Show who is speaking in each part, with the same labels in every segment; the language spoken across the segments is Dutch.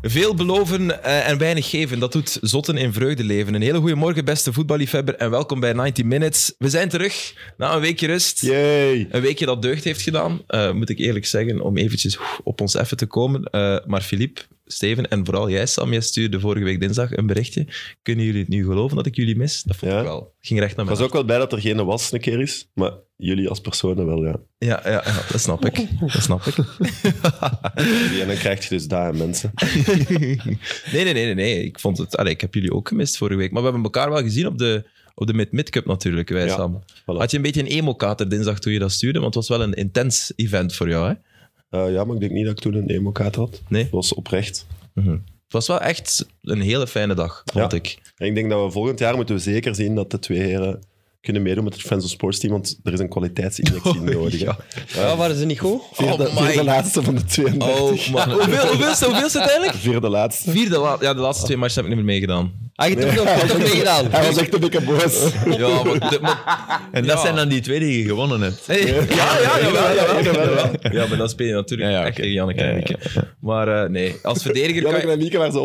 Speaker 1: Veel beloven eh, en weinig geven, dat doet zotten in vreugde leven. Een hele goede morgen, beste voetballiefhebber, en welkom bij 90 Minutes. We zijn terug na een weekje rust.
Speaker 2: Yay.
Speaker 1: Een weekje dat deugd heeft gedaan, eh, moet ik eerlijk zeggen, om eventjes oef, op ons effen te komen. Eh, maar Philippe, Steven en vooral jij, Sam, jij stuurde vorige week dinsdag een berichtje. Kunnen jullie het nu geloven dat ik jullie mis? Dat vond
Speaker 2: Ja.
Speaker 1: ik wel. Ging recht naar
Speaker 2: Ik
Speaker 1: mij.
Speaker 2: was ook wel blij dat er geen was een keer is, maar jullie als personen wel, ja.
Speaker 1: Ja, ja, ja, dat snap ik. Dat snap ik.
Speaker 2: En dan krijg je dus daar aan mensen.
Speaker 1: nee, nee, nee, nee, nee. Ik, vond het, allee, ik heb jullie ook gemist vorige week. Maar we hebben elkaar wel gezien op de, op de Mid-Mid Cup natuurlijk, wij
Speaker 2: Ja,
Speaker 1: samen.
Speaker 2: voilà.
Speaker 1: Had je een beetje een emo-kater dinsdag toen je dat stuurde? Want het was wel een intens event voor jou, hè?
Speaker 2: Eh, ja, maar ik denk niet dat ik toen een emo-kaart had.
Speaker 1: Nee?
Speaker 2: Dat was oprecht.
Speaker 1: Het was wel echt een hele fijne dag, vond
Speaker 2: Ja.
Speaker 1: ik.
Speaker 2: En ik denk dat we volgend jaar moeten we zeker zien dat de twee heren kunnen meedoen met het Friends of Sports team, want er is een kwaliteitsinjectie nodig. hè.
Speaker 1: Oh, ja.
Speaker 3: Ja, Oh, waren ze niet goed?
Speaker 2: Vierde,
Speaker 1: Oh my.
Speaker 2: vierde laatste van de 32.
Speaker 1: Oh, man. Hoeveel, hoeveelste, hoeveelste uiteindelijk?
Speaker 2: Vierde laatste.
Speaker 1: Vierde, la- ja, de laatste twee matchen heb ik niet meer meegedaan.
Speaker 3: Had je toch nog had je toch meegedaan?
Speaker 2: Hij was echt een beetje boos.
Speaker 1: Ja, maar... de- maar-
Speaker 4: En dat
Speaker 1: Ja.
Speaker 4: zijn dan die twee die je gewonnen hebt.
Speaker 1: Nee, ja, ja, ja, jawel, jawel,
Speaker 2: Jawel, jawel.
Speaker 1: jawel. Ja, maar dat speel je natuurlijk
Speaker 4: Ja, ja,
Speaker 1: echt
Speaker 4: oké.
Speaker 1: tegen Janneke en Mieke. Maar eh, nee, als verdediger kan
Speaker 2: Janneke
Speaker 1: je...
Speaker 2: en Mieke waar ze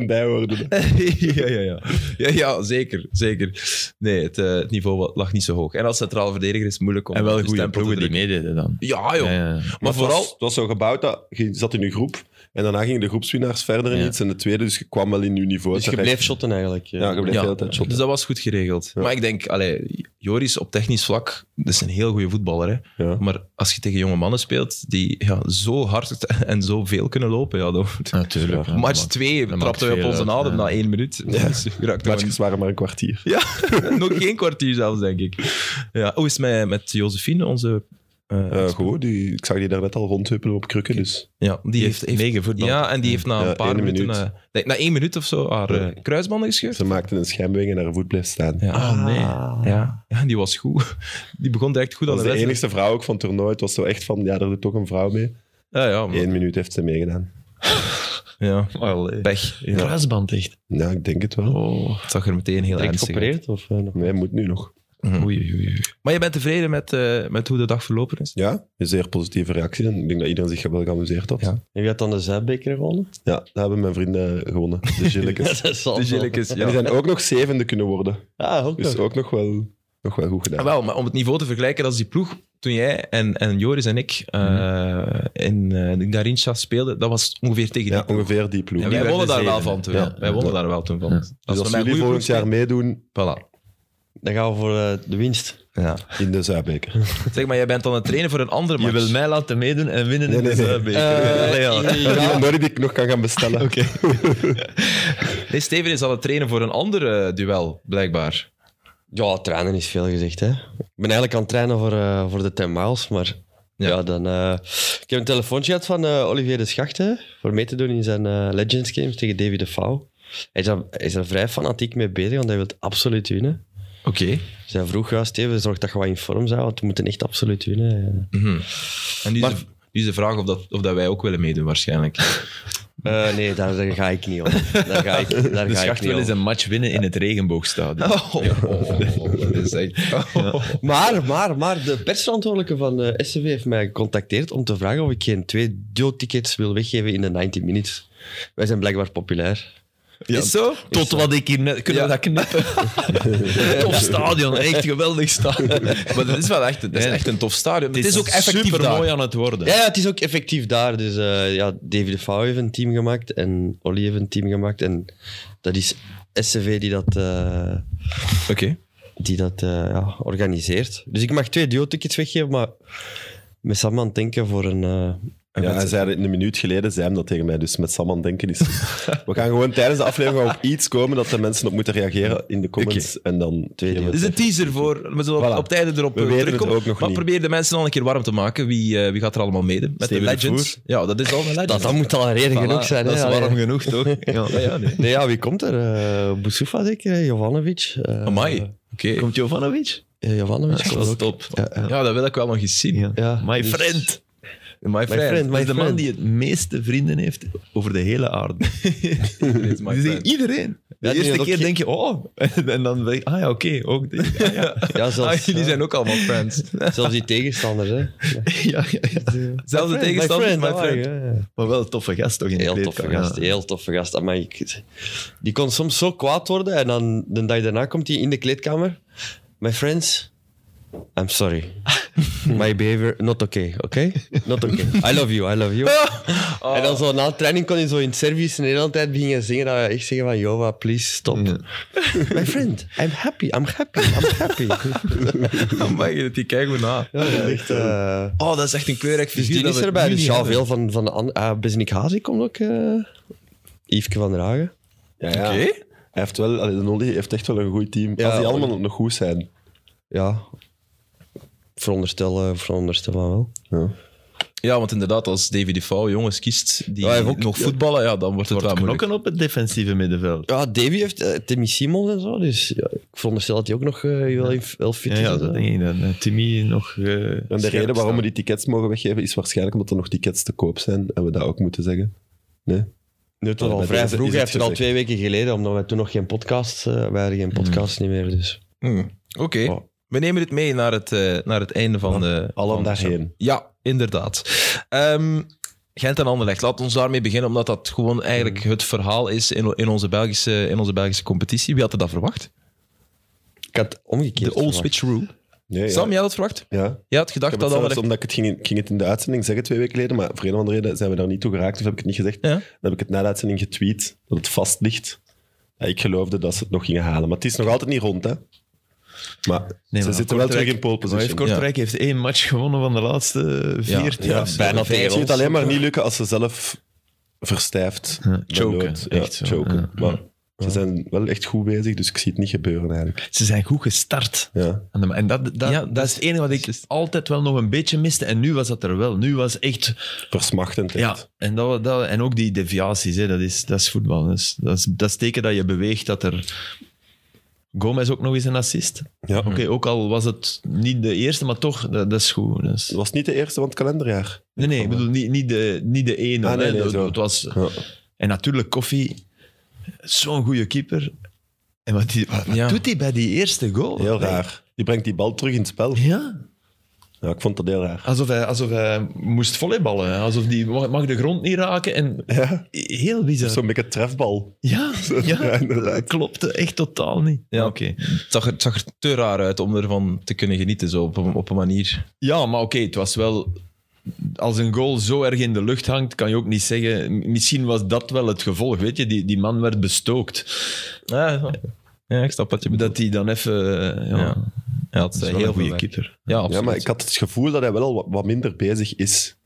Speaker 2: 100% bij hoorden.
Speaker 1: ja, ja, ja. ja, ja, zeker, zeker. Nee, het, eh, het niveau wa- lag niet zo hoog. En als centraal verdediger is het moeilijk om...
Speaker 4: En wel
Speaker 1: de
Speaker 4: goede
Speaker 1: stempel te
Speaker 4: ploegen die
Speaker 1: drukken.
Speaker 4: meededen dan.
Speaker 1: Ja, joh.
Speaker 4: Ja, ja.
Speaker 1: Maar
Speaker 2: het was-
Speaker 1: vooral...
Speaker 2: het was zo gebouwd dat je zat in je groep en daarna gingen de groepswinnaars verder in
Speaker 4: Ja.
Speaker 2: iets en de tweede, dus je kwam wel in je niveau.
Speaker 3: Dus je
Speaker 2: terecht.
Speaker 3: bleef shotten eigenlijk. eh?
Speaker 2: Ja, je bleef de
Speaker 1: Ja,
Speaker 2: hele tijd shotten.
Speaker 1: dus dat was goed geregeld. Maar ik denk, allee, Joris op technisch vlak, dat is een heel goede voetballer. Hè?
Speaker 2: Ja.
Speaker 1: Maar als je tegen jonge mannen speelt die ja, zo hard en zoveel kunnen lopen, ja, dan...
Speaker 4: Natuurlijk. ja,
Speaker 1: Match
Speaker 4: maar-
Speaker 1: 2 trapten
Speaker 4: dat maakt
Speaker 1: wij op
Speaker 4: veel
Speaker 1: onze
Speaker 4: uit,
Speaker 1: adem
Speaker 4: ja.
Speaker 1: na één minuut. Dus je raakt gewoon
Speaker 2: Matchjes waren maar een kwartier.
Speaker 1: Ja, nog geen kwartier zelfs, denk ik. Ja, hoe is het met, met Josephine, onze... eh,
Speaker 2: Eh, goed, die, ik zag die daarnet al rondhuppelen op krukken, dus...
Speaker 1: ja, die, heeft, heeft
Speaker 4: negen voetbal.
Speaker 1: Ja, en die heeft na
Speaker 2: Ja,
Speaker 1: een paar
Speaker 2: één
Speaker 1: minuten...
Speaker 2: minuut.
Speaker 1: eh, denk, na één minuut of zo haar eh, kruisbanden gescheurd.
Speaker 2: Ze maakten een schijnbeweging en haar voet bleef staan.
Speaker 1: Ja, Oh, nee. Ja. ja, die was goed. Die begon direct goed
Speaker 2: Dat
Speaker 1: aan
Speaker 2: was
Speaker 1: de
Speaker 2: de
Speaker 1: wedstrijd.
Speaker 2: enige vrouw ook van het toernooi. Het was zo echt van, ja, er doet ook een vrouw mee.
Speaker 1: Ja, Ah, ja, maar-
Speaker 2: Eén minuut heeft ze meegedaan.
Speaker 1: ja.
Speaker 4: Allee.
Speaker 1: Pech.
Speaker 4: Ja. Kruisband echt.
Speaker 2: Ja, ik denk het wel.
Speaker 4: Oh.
Speaker 1: Het zag er meteen heel
Speaker 3: Direct
Speaker 1: ernstig uit.
Speaker 3: geopereerd? Of, eh, nog?
Speaker 2: Nee, moet nu nog.
Speaker 4: Oei, oei, oei.
Speaker 1: Maar je bent tevreden met, eh, met hoe de dag verlopen is?
Speaker 2: Ja, een zeer positieve reactie. En ik denk dat iedereen zich wel geamuseerd had.
Speaker 1: Ja.
Speaker 2: Ja,
Speaker 3: En wie had dan de Zuidbeker gewonnen?
Speaker 2: daar hebben mijn vrienden gewonnen. De Gillekes.
Speaker 4: dus
Speaker 3: dat zal
Speaker 1: De
Speaker 3: wel.
Speaker 1: Gillekes,
Speaker 2: En die
Speaker 1: ja.
Speaker 2: zijn ook nog zevende kunnen worden.
Speaker 3: Ja, ook
Speaker 2: Dus
Speaker 3: nog.
Speaker 2: ook nog wel, nog wel goed
Speaker 1: Ah,
Speaker 2: gedaan.
Speaker 1: Wel, maar om het niveau te vergelijken, dat is die ploeg. Toen jij en, en Joris en ik eh, in eh, de Garincha speelden, dat was ongeveer tegen
Speaker 2: Mhm. Ja,
Speaker 1: die ploeg.
Speaker 2: ongeveer die ploeg.
Speaker 1: En
Speaker 4: die
Speaker 1: wij
Speaker 4: werden
Speaker 1: wonnen daar wel van
Speaker 4: zevende.
Speaker 1: toen.
Speaker 2: Ja.
Speaker 1: Wij wonnen daar wel toen van. Als
Speaker 2: Dus
Speaker 1: we met
Speaker 2: als jullie
Speaker 1: een goede
Speaker 2: volgend jaar
Speaker 1: ploeg
Speaker 2: meedoen
Speaker 1: spelen- Voilà.
Speaker 3: Dan gaan we voor eh, de winst.
Speaker 1: Ja.
Speaker 2: in de Zuidbeker.
Speaker 1: Zeg maar, jij bent aan het trainen voor een andere
Speaker 4: Je
Speaker 1: match.
Speaker 4: wil mij laten meedoen en winnen
Speaker 2: Nee,
Speaker 4: in
Speaker 2: nee,
Speaker 4: de
Speaker 2: nee.
Speaker 4: Zuidbeker.
Speaker 3: Eh,
Speaker 4: Allee, ja.
Speaker 3: in-
Speaker 2: Die
Speaker 3: ja.
Speaker 2: andere die ik nog kan gaan bestellen.
Speaker 1: Nee, Steven is aan het trainen voor een ander eh, duel, blijkbaar.
Speaker 3: Ja, trainen is veel gezegd. Hè. Ik ben eigenlijk aan het trainen voor, eh, voor de 10 miles, maar...
Speaker 1: Ja.
Speaker 3: Ja, dan... eh, ik heb een telefoontje gehad van eh, Olivier de Schachten voor mee te doen in zijn eh, Legends Games tegen David de Fouw. Hij is, daar, hij is er vrij fanatiek mee bezig, want hij wil het absoluut winnen.
Speaker 1: Oké.
Speaker 3: Dus hij vroeg, ja, Steven, zorg dat je wat in vorm bent, want we moeten echt absoluut winnen.
Speaker 1: En nu is, de, nu is de vraag of, dat, of dat wij ook willen meedoen,
Speaker 4: Dus
Speaker 1: waarschijnlijk.
Speaker 3: Eh, nee, daar, daar ga ik niet op. Daar ga ik, daar
Speaker 4: De
Speaker 3: ga
Speaker 4: schacht
Speaker 3: ik niet
Speaker 4: wil eens
Speaker 3: op.
Speaker 4: een match winnen in het regenboogstadion.
Speaker 1: Oh, dat is echt... Oh,
Speaker 3: Maar, maar, maar, de persverantwoordelijke van eh SCV heeft mij gecontacteerd om te vragen of ik geen twee duo-tickets wil weggeven in de 90 minutes. Wij zijn blijkbaar populair.
Speaker 1: Is het zo?
Speaker 4: Tot wat ik hier net... Kunnen we dat knippen? Tof stadion. Echt geweldig stadion.
Speaker 1: Maar dat is wel echt, dat is
Speaker 4: Nee.
Speaker 1: echt een tof stadion. Maar Het is, ook effectief
Speaker 4: super
Speaker 1: daar.
Speaker 4: mooi aan het worden.
Speaker 3: Ja, ja, het is ook effectief daar. Dus eh, ja, David de Vouw heeft een team gemaakt en Olly heeft een team gemaakt. En dat is SCV die dat... eh,
Speaker 1: Oké.
Speaker 3: die dat eh, ja, organiseert. Dus ik mag twee duo-tickets weggeven, maar met Sam aan het denken voor een... eh,
Speaker 2: Ja, hij zei dat een minuut geleden zei hem dat tegen mij, dus met Sam aan het denken is. We gaan gewoon tijdens de aflevering op iets komen dat de mensen op moeten reageren in de comments. En dan tweede.
Speaker 1: Dit is een teaser voor. We zullen op-
Speaker 2: Voilà.
Speaker 1: op, tijden erop
Speaker 2: We
Speaker 1: eh,
Speaker 2: weten het
Speaker 1: terugkomen.
Speaker 2: ook nog
Speaker 1: maar
Speaker 2: niet.
Speaker 1: probeer de mensen al een keer warm te maken. Wie, eh, wie gaat er allemaal mede? Met
Speaker 2: Steven
Speaker 1: de
Speaker 2: de
Speaker 1: Legends.
Speaker 2: Voer.
Speaker 1: ja, dat is al een Legends.
Speaker 3: dat, dat moet al een reden
Speaker 1: Voilà,
Speaker 3: genoeg zijn.
Speaker 4: Dat
Speaker 3: hè?
Speaker 4: is
Speaker 3: Allee.
Speaker 4: warm genoeg, toch? Ja.
Speaker 3: Nee, ja, wie komt er? Eh Boussoufa zeker, hè? Jovanovic. Eh,
Speaker 1: Amai. Oké.
Speaker 4: Komt Jovanovic?
Speaker 3: eh, Jovanovic komt
Speaker 4: Dat is
Speaker 3: ook.
Speaker 4: top.
Speaker 3: Ja, ja.
Speaker 1: Ja, dat wil ik wel nog eens zien.
Speaker 4: Ja.
Speaker 3: Ja,
Speaker 4: My
Speaker 3: dus-
Speaker 4: friend.
Speaker 1: My friend.
Speaker 3: friend, my
Speaker 4: Dat is de man
Speaker 3: friend.
Speaker 4: die het meeste vrienden heeft over de hele aarde.
Speaker 1: It's my
Speaker 4: Dus
Speaker 1: friend.
Speaker 4: iedereen. De
Speaker 3: Ja, die
Speaker 4: eerste
Speaker 3: dat
Speaker 4: keer
Speaker 3: ook-
Speaker 4: denk je, oh. En dan denk je, ah ja, oké, ook dit. Ah, ja.
Speaker 3: Ja,
Speaker 1: Ah,
Speaker 3: zelfs, eh,
Speaker 1: jullie zijn ook allemaal friends.
Speaker 3: zelfs die tegenstanders. Hè.
Speaker 4: ja, ja, ja.
Speaker 1: Zelfs de tegenstander is my
Speaker 3: my
Speaker 1: friend.
Speaker 3: friend. ah, Ja.
Speaker 4: Maar wel een toffe gast toch in de
Speaker 3: Heel toffe
Speaker 4: kleedkamer.
Speaker 3: gast,
Speaker 4: Ja.
Speaker 3: heel toffe gast. Amai, ik- die kon soms zo kwaad worden en dan de dag daarna komt hij in de kleedkamer. My friends, I'm sorry. My behavior, not okay, okay? Not okay. I love you, I love you. En
Speaker 1: Oh.
Speaker 3: dan zo na de training kon hij zo in het service in Nederland tijd beginnen zingen. Dat we echt zeggen van, Jova, please stop. My friend, I'm happy, I'm happy, I'm happy.
Speaker 1: Amai, dat die kijken we na.
Speaker 3: Ja, dat is echt, eh,
Speaker 1: Oh, dat is echt een kleurrijk
Speaker 3: dus
Speaker 1: figuur.
Speaker 3: die
Speaker 1: dat
Speaker 3: is
Speaker 1: we
Speaker 3: erbij.
Speaker 1: nu
Speaker 3: Dus
Speaker 1: niet
Speaker 3: ja,
Speaker 1: hebben.
Speaker 3: veel van, van de andere... Uh, Besnik Hazi komt ook. eh Yveske van der Hagen.
Speaker 2: Ja, ja.
Speaker 1: Oké.
Speaker 2: Hij heeft wel, allee, de Nolly heeft echt wel een goed team.
Speaker 3: Ja,
Speaker 2: Als die allemaal nog goed zijn.
Speaker 3: ja, veronderstel, eh, veronderstel van wel.
Speaker 2: Ja.
Speaker 1: Ja, want inderdaad, als David Defoe jongens kiest die
Speaker 3: Ja, hij heeft ook-
Speaker 1: nog voetballen, ja, dan wordt het wel moeilijk.
Speaker 4: Knokken op het defensieve middenveld.
Speaker 3: Ja, Davy heeft eh, Timmy Simons en zo, dus ja, ik veronderstel dat hij ook nog eh, wel, in- wel fit
Speaker 4: Ja,
Speaker 3: is.
Speaker 4: ja,
Speaker 3: en zo.
Speaker 4: dat denk ik dan. eh, Timmy nog... eh,
Speaker 2: En de
Speaker 4: scherp
Speaker 2: reden waarom we
Speaker 4: staan.
Speaker 2: die tickets mogen weggeven is waarschijnlijk omdat er nog tickets te koop zijn en we dat ook moeten zeggen. Nee?
Speaker 3: Nu toch al
Speaker 2: Bij
Speaker 3: vrij
Speaker 2: deze
Speaker 3: vroeg,
Speaker 2: is
Speaker 3: hij
Speaker 2: het
Speaker 3: heeft het al
Speaker 2: gezegd. Mhm.
Speaker 3: twee weken geleden, omdat wij toen nog geen podcast, eh wij hadden geen podcast niet meer, dus.
Speaker 1: Hmm. Oké,
Speaker 2: Oh.
Speaker 1: we nemen dit mee naar het, eh, naar het einde van de...
Speaker 2: Allen
Speaker 1: van de show.
Speaker 2: daarheen.
Speaker 1: Ja, inderdaad. Ehm, Gent en Anderlecht, laat ons daarmee beginnen, omdat dat gewoon eigenlijk
Speaker 2: Hmm.
Speaker 1: het verhaal is in, in, onze, Belgische, in onze Belgische competitie. Wie had er dat verwacht?
Speaker 3: Ik had omgekeerd
Speaker 1: De old
Speaker 3: verwacht.
Speaker 1: switch rule.
Speaker 2: Nee, ja.
Speaker 1: Sam, jij had het verwacht?
Speaker 2: Ja.
Speaker 1: Jij had gedacht
Speaker 2: Ik heb
Speaker 1: dat
Speaker 2: het zelfs,
Speaker 1: Anderlecht...
Speaker 2: omdat ik het ging, ik ging het in de uitzending zeggen twee weken geleden, maar voor een of andere reden zijn we daar niet toe geraakt of heb ik het niet gezegd.
Speaker 1: Ja.
Speaker 2: Dan heb ik het na de uitzending getweet, dat het vast ligt. Ja, ik geloofde dat ze het nog gingen halen, maar het is nog altijd niet rond, hè. Maar
Speaker 4: maar
Speaker 2: ze zitten wel
Speaker 4: Kortrijk-
Speaker 2: terug in pole
Speaker 4: Maar heeft
Speaker 2: position.
Speaker 4: Kortrijk heeft één match gewonnen van de laatste vier.
Speaker 1: Ja,
Speaker 2: Ja,
Speaker 4: trouwens.
Speaker 2: bijna
Speaker 3: tegen
Speaker 2: Het
Speaker 3: ons.
Speaker 2: ziet alleen maar niet lukken als ze zelf verstijft.
Speaker 4: Ja, choken,
Speaker 2: beloopt. Ja,
Speaker 4: echt zo,
Speaker 2: choken.
Speaker 4: ja.
Speaker 2: Maar ze zijn wel echt goed bezig, dus ik zie het niet gebeuren eigenlijk.
Speaker 4: Ze zijn goed gestart.
Speaker 2: Ja.
Speaker 4: aan de ma- En dat, dat,
Speaker 1: Ja,
Speaker 4: dat is het enige wat ik altijd wel nog een beetje miste. En nu was dat er wel. Nu was echt...
Speaker 2: Versmachtend echt.
Speaker 4: Ja, en, dat, dat, en ook die deviaties, hè, dat, is, dat is voetbal. Dat is, dat, is, dat is teken dat je beweegt dat er... Gomez ook nog eens een assist.
Speaker 2: Ja.
Speaker 4: Oké, ook al was het niet de eerste, maar toch, dat, dat is goed. Dat is-
Speaker 2: Het was niet de eerste van het kalenderjaar.
Speaker 4: Nee, nee, ik bedoel niet, niet de, niet de ene.
Speaker 2: Ah, nee,
Speaker 4: hè.
Speaker 2: nee,
Speaker 4: Dat-
Speaker 2: zo.
Speaker 4: het was,
Speaker 2: Ja.
Speaker 4: en natuurlijk, Koffie, zo'n goede keeper. En wat, die, wat, wat
Speaker 1: Ja.
Speaker 4: doet hij bij die eerste goal?
Speaker 2: Heel raar. Die brengt die bal terug in het spel.
Speaker 4: Ja,
Speaker 2: Ja, ik vond dat heel raar.
Speaker 4: alsof hij, alsof hij moest volleyballen. hè. Alsof hij mag, mag de grond niet raken. En
Speaker 2: Ja.
Speaker 4: heel bizar.
Speaker 2: Zo'n beetje trefbal.
Speaker 4: Ja, ja,
Speaker 2: Ja, inderdaad.
Speaker 4: dat klopte echt totaal niet.
Speaker 1: Ja.
Speaker 4: Ja,
Speaker 1: Het zag, er, het zag er te raar uit om ervan te kunnen genieten, zo op een, op een manier.
Speaker 4: ja maar oké, het was wel... Als een goal zo erg in de lucht hangt, kan je ook niet zeggen... Misschien was dat wel het gevolg, weet je? Die, die man werd bestookt.
Speaker 1: Ja, ja ik snap wat je bedoelt.
Speaker 4: Dat hij dan even... eh, Ja,
Speaker 1: Ja. Hij had
Speaker 4: dat is
Speaker 1: eh,
Speaker 4: wel
Speaker 1: heel
Speaker 4: een
Speaker 1: veel
Speaker 4: goede
Speaker 1: werk.
Speaker 4: keeper.
Speaker 1: Ja,
Speaker 2: Ja,
Speaker 1: absoluut.
Speaker 2: maar ik had het gevoel dat hij wel al wat- wat minder bezig is.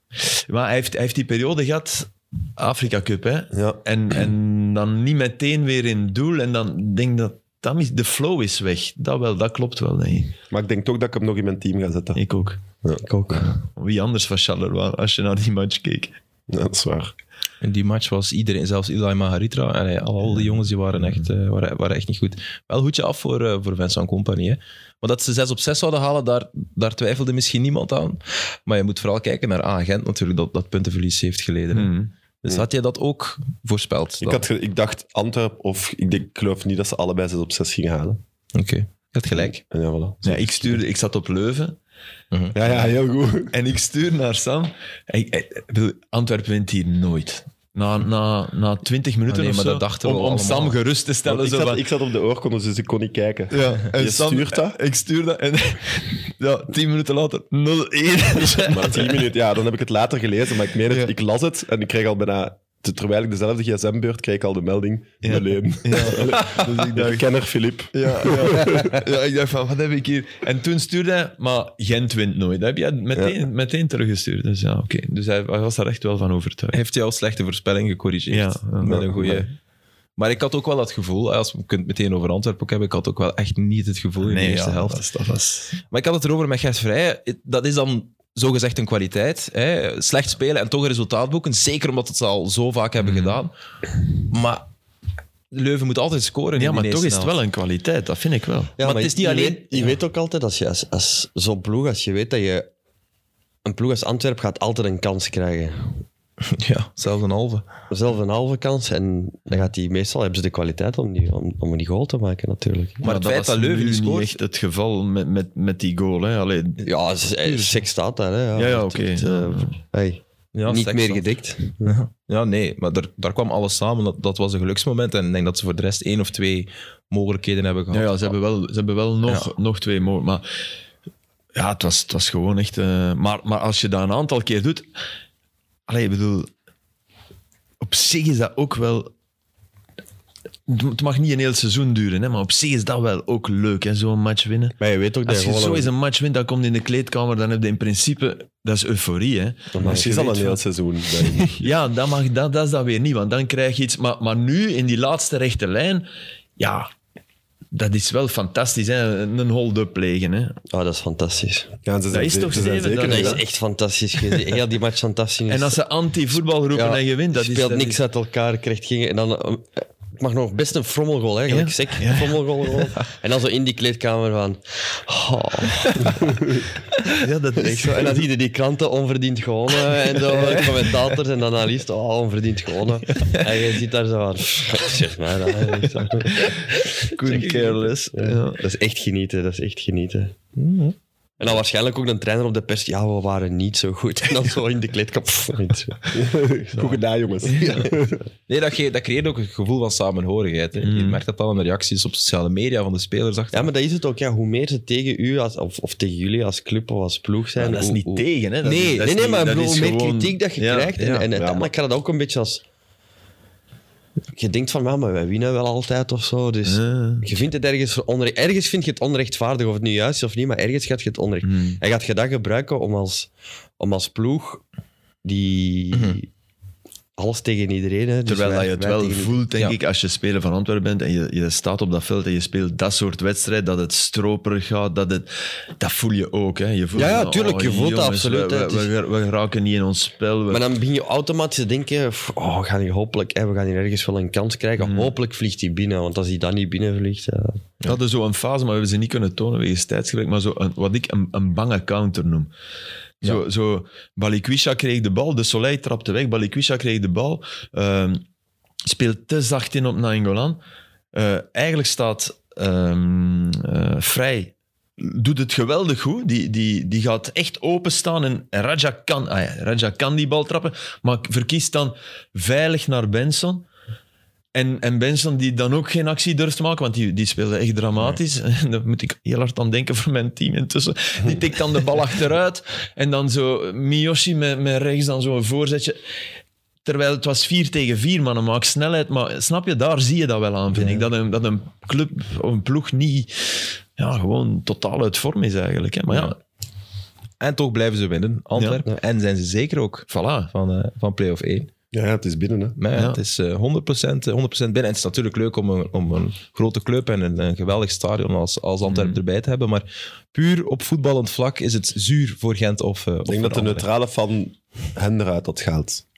Speaker 4: Maar hij heeft, hij heeft die periode gehad... Afrika Cup, hè?
Speaker 2: Ja.
Speaker 4: En, en dan niet meteen weer in doel. En dan denk ik dat... dat mis- de flow is weg. Dat wel, dat klopt wel, denk ik.
Speaker 2: Maar ik denk toch dat ik hem nog in mijn team ga zetten.
Speaker 4: Ik ook.
Speaker 3: Ik ook.
Speaker 4: Wie anders was Charleroi als je naar die match keek?
Speaker 2: Ja, dat is waar.
Speaker 1: In die match was iedereen, zelfs Ilai Maharitra, en hij- al die jongens die waren, echt, eh, waren, waren echt niet goed. Wel hoedje af voor, eh, voor Vincent Company. Hè. Maar dat ze 6 op 6 zouden halen, daar, daar twijfelde misschien niemand aan. Maar je moet vooral kijken naar agent natuurlijk, dat, dat puntenverlies heeft geleden. hè. Dus had jij dat ook voorspeld?
Speaker 2: Ik,
Speaker 1: dan?
Speaker 2: had, ge- ik dacht Antwerp of... Ik, denk, ik geloof niet dat ze allebei 6 op 6 gingen halen.
Speaker 1: Oké, je had gelijk.
Speaker 2: En ja, voilà.
Speaker 4: Ja, ik, stuurde, ik zat op Leuven
Speaker 2: Ja, ja, heel goed.
Speaker 4: en ik stuur naar Sam. Ik- ik- ik bedoel, Antwerpen wint hier nooit. Na, na, na 20 minuten
Speaker 1: Ah, nee,
Speaker 4: of
Speaker 1: maar
Speaker 4: zo,
Speaker 1: dat dachten we
Speaker 4: om, om
Speaker 1: allemaal.
Speaker 4: Sam gerust te stellen.
Speaker 2: Want ik,
Speaker 4: zo
Speaker 2: zat,
Speaker 4: van-
Speaker 2: ik zat op de oorkondes, dus ik kon niet kijken.
Speaker 4: ja, en
Speaker 2: je stuurt dat?
Speaker 4: Ik stuur dat en ja, 10 minuten later 0-1.
Speaker 2: Maar 10 minuten, ja, dan heb ik het later gelezen, maar ik meen het,
Speaker 4: Ja.
Speaker 2: ik las het en ik kreeg al bijna... te- Terwijl ik dezelfde gsm-beurt kreeg ik al de melding.
Speaker 4: Ja.
Speaker 2: Alleen.
Speaker 4: Dus ik dacht,
Speaker 2: Kenner Filip.
Speaker 4: ja, ja. ja, ik dacht van, wat heb ik hier? En toen stuurde hij, maar Gent wint nooit. Dat heb je meteen, meteen teruggestuurd. Dus ja, oké. Dus hij, hij was daar echt wel van overtuigd.
Speaker 1: Heeft jouw slechte voorspelling gecorrigeerd?
Speaker 4: Ja, ja.
Speaker 1: met een goede. Maar ik had ook wel dat gevoel, als we het meteen over Antwerpen ook hebben, ik had ook wel echt niet het gevoel in de eerste
Speaker 4: ja,
Speaker 1: helft.
Speaker 4: dat is- dat was...
Speaker 1: Maar ik had het erover met Gert Vrij. Dat is dan zogezegd een kwaliteit. Hè? Slecht spelen en toch een resultaat boeken. Zeker omdat het ze al zo vaak hebben
Speaker 4: Mhm.
Speaker 1: gedaan. Maar Leuven moet altijd scoren. in
Speaker 4: Ja,
Speaker 1: die
Speaker 4: maar
Speaker 1: eerste
Speaker 4: toch is het
Speaker 1: helft.
Speaker 4: wel een kwaliteit. Dat vind ik wel.
Speaker 1: maar het is niet
Speaker 3: je
Speaker 1: alleen-
Speaker 3: Weet, je weet ook altijd, als je als, als zo'n ploeg, als je weet dat je een ploeg als Antwerp gaat altijd een kans krijgen.
Speaker 1: Ja, zelfs een halve.
Speaker 3: Zelf een halve kans en dan gaat die, meestal hebben ze de kwaliteit om die, om, om die goal te maken natuurlijk.
Speaker 1: Maar het feit dat
Speaker 4: was
Speaker 1: Leuven
Speaker 4: nu
Speaker 1: niet scoort-
Speaker 4: niet echt het geval met, met, met die goal. Hè. Allee,
Speaker 3: Ja, seks staat daar. Hè,
Speaker 4: ja,
Speaker 3: Het-
Speaker 4: ja, oké.
Speaker 3: het, eh, hey,
Speaker 1: Ja,
Speaker 3: niet
Speaker 1: seks
Speaker 3: meer
Speaker 1: dan.
Speaker 3: gedikt.
Speaker 1: Ja. Ja, nee, maar daar, daar kwam alles samen. Dat, dat was een geluksmoment. En ik denk dat ze voor de rest één of twee mogelijkheden hebben gehad.
Speaker 4: Ja, ja, ze hebben wel, ze hebben wel nog, nog twee mogen. Maar ja, het was, het was gewoon echt. eh, maar, maar als je dat een aantal keer doet. Allee, ik bedoel. Op zich is dat ook wel. Het mag niet een heel seizoen duren, hè, maar op zich is dat wel ook leuk, hè, zo'n match winnen.
Speaker 3: Maar je weet ook dat
Speaker 4: Als
Speaker 3: je
Speaker 4: je
Speaker 3: gewoon
Speaker 4: zo
Speaker 3: een-
Speaker 4: eens een match wint, dan komt in de kleedkamer, dan heb je in principe... Dat is euforie, hè. Als
Speaker 2: Het
Speaker 4: je
Speaker 2: is al
Speaker 4: weet
Speaker 2: een heel
Speaker 4: van-
Speaker 2: seizoen. denk ik.
Speaker 4: ja, dat, mag, dat, dat is dat weer niet, want dan krijg je iets. Maar, maar nu, in die laatste rechte lijn, ja, dat is wel fantastisch. Hè? Een hold-up plegen. Hè?
Speaker 3: Oh, dat is fantastisch.
Speaker 2: Ja, ze zijn
Speaker 4: is
Speaker 2: ze-
Speaker 4: toch
Speaker 2: ze zijn
Speaker 4: zeven,
Speaker 2: zeker
Speaker 4: dat
Speaker 3: Dat
Speaker 2: niet,
Speaker 3: is
Speaker 2: hè.
Speaker 3: echt fantastisch. Heel die match fantastisch.
Speaker 4: En als ze anti-voetbal roepen
Speaker 3: Ja,
Speaker 4: en je wint, dat
Speaker 3: je
Speaker 4: is...
Speaker 3: speelt
Speaker 4: dat
Speaker 3: niks
Speaker 4: is-
Speaker 3: uit elkaar, krijgt geen... En dan, eh, het mag nog best een frommelgoal, hè, gelijk
Speaker 4: Ja.
Speaker 3: sec. Frommelgoal. gewoon. En dan zo in die kleedkamer van... oh.
Speaker 4: Ja, dat
Speaker 3: Echt
Speaker 4: is
Speaker 3: zo. En dan zie je die kranten onverdiend gewonnen. eh, En zo, de commentators en dan analisten, oh, onverdiend gewonnen. En je zit daar zo van... Zeg maar, dat, hè. Echt zo.
Speaker 4: couldn't care less. Ja.
Speaker 3: dat is echt genieten, dat is echt genieten. En dan waarschijnlijk ook een trainer op de pers. Ja, we waren niet zo goed. En dan zo in de kleedkamer. niet zo.
Speaker 2: Goed gedaan, jongens.
Speaker 1: Nee, dat, ge- dat creëert ook een gevoel van samenhorigheid.
Speaker 4: Mhm.
Speaker 1: Hè. Je merkt dat al in de reacties op sociale media van de spelers. Achter.
Speaker 3: Ja, maar dat is het ook. Ja. Hoe meer ze tegen u als, of, of tegen jullie als club of als ploeg zijn.
Speaker 4: Maar dat is
Speaker 3: hoe-
Speaker 4: niet
Speaker 3: hoe-
Speaker 4: tegen, hè? Dat
Speaker 3: nee,
Speaker 4: is- dat
Speaker 3: nee,
Speaker 4: is
Speaker 3: nee,
Speaker 4: niet-
Speaker 3: maar ik
Speaker 4: dat
Speaker 3: bedoel,
Speaker 4: is
Speaker 3: hoe meer
Speaker 4: gewoon-
Speaker 3: kritiek dat je
Speaker 4: Ja,
Speaker 3: krijgt. En,
Speaker 4: ja.
Speaker 3: en uiteindelijk gaat dat ook een beetje als. Je denkt van, ja, maar wij winnen wel altijd of zo. Dus
Speaker 4: Ja.
Speaker 3: je vindt het ergens onrecht. Ergens vind je het onrechtvaardig, of het nu juist is of niet, maar ergens gaat je het onrecht.
Speaker 4: Hmm.
Speaker 3: En gaat je dat gebruiken om als, om als ploeg die. Alles tegen iedereen. Hè. Dus
Speaker 4: Hmm. Terwijl dat
Speaker 3: wij-
Speaker 4: je het
Speaker 3: wij
Speaker 4: wel
Speaker 3: tegen iedereen.
Speaker 4: voelt, denk
Speaker 1: Ja.
Speaker 4: ik, als je speler van Antwerpen bent en je, je staat op dat veld en je speelt dat soort wedstrijd, dat het stroperig gaat, dat, het, dat voel je ook. Hè. Je voelt
Speaker 3: Ja, ja,
Speaker 4: van, oh,
Speaker 3: tuurlijk, je voelt dat absoluut,
Speaker 4: We,
Speaker 3: hè. Het
Speaker 4: we,
Speaker 3: is-
Speaker 4: we- we raken niet in ons spel. we-
Speaker 3: Maar dan begin je automatisch te denken: f- oh, we gaan hier hopelijk, hè, we gaan hier ergens wel een kans
Speaker 4: Hmm.
Speaker 3: krijgen. Hopelijk vliegt hij binnen, want als hij dan niet eh, binnen vliegt. ja.
Speaker 4: We hadden zo een fase, maar we hebben ze niet kunnen tonen wegens tijdsgebrek, maar zo een, wat ik een, een bange counter noem. Zo, zo Balikwisha kreeg de bal, de Soleil trapte weg, Balikwisha kreeg de bal, ehm, speelt te zacht in op Nainggolan. Eh, eigenlijk staat ehm eh, Vrij, doet het geweldig goed, die, die, die gaat echt openstaan en en Raja kan, ah ja, Raja kan die bal trappen, maar verkiest dan veilig naar Benson. En, en Benson die dan ook geen actie durft te maken, want die, die speelde echt dramatisch. En daar moet ik heel hard aan denken voor mijn team intussen. Die tikt dan de bal achteruit. En dan zo Miyoshi met, met rechts dan zo'n voorzetje. Terwijl het was 4 tegen 4, maar dan maakt snelheid. Maar snap je, daar zie je dat wel aan, vind ik. Dat een, dat een club of een ploeg niet ja, gewoon totaal uit vorm is eigenlijk. Hè. Maar ja,
Speaker 1: En toch blijven ze winnen, Antwerpen. En zijn ze zeker ook
Speaker 4: voilà.
Speaker 1: van, eh van play-off 1.
Speaker 2: Ja, ja, het is binnen, hè.
Speaker 1: Maar ja,
Speaker 4: Ja.
Speaker 1: het is eh, 100%, 100 binnen. En het is natuurlijk leuk om een, om een grote club en een, een geweldig stadion als, als
Speaker 4: Mhm.
Speaker 1: Antwerpen erbij te hebben. Maar puur op voetballend vlak is het zuur voor Gent of, eh, of
Speaker 2: Ik denk
Speaker 1: voor
Speaker 2: dat de
Speaker 1: Anderlecht.
Speaker 2: neutrale van hen eruit had gehaald.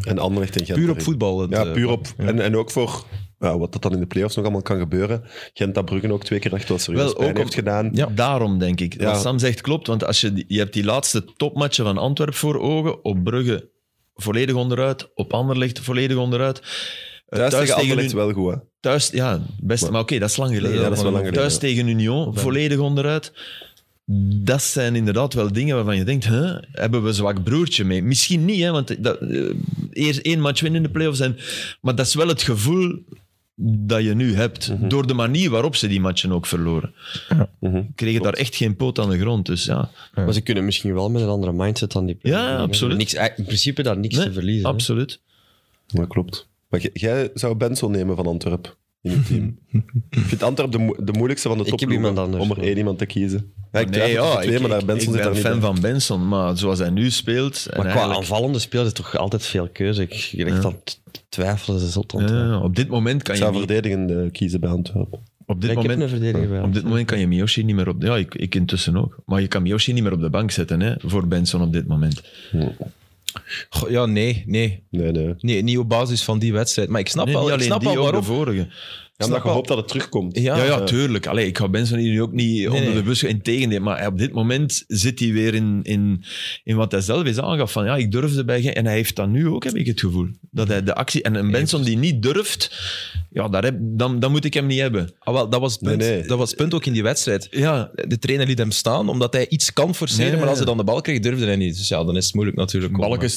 Speaker 2: En Anderlecht en Gent.
Speaker 1: Puur op
Speaker 2: erin.
Speaker 1: voetbal. het,
Speaker 2: Ja,
Speaker 1: eh,
Speaker 2: puur op. En, en ook voor ja, wat dat dan in de playoffs nog allemaal kan gebeuren. Gent dat Bruggen ook twee keer echt wel serieus
Speaker 4: Wel,
Speaker 2: pijn
Speaker 4: ook
Speaker 2: heeft
Speaker 4: om-
Speaker 2: gedaan.
Speaker 1: Ja.
Speaker 4: Daarom denk ik.
Speaker 2: Ja.
Speaker 4: Wat Sam zegt klopt, want als je, die- je hebt die laatste topmatchen van Antwerpen voor ogen. Op Brugge volledig onderuit, op Anderlecht volledig onderuit. Eh,
Speaker 2: Thuis, tegen Anderlecht
Speaker 4: Union-
Speaker 2: wel goed, hè.
Speaker 4: Thuis, ja, best, maar oké, dat is lang geleden.
Speaker 2: Nee, dat is wel lang geleden,
Speaker 4: thuis
Speaker 2: ja.
Speaker 4: tegen Union, volledig onderuit. Dat zijn inderdaad wel dingen waarvan je denkt, huh, hebben we een zwak broertje mee? Misschien niet, hè, want dat, eh, eerst één match winnen in de playoffs. En, maar dat is wel het gevoel dat je nu hebt,
Speaker 2: Mhm.
Speaker 4: door de manier waarop ze die matchen ook verloren. Kregen daar echt geen poot aan de grond, dus ja.
Speaker 3: Maar ze kunnen misschien wel met een andere mindset dan die
Speaker 4: Ja,
Speaker 3: hebben
Speaker 4: absoluut.
Speaker 3: Niks, eh, in principe daar niks
Speaker 4: Nee,
Speaker 3: te verliezen. hè.
Speaker 4: Absoluut.
Speaker 2: Dat klopt. Maar jij- jij zou Benson nemen van Antwerp in je team. ik vind Antwerp de, mo- de moeilijkste van de
Speaker 3: Ik heb
Speaker 2: topploegen
Speaker 3: iemand anders,
Speaker 2: om er
Speaker 3: maar-
Speaker 2: één iemand te kiezen. Ja, ik twijfel
Speaker 4: ja,
Speaker 2: tussen twee,
Speaker 4: oh, ik-
Speaker 2: maar daar
Speaker 4: ik-
Speaker 2: Benson
Speaker 4: ik
Speaker 2: zit daar
Speaker 4: ben
Speaker 2: niet
Speaker 4: fan
Speaker 2: bij.
Speaker 4: van Benson, maar zoals hij nu speelt... en
Speaker 3: Maar qua
Speaker 4: eigenlijk-
Speaker 3: aanvallende speel is toch altijd veel keuze. Ik ik echt aan t- twijfelen ze zot aan.
Speaker 4: Ja, op dit moment kan
Speaker 2: Ik
Speaker 4: je
Speaker 2: zou
Speaker 4: niet-
Speaker 2: verdedigende kiezen bij Antwerp.
Speaker 4: Op dit
Speaker 3: ik
Speaker 4: moment...
Speaker 3: heb een verdediger bij.
Speaker 4: Op dit moment kan je Miyoshi niet meer op... Ja, ik, ik intussen ook. Maar je kan Miyoshi niet meer op de bank zetten hè, voor Benson op dit moment.
Speaker 1: Goh, ja, nee, nee.
Speaker 2: Nee, nee.
Speaker 1: Nee, niet op basis van die wedstrijd. Maar ik snap
Speaker 4: Nee,
Speaker 1: wel,
Speaker 4: niet
Speaker 1: ik
Speaker 4: alleen
Speaker 1: snap
Speaker 4: die,
Speaker 1: wel
Speaker 4: ook
Speaker 1: waarom.
Speaker 4: de vorige.
Speaker 2: Ja,
Speaker 1: Snap
Speaker 2: omdat je
Speaker 1: wel.
Speaker 2: hoopt dat het terugkomt.
Speaker 1: Ja,
Speaker 4: Ja, ja,
Speaker 2: eh.
Speaker 4: tuurlijk. Allee, ik ga Benson hier nu ook niet onder
Speaker 1: nee.
Speaker 4: de bus. Integendeel, maar op dit moment zit hij weer in, in, in wat hij zelf is aangaf. Van, ja, ik durfde bij geen... En hij heeft dat nu ook, heb ik het gevoel. Dat hij de actie... En een Benson die niet durft, ja, daar heb, dan, dan moet ik hem niet hebben.
Speaker 1: Ah, wel, dat, was het punt.
Speaker 2: Nee, nee.
Speaker 1: dat was het punt ook in die wedstrijd.
Speaker 4: Ja,
Speaker 1: De trainer liet hem staan, omdat hij iets kan forceren,
Speaker 4: Nee.
Speaker 1: maar als hij dan de bal kreeg, durfde hij niet. Dus ja, dan is het moeilijk natuurlijk. om- eh,
Speaker 4: balkjes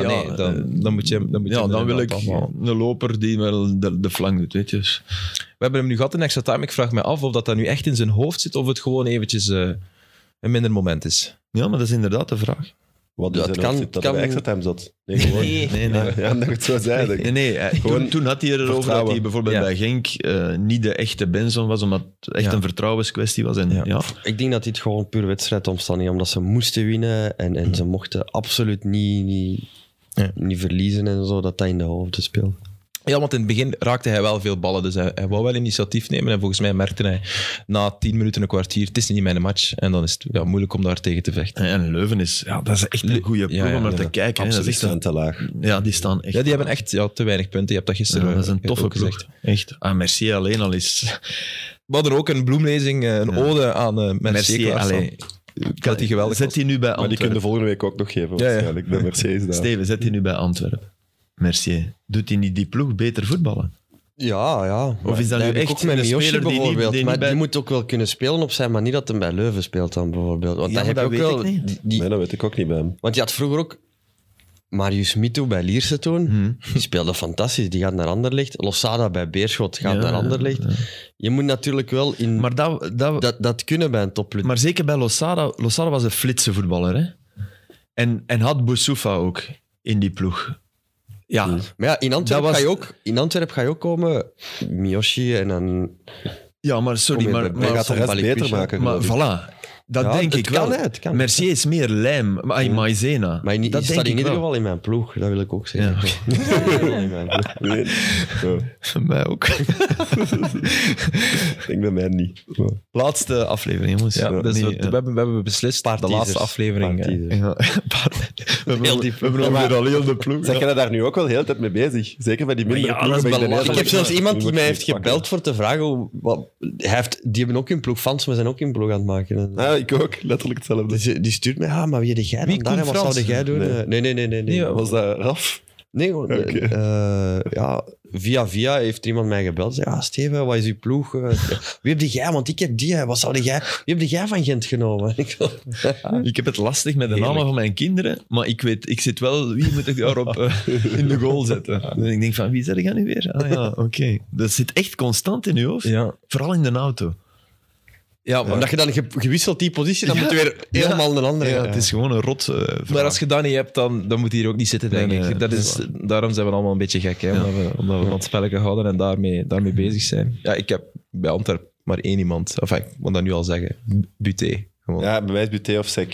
Speaker 1: Ja,
Speaker 4: ja. eh,
Speaker 1: nee, dan, dan moet je hem... Dan moet je
Speaker 4: ja,
Speaker 1: hem
Speaker 4: dan wil ik
Speaker 1: inderdaad afhalen.
Speaker 4: een loper die wel de, de flank doet, weet je. Dus-
Speaker 1: We hebben hem nu gehad in extra time. Ik vraag me af of dat, dat nu echt in zijn hoofd zit, of het gewoon eventjes eh, een minder moment is.
Speaker 4: Ja, maar dat is inderdaad de vraag.
Speaker 2: Wat
Speaker 3: Ja,
Speaker 2: is
Speaker 3: het
Speaker 2: er
Speaker 3: kan-
Speaker 2: nog zit dat
Speaker 3: kan-
Speaker 2: hij bij extra time zat? Nee, gewoon.
Speaker 4: Nee, nee.
Speaker 2: Ja, ja, dat ik het zo zei. denk ik.
Speaker 4: Nee, nee hij-
Speaker 2: Gewoon
Speaker 4: toen, toen had hij erover dat
Speaker 2: vertrouwen.
Speaker 4: hij bijvoorbeeld
Speaker 1: Ja.
Speaker 4: bij Genk eh, niet de echte Benson was, omdat het echt
Speaker 1: Ja.
Speaker 4: een vertrouwenskwestie was. En,
Speaker 1: Ja.
Speaker 4: ja.
Speaker 3: Ik denk dat dit gewoon puur wedstrijdomstandigheden, omdat ze moesten winnen en, en ze mochten absoluut niet, niet,
Speaker 1: Ja.
Speaker 3: niet verliezen en zo, dat dat in de hoofden speelt.
Speaker 1: Ja, want in het begin raakte hij wel veel ballen, dus hij, hij wou wel initiatief nemen. En volgens mij merkte hij na tien minuten, een kwartier, het is niet mijn match. En dan is het ja, moeilijk om daar tegen te vechten.
Speaker 4: En- En Leuven is, ja, dat is echt een goede ploeg
Speaker 1: ja,
Speaker 4: om naar
Speaker 1: ja,
Speaker 4: te
Speaker 1: ja.
Speaker 4: kijken. hè. Dat
Speaker 2: Absoluut
Speaker 4: is echt
Speaker 2: staan te laag.
Speaker 4: een- ja, die staan echt...
Speaker 1: Ja, die hebben echt ja, te weinig punten. Je hebt dat
Speaker 4: ja,
Speaker 1: gisteren eh,
Speaker 4: dat is een
Speaker 1: ook
Speaker 4: toffe
Speaker 1: gezegd.
Speaker 4: ploeg. Echt. Ah, Mercier alleen al is...
Speaker 1: We hadden ook een bloemlezing, eh, een ode aan eh Mercier.
Speaker 4: Mercier
Speaker 1: klaarstaan.
Speaker 4: alleen.
Speaker 1: Dat die geweldig
Speaker 4: Zet
Speaker 1: was.
Speaker 4: die nu bij
Speaker 2: Maar die kunnen
Speaker 4: Antwerpen.
Speaker 2: de volgende week ook nog geven.
Speaker 1: Ja, ja.
Speaker 2: Waarschijnlijk. De Mercedes daar.
Speaker 4: Steven, zet die nu bij Antwerpen. Mercier. Doet hij niet die ploeg beter voetballen?
Speaker 3: Ja, ja.
Speaker 4: Of is dat nu
Speaker 3: heb ik
Speaker 4: echt
Speaker 3: ook met
Speaker 4: een
Speaker 3: Miyoshi
Speaker 4: speler die niet-
Speaker 3: bijvoorbeeld?
Speaker 4: die niet
Speaker 3: maar
Speaker 4: bij-
Speaker 3: die moet ook wel kunnen spelen op zijn manier dat hem bij Leuven speelt dan bijvoorbeeld. Want
Speaker 4: Ja,
Speaker 3: dat
Speaker 4: maar
Speaker 3: heb je
Speaker 4: dat
Speaker 3: ook
Speaker 4: weet
Speaker 3: wel.
Speaker 4: ik niet.
Speaker 3: die- die-
Speaker 2: Nee, dat weet ik ook niet bij hem.
Speaker 3: want je had vroeger ook Marius Mito bij Lierse toen.
Speaker 4: Hmm.
Speaker 3: Die speelde fantastisch. Die gaat naar Anderlecht. Losada bij Beerschot gaat
Speaker 4: Ja,
Speaker 3: naar
Speaker 4: ja,
Speaker 3: Anderlecht. Je moet natuurlijk wel in
Speaker 4: Maar, dat, dat,
Speaker 3: dat, dat kunnen bij een topploeg.
Speaker 4: maar zeker bij Losada. Losada was een flitse voetballer. Hè? En, en had Boussoufa ook in die ploeg. Ja,
Speaker 3: Maar ja, in Antwerpen,
Speaker 4: Dat was-
Speaker 3: ga, je ook, in Antwerpen ga je ook komen. Miyoshi en dan...
Speaker 4: ja maar sorry,
Speaker 3: Kom je
Speaker 4: maar,
Speaker 3: bij-
Speaker 4: maar,
Speaker 2: Hij gaat de
Speaker 3: van
Speaker 2: rest
Speaker 3: Balikwisha.
Speaker 2: beter maken.
Speaker 4: maar
Speaker 2: geloof ik.
Speaker 4: voilà. Dat
Speaker 3: Ja,
Speaker 4: denk
Speaker 3: het
Speaker 4: ik
Speaker 3: kan,
Speaker 4: wel.
Speaker 3: hè, het kan.
Speaker 4: Mercier is meer lijm, maar maïzena.
Speaker 3: Maar in,
Speaker 4: dat
Speaker 3: staat
Speaker 4: denk
Speaker 3: in
Speaker 4: ik
Speaker 3: ieder
Speaker 4: wel.
Speaker 3: geval in mijn ploeg. Dat wil ik ook zeggen.
Speaker 4: Ja,
Speaker 3: In mijn ploeg.
Speaker 2: Nee. Zo.
Speaker 4: Mij ook.
Speaker 2: Ik denk bij mij niet. Zo.
Speaker 4: Laatste aflevering, jongens.
Speaker 1: Ja, dus
Speaker 4: Nee,
Speaker 1: we,
Speaker 4: eh,
Speaker 1: we hebben, we hebben beslist
Speaker 3: Paar
Speaker 1: de laatste
Speaker 3: teasers.
Speaker 1: aflevering.
Speaker 3: Paar
Speaker 1: eh,
Speaker 3: teasers.
Speaker 4: ja, paar- we hebben
Speaker 3: Heel
Speaker 4: al-
Speaker 3: die
Speaker 4: we hebben
Speaker 2: maar-
Speaker 4: alweer al heel de ploeg.
Speaker 2: Zeg je daar nu ook wel de hele tijd mee bezig? Zeker bij die mindere
Speaker 4: Maar ja,
Speaker 2: ploegen
Speaker 4: dat is
Speaker 2: ben ik de hele
Speaker 3: Ik heb
Speaker 2: tijd-
Speaker 3: zelfs iemand
Speaker 2: Nu
Speaker 3: die
Speaker 2: moet
Speaker 3: mij
Speaker 2: je
Speaker 3: heeft
Speaker 2: iets pakken.
Speaker 3: gebeld voor te vragen. Hoe, wat, hij heeft, die hebben ook hun ploeg. Fans maar zijn ook hun ploeg aan het maken. En-
Speaker 2: Ah, ik ook. Letterlijk hetzelfde.
Speaker 3: Dus, eh, die stuurt mij, ah, maar wie deed jij dan?
Speaker 1: Wie,
Speaker 3: Daar,
Speaker 1: Koen
Speaker 3: wat
Speaker 1: Frans?
Speaker 3: zou jij doen?
Speaker 2: Nee.
Speaker 3: Eh, Nee, nee, nee. nee,
Speaker 1: Nee,
Speaker 3: nee. Nee,
Speaker 1: wat-
Speaker 2: Was dat Raf?
Speaker 3: gewoon, eh,
Speaker 2: Oké.
Speaker 3: eh, ja, via via heeft er iemand mij gebeld. Zei, ah, Steven, wat is uw ploeg? Eh, Wie heb die jij? Want ik heb die. hè. Wat zou jij... Wie heb die jij van Gent genomen? Ik zo,
Speaker 4: Ik heb het lastig met de namen
Speaker 1: Heerlijk.
Speaker 4: van mijn kinderen, maar ik weet, ik zit wel, wie moet ik daarop eh, in de goal zetten? En ik denk van, wie zet ik nu weer? Ah ja, oké. Dat zit echt constant in je hoofd,
Speaker 1: Ja.
Speaker 4: vooral in de auto.
Speaker 1: Ja, maar,
Speaker 3: Omdat je dan ge- gewisseld die positie, dan
Speaker 4: Ja.
Speaker 3: moet je weer
Speaker 4: Ja.
Speaker 3: helemaal een andere.
Speaker 4: Ja, het is gewoon een rot eh,
Speaker 1: maar
Speaker 4: vraag.
Speaker 1: als je dat niet hebt, dan, dan moet je hier ook niet zitten, denk
Speaker 4: Nee,
Speaker 1: ik.
Speaker 4: nee,
Speaker 1: dat
Speaker 4: dat
Speaker 1: is,
Speaker 4: is
Speaker 1: daarom zijn we allemaal een beetje gek, hè, omdat, we, omdat we van het spelletje houden en daarmee, daarmee bezig zijn. Mm-hmm. Ja, ik heb bij Antwerp maar één iemand, of ik moet dat nu al zeggen, B- Buté. Gewoon.
Speaker 2: Ja, bij mij is Buté of E Sek.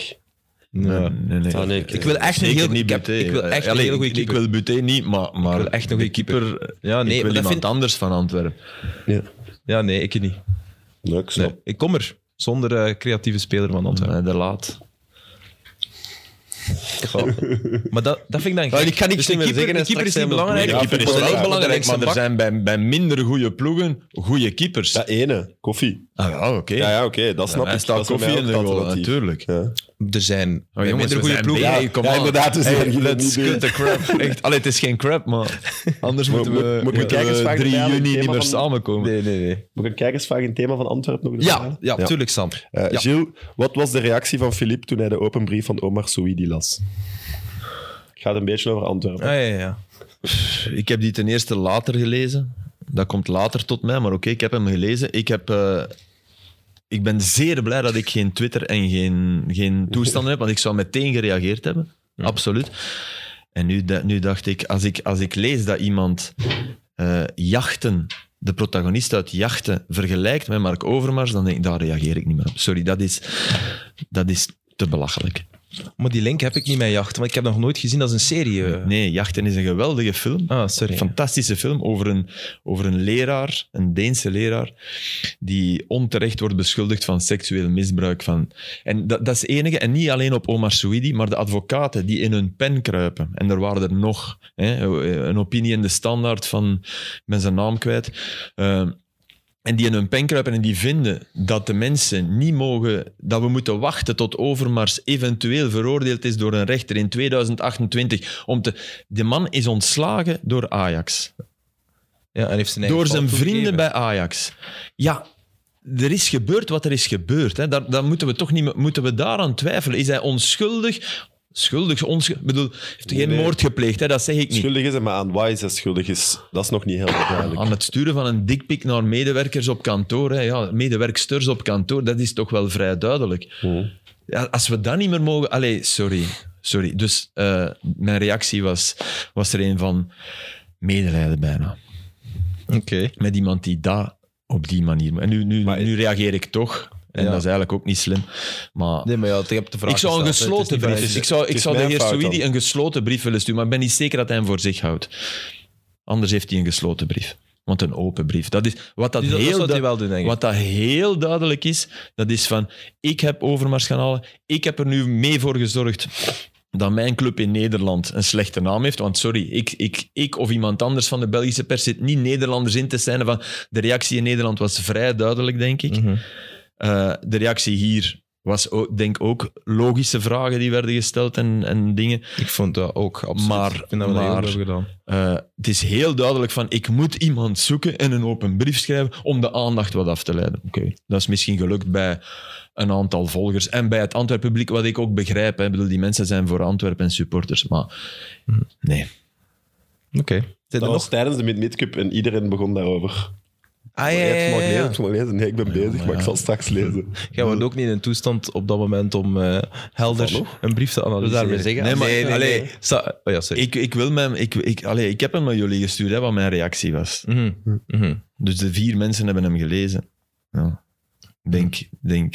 Speaker 1: Ja.
Speaker 4: Nee, nee, nee.
Speaker 3: Ah, nee, ik-
Speaker 1: Ik wil echt een
Speaker 4: Zeker
Speaker 1: heel
Speaker 4: niet
Speaker 1: ik heb-
Speaker 4: Buté.
Speaker 1: Ik wil echt een
Speaker 4: Allee,
Speaker 1: heel goede
Speaker 4: ik-
Speaker 1: keeper.
Speaker 4: Ik wil Buté niet, maar, maar
Speaker 1: wil echt een
Speaker 4: de
Speaker 1: goede keeper. Ja, nee,
Speaker 4: ik
Speaker 1: maar
Speaker 4: wil
Speaker 1: dat
Speaker 4: iemand
Speaker 1: vind-
Speaker 4: anders van Antwerpen.
Speaker 1: Ja, nee, ik niet.
Speaker 2: Nee, ik snap.
Speaker 1: Nee, ik kom er zonder eh, creatieve speler van Antwerpen.
Speaker 4: Eh, de laat.
Speaker 1: Maar dat, dat vind ik dan gek.
Speaker 3: Ja, ik kan niks
Speaker 1: Dus de
Speaker 3: meer
Speaker 1: keeper-
Speaker 3: zeggen,
Speaker 1: De
Speaker 3: hè,
Speaker 1: keeper is niet
Speaker 3: straks zijn we-
Speaker 1: belangrijk.
Speaker 4: de
Speaker 2: Ja,
Speaker 4: keeper is
Speaker 2: vind ik
Speaker 4: wel
Speaker 2: ook.
Speaker 4: belangrijk,
Speaker 1: Belangrijkste
Speaker 4: maar er
Speaker 1: bak.
Speaker 4: zijn bij, bij minder goede ploegen goede keepers.
Speaker 2: Dat ene, koffie.
Speaker 4: Ah ja, oké.
Speaker 2: Ja, ja oké, dat snap
Speaker 4: Hij
Speaker 2: ik.
Speaker 4: staat
Speaker 2: Dat is voor mij
Speaker 4: koffie in de
Speaker 2: ook het
Speaker 4: goal,
Speaker 2: alternatief.
Speaker 4: natuurlijk.
Speaker 2: Ja.
Speaker 1: Er zijn
Speaker 4: Oh, jongens,
Speaker 1: minder
Speaker 4: we
Speaker 1: goede
Speaker 4: zijn
Speaker 1: ploegen.
Speaker 4: bezig.
Speaker 1: Ja,
Speaker 4: Hey, come
Speaker 2: ja,
Speaker 4: on.
Speaker 2: inderdaad. Dus
Speaker 4: Hey,
Speaker 2: dat ging het
Speaker 4: let's
Speaker 2: niet doen.
Speaker 4: cut the crap. Echt, allee, het is geen crap, maar anders
Speaker 2: Moet-
Speaker 4: moeten we,
Speaker 2: moet- moeten we
Speaker 4: moeten we
Speaker 2: kijkersvragen
Speaker 4: 3
Speaker 2: erbij halen,
Speaker 4: juni niet
Speaker 2: thema
Speaker 4: meer
Speaker 2: van-
Speaker 4: samenkomen.
Speaker 1: Nee, nee, nee.
Speaker 2: Moet ik een kijkersvraag in het thema van Antwerpen nog erbij
Speaker 1: Ja,
Speaker 2: halen?
Speaker 1: ja, tuurlijk, Sam.
Speaker 2: Eh,
Speaker 1: Ja.
Speaker 2: Gilles, wat was de reactie van Philippe toen hij de open brief van Omar Souidi las? Het gaat een beetje over Antwerpen.
Speaker 1: Ah, ja, ja, ja.
Speaker 4: Ik heb die ten eerste later gelezen. Dat komt later tot mij, maar oké, ik heb hem gelezen. Ik, heb, eh, ik ben zeer blij dat ik geen Twitter en geen, geen toestanden heb, want ik zou meteen gereageerd hebben. Absoluut. En nu, da- nu dacht ik als, ik, als ik lees dat iemand eh, jachten, de protagonist uit jachten, vergelijkt met Mark Overmars, dan denk ik, daar reageer ik niet meer op. Sorry, dat is, dat is te belachelijk.
Speaker 1: Maar die link heb ik niet met jacht, want ik heb nog nooit gezien als een serie. eh.
Speaker 4: Nee, Jachten is een geweldige film.
Speaker 1: Ah, sorry.
Speaker 4: Fantastische film over een, over een leraar, een Deense leraar, die onterecht wordt beschuldigd van seksueel misbruik. Van, en dat, dat is het enige, en niet alleen op Omar Souidi, maar de advocaten die in hun pen kruipen. En er waren er nog. Hè, een opinie in de standaard van, ik ben zijn naam kwijt. Eh, En die in hun pen kruipen en die vinden dat de mensen niet mogen, dat we moeten wachten tot Overmars eventueel veroordeeld is door een rechter in 2028. Om te... De man is ontslagen door Ajax.
Speaker 1: Ja, en heeft zijn eigen
Speaker 4: Door
Speaker 1: fout
Speaker 4: zijn vrienden
Speaker 1: toegegeven.
Speaker 4: bij Ajax. Ja, er is gebeurd wat er is gebeurd. Hè. Daar, daar moeten we toch niet moeten we daaraan twijfelen. Is hij onschuldig? Schuldig, onschuldig. Ik bedoel, heeft hij geen
Speaker 2: Nee.
Speaker 4: moord gepleegd, hè? dat zeg ik niet.
Speaker 2: Schuldig is hij, maar aan waar hij schuldig is, dat is nog niet heel duidelijk.
Speaker 4: Aan het sturen van een dikpik naar medewerkers op kantoor, hè, ja, medewerksters op kantoor, dat is toch wel vrij duidelijk. Ja, als we dat niet meer mogen... Allee, sorry. sorry. Dus eh, mijn reactie was, was er een van medelijden bijna.
Speaker 1: Oké.
Speaker 4: Met iemand die dat op die manier... En nu, nu, nu reageer ik toch. En
Speaker 1: Ja.
Speaker 4: dat is eigenlijk ook niet slim. Maar
Speaker 1: Nee, maar ja, ik heb de vraag
Speaker 4: ik zou een
Speaker 1: gesteld, hè. Het is
Speaker 4: gesloten
Speaker 1: niet
Speaker 4: brief.
Speaker 1: van-
Speaker 4: ik zou,
Speaker 2: het
Speaker 4: ik
Speaker 2: is
Speaker 4: zou de
Speaker 2: mijn
Speaker 4: heer
Speaker 2: fout
Speaker 4: Souidi
Speaker 2: dan.
Speaker 4: een gesloten brief willen sturen, maar ik ben niet zeker dat hij hem voor zich houdt. Anders heeft hij een gesloten brief. Want een open brief. Dat is, wat, dat
Speaker 1: Dus dat- dat
Speaker 4: heel
Speaker 1: zou hij
Speaker 4: du-
Speaker 1: wel doen, denk ik.
Speaker 4: wat dat heel duidelijk is, dat is van ik heb overmars gaan halen. Ik heb er nu mee voor gezorgd dat mijn club in Nederland een slechte naam heeft. Want sorry, ik, ik, ik of iemand anders van de Belgische pers zit niet Nederlanders in te zijn. Van, de reactie in Nederland was vrij duidelijk, denk ik.
Speaker 1: Mhm.
Speaker 4: Eh, de reactie hier was ook, denk ook logische vragen die werden gesteld en, en dingen.
Speaker 1: Ik vond dat ook, absoluut.
Speaker 4: Maar-
Speaker 1: ik vind dat we dat heel
Speaker 4: maar-
Speaker 1: goed hebben gedaan.
Speaker 4: Eh, het is heel duidelijk van ik moet iemand zoeken en een open brief schrijven om de aandacht wat af te leiden. Oké, dat is misschien gelukt bij een aantal volgers en bij het Antwerp publiek, wat ik ook begrijp. Hè. Ik bedoel, die mensen zijn voor Antwerpen supporters, maar nee.
Speaker 1: Oké. Zijn
Speaker 2: Dat
Speaker 1: er
Speaker 2: was
Speaker 1: nog?
Speaker 2: tijdens de Mid-Mid-Cup en iedereen begon daarover.
Speaker 1: Ah, ja,
Speaker 2: Maar jij hebt het
Speaker 1: ja, ja,
Speaker 2: mag lezen,
Speaker 1: ja.
Speaker 2: het mag lezen. Nee, ik ben bezig, maar ik zal straks lezen.
Speaker 1: Jij wordt ook niet in een toestand op dat moment om eh,
Speaker 2: Hallo?
Speaker 1: helder een brief te analyseren.
Speaker 3: daarmee zeggen?
Speaker 1: Nee, maar
Speaker 4: Nee, nee,
Speaker 1: allee,
Speaker 4: nee.
Speaker 1: sa- oh ja, sorry.
Speaker 4: Ik, ik, wil mijn, ik, ik, allee, ik heb hem naar jullie gestuurd, hè, wat mijn reactie was.
Speaker 1: Mhm, mhm.
Speaker 4: Dus de vier mensen hebben hem gelezen. Ja. Denk, denk.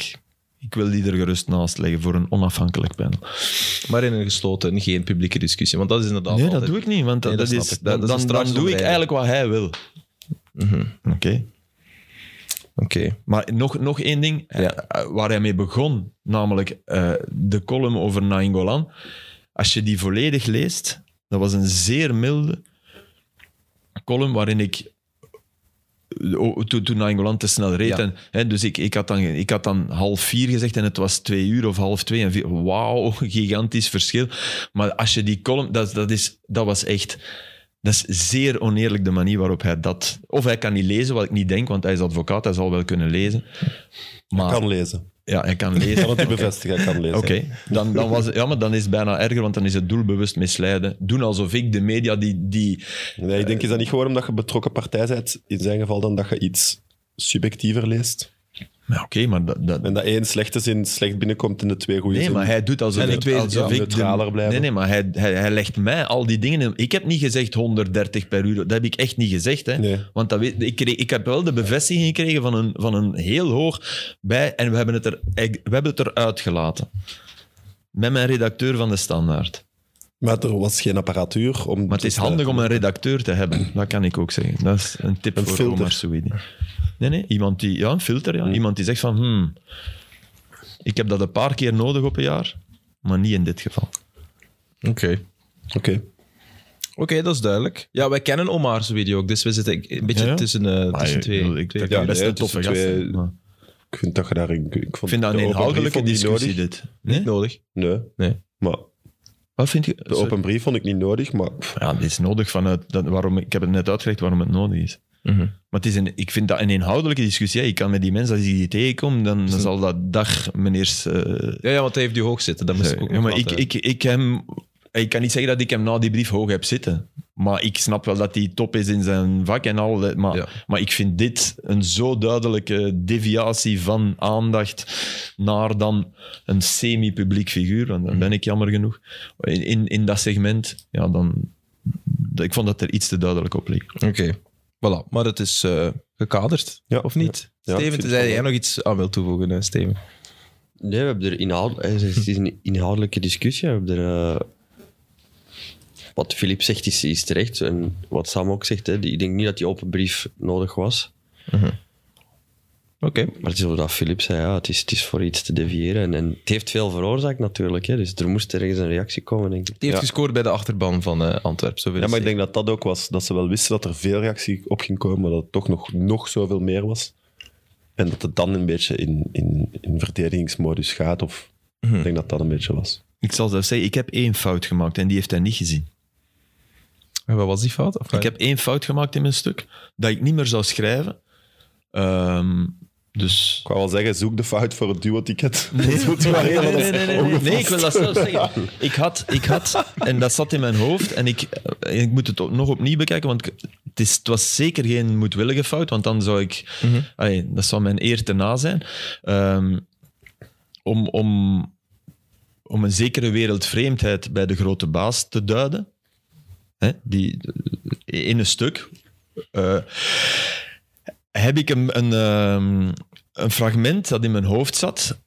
Speaker 4: Ik wil die er gerust naast leggen voor een onafhankelijk panel.
Speaker 1: Maar in een gesloten, geen publieke discussie. Want dat is inderdaad.
Speaker 4: Nee, dat
Speaker 1: altijd-
Speaker 4: doe ik niet, want dat,
Speaker 1: Nee, dat
Speaker 4: dat
Speaker 1: snap
Speaker 4: is,
Speaker 1: ik. Dat-
Speaker 4: dan,
Speaker 1: dat is
Speaker 4: dan,
Speaker 1: een straks
Speaker 4: dan doe ik
Speaker 1: onderwijs.
Speaker 4: eigenlijk wat hij wil.
Speaker 1: Mhm,
Speaker 4: Oké.
Speaker 1: Oké.
Speaker 4: Maar nog, nog één ding
Speaker 1: Ja.
Speaker 4: eh, waar hij mee begon, namelijk eh, de column over Nainggolan. Als je die volledig leest, dat was een zeer milde column waarin ik o- toen toen Nainggolan te snel reed.
Speaker 1: Ja.
Speaker 4: En, hè, dus ik, ik, had dan, ik had dan half vier gezegd en het was twee uur of half twee. En vier, wauw, gigantisch verschil. Maar als je die column... Dat, dat, is, dat was echt... Dat is zeer oneerlijk de manier waarop hij dat... Of hij kan niet lezen, wat ik niet denk, want hij is advocaat, hij zal wel kunnen lezen. Maar
Speaker 2: Ik kan lezen.
Speaker 4: ja, hij kan
Speaker 2: Ik kan
Speaker 4: lezen.
Speaker 2: het niet bevestigen, ik kan lezen.
Speaker 4: Oké, dan, dan, was het- ja, maar dan is het bijna erger, want dan is het doelbewust misleiden. Doen alsof ik de media die, die,
Speaker 2: Nee, ik denk, is dat niet gewoon omdat je betrokken partij bent, in zijn geval dan dat je iets subjectiever leest?
Speaker 4: Maar oké, maar dat... dat-
Speaker 2: En dat één slechte zin slecht binnenkomt in de twee goede
Speaker 4: nee,
Speaker 2: zinnen.
Speaker 4: maar hij doet alsof
Speaker 2: En
Speaker 4: ik...
Speaker 2: ik weet het,
Speaker 4: alsof
Speaker 2: ja,
Speaker 4: ik de-
Speaker 2: neutraler blijven.
Speaker 4: Nee, nee, maar hij, hij, hij legt mij al die dingen... in. Ik heb niet gezegd 130 per uur. Dat heb ik echt niet gezegd. Hè.
Speaker 2: Nee.
Speaker 4: Want dat weet, ik, kreeg- ik heb wel de bevestiging gekregen van een, van een heel hoog bij... En we hebben het, er, we hebben het eruit gelaten. Met mijn redacteur van de Standaard.
Speaker 2: Maar er was geen apparatuur om...
Speaker 4: Maar het is handig om een redacteur te hebben. Dat kan ik ook zeggen. Dat is een tip
Speaker 2: Een
Speaker 4: voor
Speaker 2: filter.
Speaker 4: Omar Souidi. Nee, nee. Iemand die... Ja, een filter. Ja. Iemand die zegt van... Hmm, ik heb dat een paar keer nodig op een jaar. Maar niet in dit geval.
Speaker 1: Oké.
Speaker 2: Oké.
Speaker 1: Oké, dat is duidelijk. Ja, wij kennen Omar's video ook, dus we zitten een beetje
Speaker 4: Ja, ja.
Speaker 1: tussen, eh,
Speaker 4: Maar
Speaker 1: tussen
Speaker 4: ik
Speaker 1: twee.
Speaker 4: bedoel, Ik
Speaker 1: twee-
Speaker 4: vind
Speaker 2: Ja,
Speaker 4: dat best
Speaker 2: nee,
Speaker 4: een toffe
Speaker 2: tussen
Speaker 4: gast.
Speaker 2: twee-
Speaker 4: hè. Maar
Speaker 2: Ik vind dat je daarin... Ik, vond
Speaker 4: Ik vind dat
Speaker 2: de
Speaker 4: een
Speaker 2: open
Speaker 4: inhoudelijke
Speaker 2: brief vond ik
Speaker 4: discussie,
Speaker 2: niet
Speaker 4: dus- dit.
Speaker 1: Niet
Speaker 4: Nee?
Speaker 1: nodig.
Speaker 2: nodig. Nee.
Speaker 1: Nee.
Speaker 2: Maar
Speaker 4: Wat vind je?
Speaker 2: de
Speaker 4: Sorry.
Speaker 2: open brief vond ik niet nodig, maar... pff,
Speaker 4: Dus- Ja, dit is nodig vanuit... Dat, waarom, ik heb het net uitgelegd waarom het nodig is.
Speaker 1: Mhm.
Speaker 4: Maar het is een, ik vind dat een inhoudelijke discussie. hè. Ik kan met die mensen, als ik die tegenkom, dan, dan zal dat dag meneer... eh,
Speaker 1: Ja, ja, want hij heeft die hoog zitten. Dat moest ik ook
Speaker 4: Ja,
Speaker 1: nog
Speaker 4: Eh, maar ik,
Speaker 1: laten.
Speaker 4: ik, ik, hem, ik kan niet zeggen dat ik hem na die brief hoog heb zitten. Maar ik snap wel dat hij top is in zijn vak en al. dat- Maar,
Speaker 1: Ja.
Speaker 4: maar ik vind dit een zo duidelijke deviatie van aandacht naar dan een semi-publiek figuur. Want dan ben ik jammer genoeg. In, in, in dat segment, ja, dan... Ik vond dat er iets te duidelijk op leek.
Speaker 1: Oké. Voilà, maar het is eh, gekaderd,
Speaker 2: Ja.
Speaker 1: of niet?
Speaker 2: Ja, ik
Speaker 1: Steven,
Speaker 2: vind
Speaker 1: tenzij
Speaker 2: het
Speaker 1: jij
Speaker 2: wel.
Speaker 1: nog iets aan wil toevoegen, eh, Steven.
Speaker 3: Nee, we hebben er inhoud... eh, Het is een inhoudelijke discussie. We hebben er, eh, Wat Filip zegt is, is terecht. En wat Sam ook zegt, hè, die- ik denk niet dat die open brief nodig was.
Speaker 1: Oké.
Speaker 3: Maar het is omdat Filip zei, ja, het, is, het is voor iets te deviëren. En, en het heeft veel veroorzaakt natuurlijk. Hè, dus er moest ergens een reactie komen, denk ik.
Speaker 1: Die heeft
Speaker 2: Ja.
Speaker 1: gescoord bij de achterban van eh Antwerpen. Zo wil
Speaker 2: Ja,
Speaker 1: ik
Speaker 2: maar ik
Speaker 1: zeggen.
Speaker 2: denk dat dat ook was. Dat ze wel wisten dat er veel reactie op ging komen, maar dat het toch nog, nog zoveel meer was. En dat het dan een beetje in, in, in verdedigingsmodus gaat. Of ik denk dat dat een beetje was.
Speaker 4: Ik zal zelfs zeggen, ik heb één fout gemaakt en die heeft hij niet gezien.
Speaker 1: En wat was die fout? Of-
Speaker 4: Ik heb één fout gemaakt in mijn stuk, dat ik niet meer zou schrijven. Ehm, dus...
Speaker 2: Ik wou wel zeggen, zoek de fout voor het duo-ticket. Nee, nee,
Speaker 4: Nee, ik wil dat zelf zeggen. Ik had, ik had, en dat zat in mijn hoofd, en ik, en ik moet het ook nog opnieuw bekijken, want ik- het, is, het was zeker geen moedwillige fout, want dan zou ik, allee, dat zou mijn eer te na zijn, Ehm, om, om, om een zekere wereldvreemdheid bij de grote baas te duiden. Hè, die, in een stuk, eh, heb ik een, een, ehm, een fragment dat in mijn hoofd zat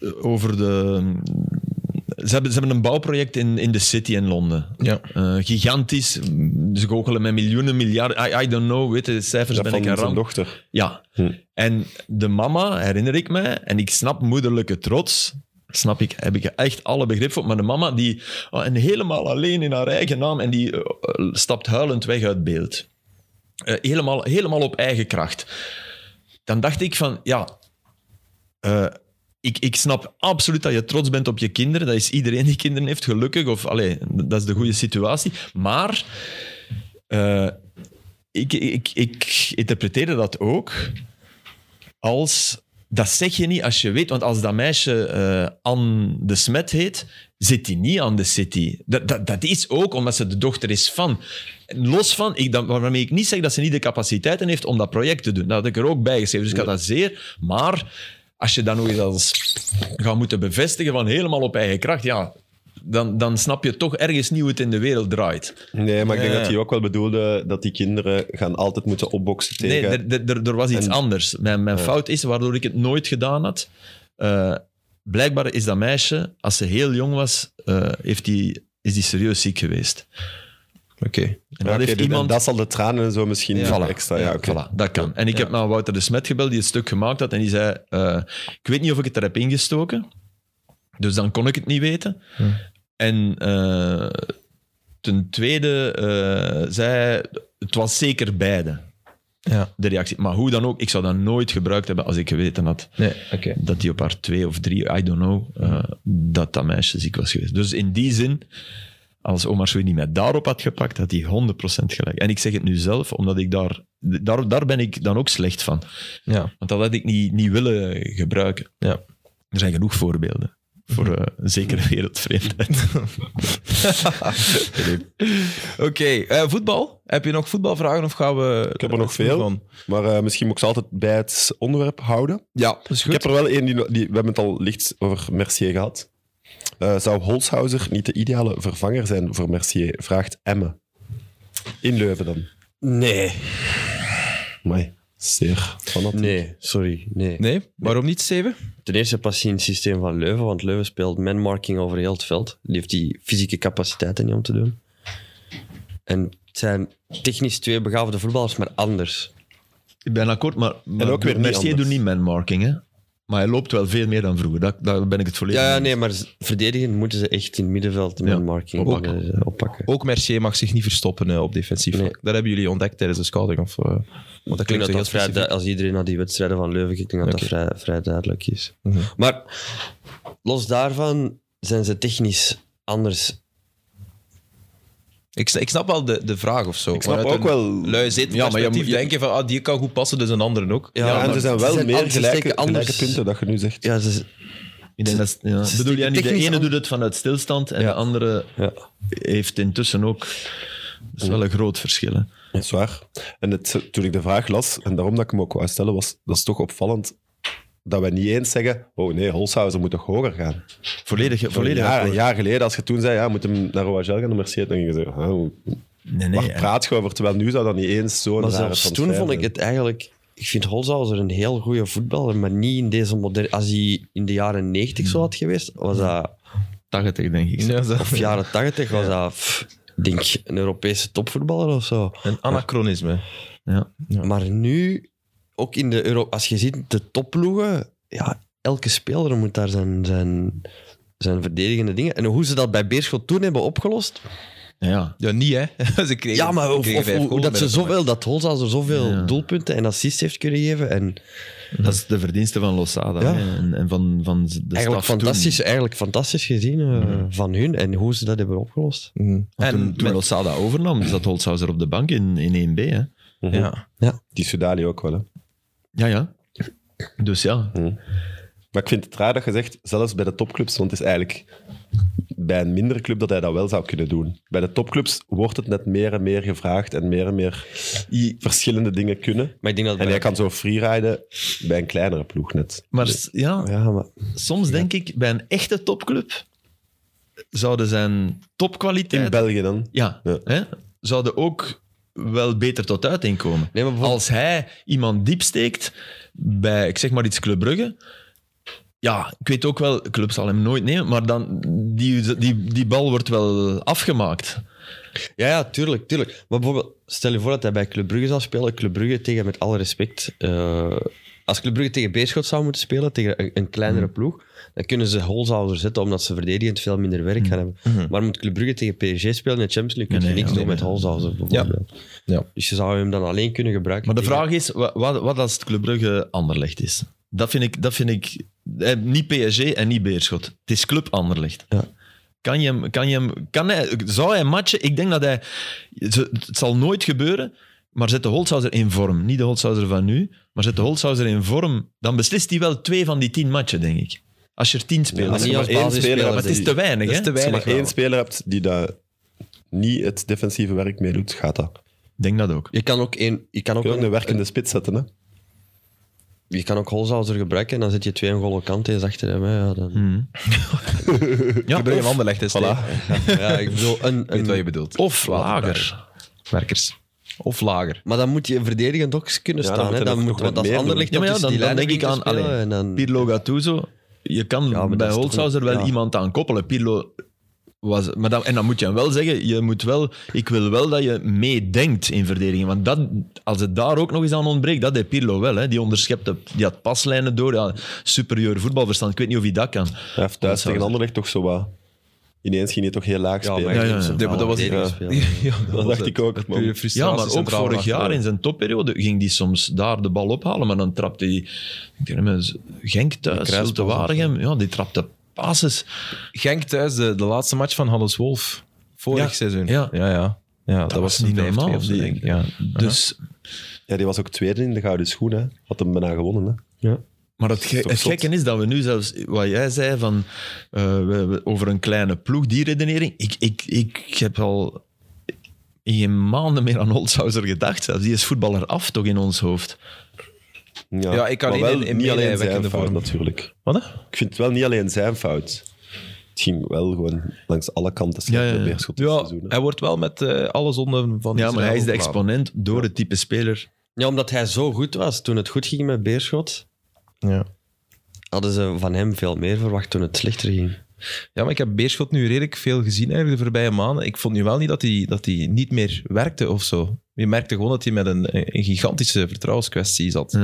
Speaker 4: eh, over de. Ze hebben, ze hebben een bouwproject in, in de city in Londen.
Speaker 1: Ja.
Speaker 4: Eh, gigantisch. Ze goochelen met miljoenen, miljarden. I, I don't know, weet je, de cijfers
Speaker 2: Dat
Speaker 4: ben ik
Speaker 2: van
Speaker 4: een
Speaker 2: zijn
Speaker 4: ramp.
Speaker 2: dochter.
Speaker 4: Ja.
Speaker 2: Hm.
Speaker 4: En de mama, herinner ik me, en ik snap moederlijke trots, snap ik, heb ik echt alle begrip voor, maar de mama die, oh, en helemaal alleen in haar eigen naam, en die eh, eh, stapt huilend weg uit beeld. Eh, helemaal, helemaal op eigen kracht. Dan dacht ik van, ja, eh, ik, ik snap absoluut dat je trots bent op je kinderen. Dat is iedereen die kinderen heeft, gelukkig. Of, allee, dat is de goede situatie. Maar eh, ik, ik, ik interpreteerde dat ook als... Dat zeg je niet als je weet, want als dat meisje eh Anne de Smet heet, zit die niet aan de city. Dat, dat, dat is ook omdat ze de dochter is van. Los van, ik, dan, waarmee ik niet zeg dat ze niet de capaciteiten heeft om dat project te doen. Dat had ik er ook bij geschreven, dus ik had dat zeer. Maar als je dat nog eens als gaat moeten bevestigen van helemaal op eigen kracht, ja, dan, dan snap je toch ergens niet hoe het in de wereld draait.
Speaker 2: Nee, maar ik denk
Speaker 4: Ja.
Speaker 2: dat hij ook wel bedoelde dat die kinderen gaan altijd moeten opboksen tegen... Oh.
Speaker 4: Nee, er- er- er- er was iets anders. Mijn, mijn fout is, waardoor ik het nooit gedaan had. eh, blijkbaar is dat meisje, als ze heel jong was, eh, heeft die, is die serieus ziek geweest.
Speaker 1: Oké.
Speaker 4: En
Speaker 2: Ja,
Speaker 4: dat
Speaker 2: oké,
Speaker 4: heeft
Speaker 2: dus- en
Speaker 4: iemand...
Speaker 2: dat zal de tranen en zo misschien
Speaker 4: Voilà.
Speaker 2: extra... Ja, oké.
Speaker 4: Voilà, dat kan. En ik heb naar Wouter de Smet gebeld, die het stuk gemaakt had. En die zei, eh, ik weet niet of ik het er heb ingestoken. Dus dan kon ik het niet weten.
Speaker 2: Hm.
Speaker 4: En eh, ten tweede eh, zei hij, het was zeker beide,
Speaker 1: Ja.
Speaker 4: de reactie. Maar hoe dan ook, ik zou dat nooit gebruikt hebben als ik geweten had
Speaker 1: Nee, oké.
Speaker 4: dat die op haar twee of drie, I don't know, eh, dat dat meisje ziek was geweest. Dus in die zin, als Omar Sweeney mij daarop had gepakt, had hij 100% gelijk. En ik zeg het nu zelf, omdat ik daar, daar, daar ben ik dan ook slecht van.
Speaker 1: Ja.
Speaker 4: Want dat had ik niet, niet willen gebruiken.
Speaker 1: Ja.
Speaker 4: Er zijn genoeg voorbeelden voor eh, een zekere wereldvreemdheid.
Speaker 1: Oké, eh, voetbal. Heb je nog voetbalvragen of gaan we...
Speaker 2: Ik heb er nog veel, maar eh, misschien moet ik ze altijd bij het onderwerp houden.
Speaker 1: Ja, dat is
Speaker 2: Ik
Speaker 1: goed.
Speaker 2: heb er wel één, die, die, we hebben het al licht over Mercier gehad. Eh, zou Holshouser niet de ideale vervanger zijn voor Mercier? Vraagt Emme. In Leuven dan.
Speaker 3: Nee.
Speaker 2: Amai, zeer fanatiek.
Speaker 3: Nee, sorry. Nee.
Speaker 1: Nee, waarom niet, Steven?
Speaker 3: Ten eerste past hij in het systeem van Leuven, want Leuven speelt manmarking over heel het veld. Die heeft die fysieke capaciteiten niet om te doen. En het zijn technisch twee begaafde voetballers, maar anders.
Speaker 4: Ik ben akkoord, maar, maar
Speaker 2: ook weer niet
Speaker 4: Mercier
Speaker 2: anders.
Speaker 4: doet niet manmarking, hè. Maar hij loopt wel veel meer dan vroeger. Dat, daar ben ik het volledig
Speaker 3: Ja, ja
Speaker 4: mee
Speaker 3: nee, maar z- verdedigend moeten ze echt in het middenveld de
Speaker 4: Ja,
Speaker 3: manmarking eh,
Speaker 4: oppakken.
Speaker 3: oppakken.
Speaker 1: Ook Mercier mag zich niet verstoppen eh, op defensief
Speaker 3: Nee.
Speaker 1: vlak. Dat hebben jullie ontdekt tijdens de scouting. Of, eh, want dat
Speaker 3: Ik denk
Speaker 1: klinkt
Speaker 3: dat
Speaker 1: zo heel
Speaker 3: dat vrij,
Speaker 1: specifiek.
Speaker 3: du- als iedereen naar die wedstrijden van Leuven kijkt, denk ik dat dat vrij, vrij duidelijk is. Maar los daarvan zijn ze technisch anders.
Speaker 1: Ik, sna- ik snap wel de, de vraag of zo. Ik
Speaker 2: snap ook wel-
Speaker 1: Lui zit
Speaker 4: Ja, maar je
Speaker 1: perspectief
Speaker 4: moet- je-
Speaker 1: denken van ah, die kan goed passen, dus een andere ook.
Speaker 3: Ja,
Speaker 2: Ja, en
Speaker 3: maar
Speaker 2: ze zijn wel
Speaker 3: ze zijn
Speaker 2: meer
Speaker 3: anders, ze
Speaker 2: gelijke,
Speaker 3: steken anders.
Speaker 2: gelijke punten dat je nu zegt.
Speaker 3: Ja, ze,
Speaker 4: Ik denk dat, ja.
Speaker 3: is
Speaker 4: Bedoel jij niet, de
Speaker 3: technisch
Speaker 4: ene
Speaker 3: an-
Speaker 4: doet het vanuit stilstand en
Speaker 3: Ja.
Speaker 4: de andere
Speaker 3: ja.
Speaker 4: heeft intussen ook... Dat is wel een groot verschil. Hè.
Speaker 2: Dat is waar. En het, toen ik de vraag las, en daarom dat ik hem ook wou stellen, was dat is toch opvallend dat wij niet eens zeggen, oh nee, Holshouser moet toch hoger gaan.
Speaker 4: Volledig,
Speaker 2: Een
Speaker 4: volledig
Speaker 2: jaar, een
Speaker 4: akkoord.
Speaker 2: jaar geleden, als je toen zei, ja, moet hem naar Roagel gaan, naar Mercier, dan ging je zeggen, "Ah, hoe-
Speaker 4: Nee, nee.
Speaker 2: waar
Speaker 4: hè.
Speaker 2: praat je over? Terwijl nu zou dat niet eens zo'n
Speaker 3: Maar
Speaker 2: rare
Speaker 3: zelfs
Speaker 2: transfer
Speaker 3: toen vond ik
Speaker 2: zijn.
Speaker 3: het eigenlijk... Ik vind Holzhauser een heel goede voetballer, maar niet in deze moderne... Als hij in de jaren 90 zo had geweest, was dat...
Speaker 4: 80, denk ik.
Speaker 1: Ja, zo.
Speaker 3: Of jaren 80 was dat... pff, ik denk een Europese topvoetballer of zo.
Speaker 1: Een anachronisme.
Speaker 4: Ja.
Speaker 3: Maar nu, ook in de Euro... Als je ziet, de topploegen... Ja, elke speler moet daar zijn, zijn, zijn verdedigende dingen... En hoe ze dat bij Beerschot toen hebben opgelost...
Speaker 4: Ja.
Speaker 1: Ja, niet hè. ze kregen,
Speaker 3: Ja, maar
Speaker 1: ze
Speaker 3: of,
Speaker 1: kregen
Speaker 3: of
Speaker 1: vijf
Speaker 3: hoe-
Speaker 1: goals
Speaker 3: dat
Speaker 1: bij
Speaker 3: ze zoveel, dat Holzhauser zoveel
Speaker 4: Ja.
Speaker 3: doelpunten en assists heeft kunnen geven. En
Speaker 4: Dat is de verdienste van Losada
Speaker 3: Ja.
Speaker 4: hè, en, en van, van
Speaker 3: eigenlijk,
Speaker 4: de staf Dus toen. Mm-hmm.
Speaker 3: fantastisch, eigenlijk fantastisch gezien eh, van hun en hoe ze dat hebben opgelost.
Speaker 1: Mhm.
Speaker 4: Want
Speaker 1: En
Speaker 4: toen, toen
Speaker 1: met-
Speaker 4: Losada overnam, dus zat Holzhauser op de bank in, in 1B. Hè.
Speaker 1: ja.
Speaker 2: Die Sudali ook wel, hè.
Speaker 4: Ja, ja. Dus ja.
Speaker 2: Maar ik vind het raar dat je zegt, zelfs bij de topclubs, want het is eigenlijk bij een mindere club dat hij dat wel zou kunnen doen. Bij de topclubs wordt het net meer en meer gevraagd en meer en meer verschillende dingen kunnen.
Speaker 3: Maar ik denk dat
Speaker 2: En jij kan zo freeriden bij een kleinere ploeg net.
Speaker 4: Maar s- ja,
Speaker 3: Ja, maar
Speaker 4: soms denk ik, bij een echte topclub zouden zijn
Speaker 2: In
Speaker 4: topkwaliteit...
Speaker 2: België dan.
Speaker 4: Ja,
Speaker 2: Ja.
Speaker 4: Hè, zouden ook wel beter tot uiting komen.
Speaker 3: Nee, maar bijvoorbeeld-
Speaker 4: Als hij iemand diep steekt bij, ik zeg maar iets, Club Brugge... Ja, ik weet ook wel, de club zal hem nooit nemen, maar dan, die, die, die bal wordt wel afgemaakt.
Speaker 3: Ja, ja, tuurlijk, tuurlijk. Maar bijvoorbeeld, stel je voor dat hij bij Club Brugge zou spelen. Club Brugge tegen, met alle respect... eh, als Club Brugge tegen Beerschot zou moeten spelen, tegen een, een kleinere
Speaker 4: Mm-hmm.
Speaker 3: ploeg, dan kunnen ze Holzhauser zetten, omdat ze verdedigend veel minder werk gaan hebben. Maar moet Club Brugge tegen PSG spelen in de Champions League, kun je
Speaker 4: Mm-hmm. Nee, nee,
Speaker 3: niks doen
Speaker 4: ja, nee,
Speaker 3: met
Speaker 4: nee.
Speaker 3: Holzhauser, bijvoorbeeld.
Speaker 1: Ja.
Speaker 3: Dus je zou hem dan alleen kunnen gebruiken.
Speaker 4: Maar de
Speaker 3: tegen-
Speaker 4: vraag is, wa- wat, wat als het Club Brugge Anderlecht is? Dat vind ik... Dat vind ik eh, niet PSG en niet Beerschot. Het is Club Anderlecht.
Speaker 3: Ja.
Speaker 4: Kan je hem... Kan je hem kan hij, zou hij matchen? Ik denk dat hij... ze- Het zal nooit gebeuren, maar zet de Holshouser in vorm. Niet de Holshouser van nu, maar zet de Holshouser in vorm. Dan beslist hij wel twee van die tien matchen, denk ik. Als je er tien
Speaker 2: Ja,
Speaker 4: speelt.
Speaker 2: als je
Speaker 3: niet
Speaker 2: maar
Speaker 3: als
Speaker 2: één
Speaker 3: basisspeler,
Speaker 2: speler
Speaker 4: maar
Speaker 2: hebt
Speaker 4: het is
Speaker 2: die-
Speaker 4: te weinig,
Speaker 1: Dat is
Speaker 4: hè?
Speaker 1: te
Speaker 2: Als je
Speaker 1: weinig.
Speaker 2: maar
Speaker 1: wel.
Speaker 2: één speler hebt die daar niet het defensieve werk mee doet, gaat dat.
Speaker 4: Ik denk dat ook.
Speaker 3: Je kan ook, één, je kan
Speaker 2: Je
Speaker 3: ook,
Speaker 2: kunt ook
Speaker 3: een-
Speaker 2: een werkende spits zetten, hè.
Speaker 3: je kan ook Holzhauser gebruiken en dan zet je twee N'Golo Kante eens achter hem. Hè. Ja, dan-
Speaker 1: Club Brugge en Anderlecht is
Speaker 2: Voilà.
Speaker 1: tegen.
Speaker 3: ja, ik bedoel, een,
Speaker 1: Ik weet wat je
Speaker 3: een,
Speaker 1: bedoelt.
Speaker 4: Of lager.
Speaker 1: Werkers. Of lager.
Speaker 3: maar dan moet je verdedigend ook eens kunnen
Speaker 2: Ja, dan
Speaker 3: staan.
Speaker 2: moet
Speaker 3: Hè.
Speaker 2: hij
Speaker 3: Dan
Speaker 2: nog-
Speaker 3: moet,
Speaker 2: nog
Speaker 3: want als
Speaker 2: meer
Speaker 3: ander ligt
Speaker 4: Ja, maar ja,
Speaker 3: tussen
Speaker 4: dan,
Speaker 3: die
Speaker 4: dan denk
Speaker 3: lijnen
Speaker 4: ik
Speaker 3: in
Speaker 4: aan
Speaker 3: te spelen
Speaker 4: allee,
Speaker 3: en dan-
Speaker 4: Pirlo Gattuso. Je kan
Speaker 3: maar dat
Speaker 4: bij
Speaker 3: is toch
Speaker 4: Holzhauser
Speaker 3: niet-
Speaker 4: wel
Speaker 3: ja.
Speaker 4: iemand aan koppelen. Pirlo was, maar dan, en dan moet je hem wel zeggen, je moet wel, ik wil wel dat je meedenkt in verdediging. Want dat, als het daar ook nog eens aan ontbreekt, dat deed Pirlo wel. Hè. Die onderschepte, die had paslijnen door, ja, superieur voetbalverstand. Ik weet niet of hij dat kan.
Speaker 2: Hij heeft thuis tegen
Speaker 4: Holzhauser.
Speaker 2: Anderlecht toch zo wat... Ineens ging hij toch heel laag
Speaker 3: Ja,
Speaker 2: spelen.
Speaker 3: maar
Speaker 4: ja, ja.
Speaker 3: zo'n
Speaker 4: Ja,
Speaker 1: maar dat was-
Speaker 3: verdedigend
Speaker 2: ja.
Speaker 3: spelen.
Speaker 2: Dat dacht ik ook, man.
Speaker 1: Pure
Speaker 4: Ja,
Speaker 1: frustratie
Speaker 4: maar ook
Speaker 1: centraal
Speaker 4: vorig jaar
Speaker 1: achterin.
Speaker 4: in zijn topperiode ging hij soms daar de bal ophalen, maar dan trapte hij, ik denk, dat het Genk thuis,
Speaker 3: kruispas
Speaker 4: Zulte
Speaker 3: of zo.
Speaker 4: Waregem, ja, die trapte passes.
Speaker 1: Genk thuis, de, de laatste match van Hannes Wolf. Vorig
Speaker 4: Ja.
Speaker 1: seizoen.
Speaker 4: Ja.
Speaker 1: ja. ja. Ja, dat,
Speaker 4: was
Speaker 1: was
Speaker 4: niet
Speaker 1: niet
Speaker 4: normaal,
Speaker 1: helemaal. Of zo,
Speaker 4: die-
Speaker 1: denk ik. Ja.
Speaker 4: Dus
Speaker 2: Ja, die was ook tweede in de gouden schoen, hè. Had hem bijna gewonnen, hè.
Speaker 4: Maar het, ge-
Speaker 2: toch
Speaker 4: het
Speaker 2: zot?
Speaker 4: gekke is dat we nu zelfs, wat jij zei van, eh, we- we- over een kleine ploeg, die redenering. Ik, ik, ik heb al in geen maanden meer aan Holzhauser gedacht. Zelfs. Die is voetballer af toch in ons hoofd.
Speaker 1: Ja, ik kan
Speaker 2: maar
Speaker 1: niet
Speaker 2: wel
Speaker 1: in- in
Speaker 2: niet
Speaker 1: meeleven
Speaker 2: alleen
Speaker 1: in
Speaker 2: zijn
Speaker 1: de
Speaker 2: fout,
Speaker 1: vorm.
Speaker 2: natuurlijk.
Speaker 1: Wat? hè?
Speaker 2: Ik vind het wel niet alleen zijn fout. Het ging wel gewoon langs alle kanten slecht
Speaker 4: Ja, ja,
Speaker 2: bij
Speaker 4: ja.
Speaker 2: Beerschot dit
Speaker 1: Ja,
Speaker 2: seizoen, hè.
Speaker 1: hij wordt wel met eh, alle zonden van
Speaker 4: Ja, maar hij is de
Speaker 1: exponent.
Speaker 4: exponent door het type speler.
Speaker 3: Ja, omdat hij zo goed was toen het goed ging met Beerschot,
Speaker 1: Ja.
Speaker 3: hadden ze van hem veel meer verwacht toen het slechter ging.
Speaker 1: ja, maar ik heb Beerschot nu redelijk veel gezien eigenlijk de voorbije maanden. Ik vond nu wel niet dat hij, dat hij niet meer werkte of zo. Je merkte gewoon dat hij met een, een gigantische vertrouwenskwestie zat.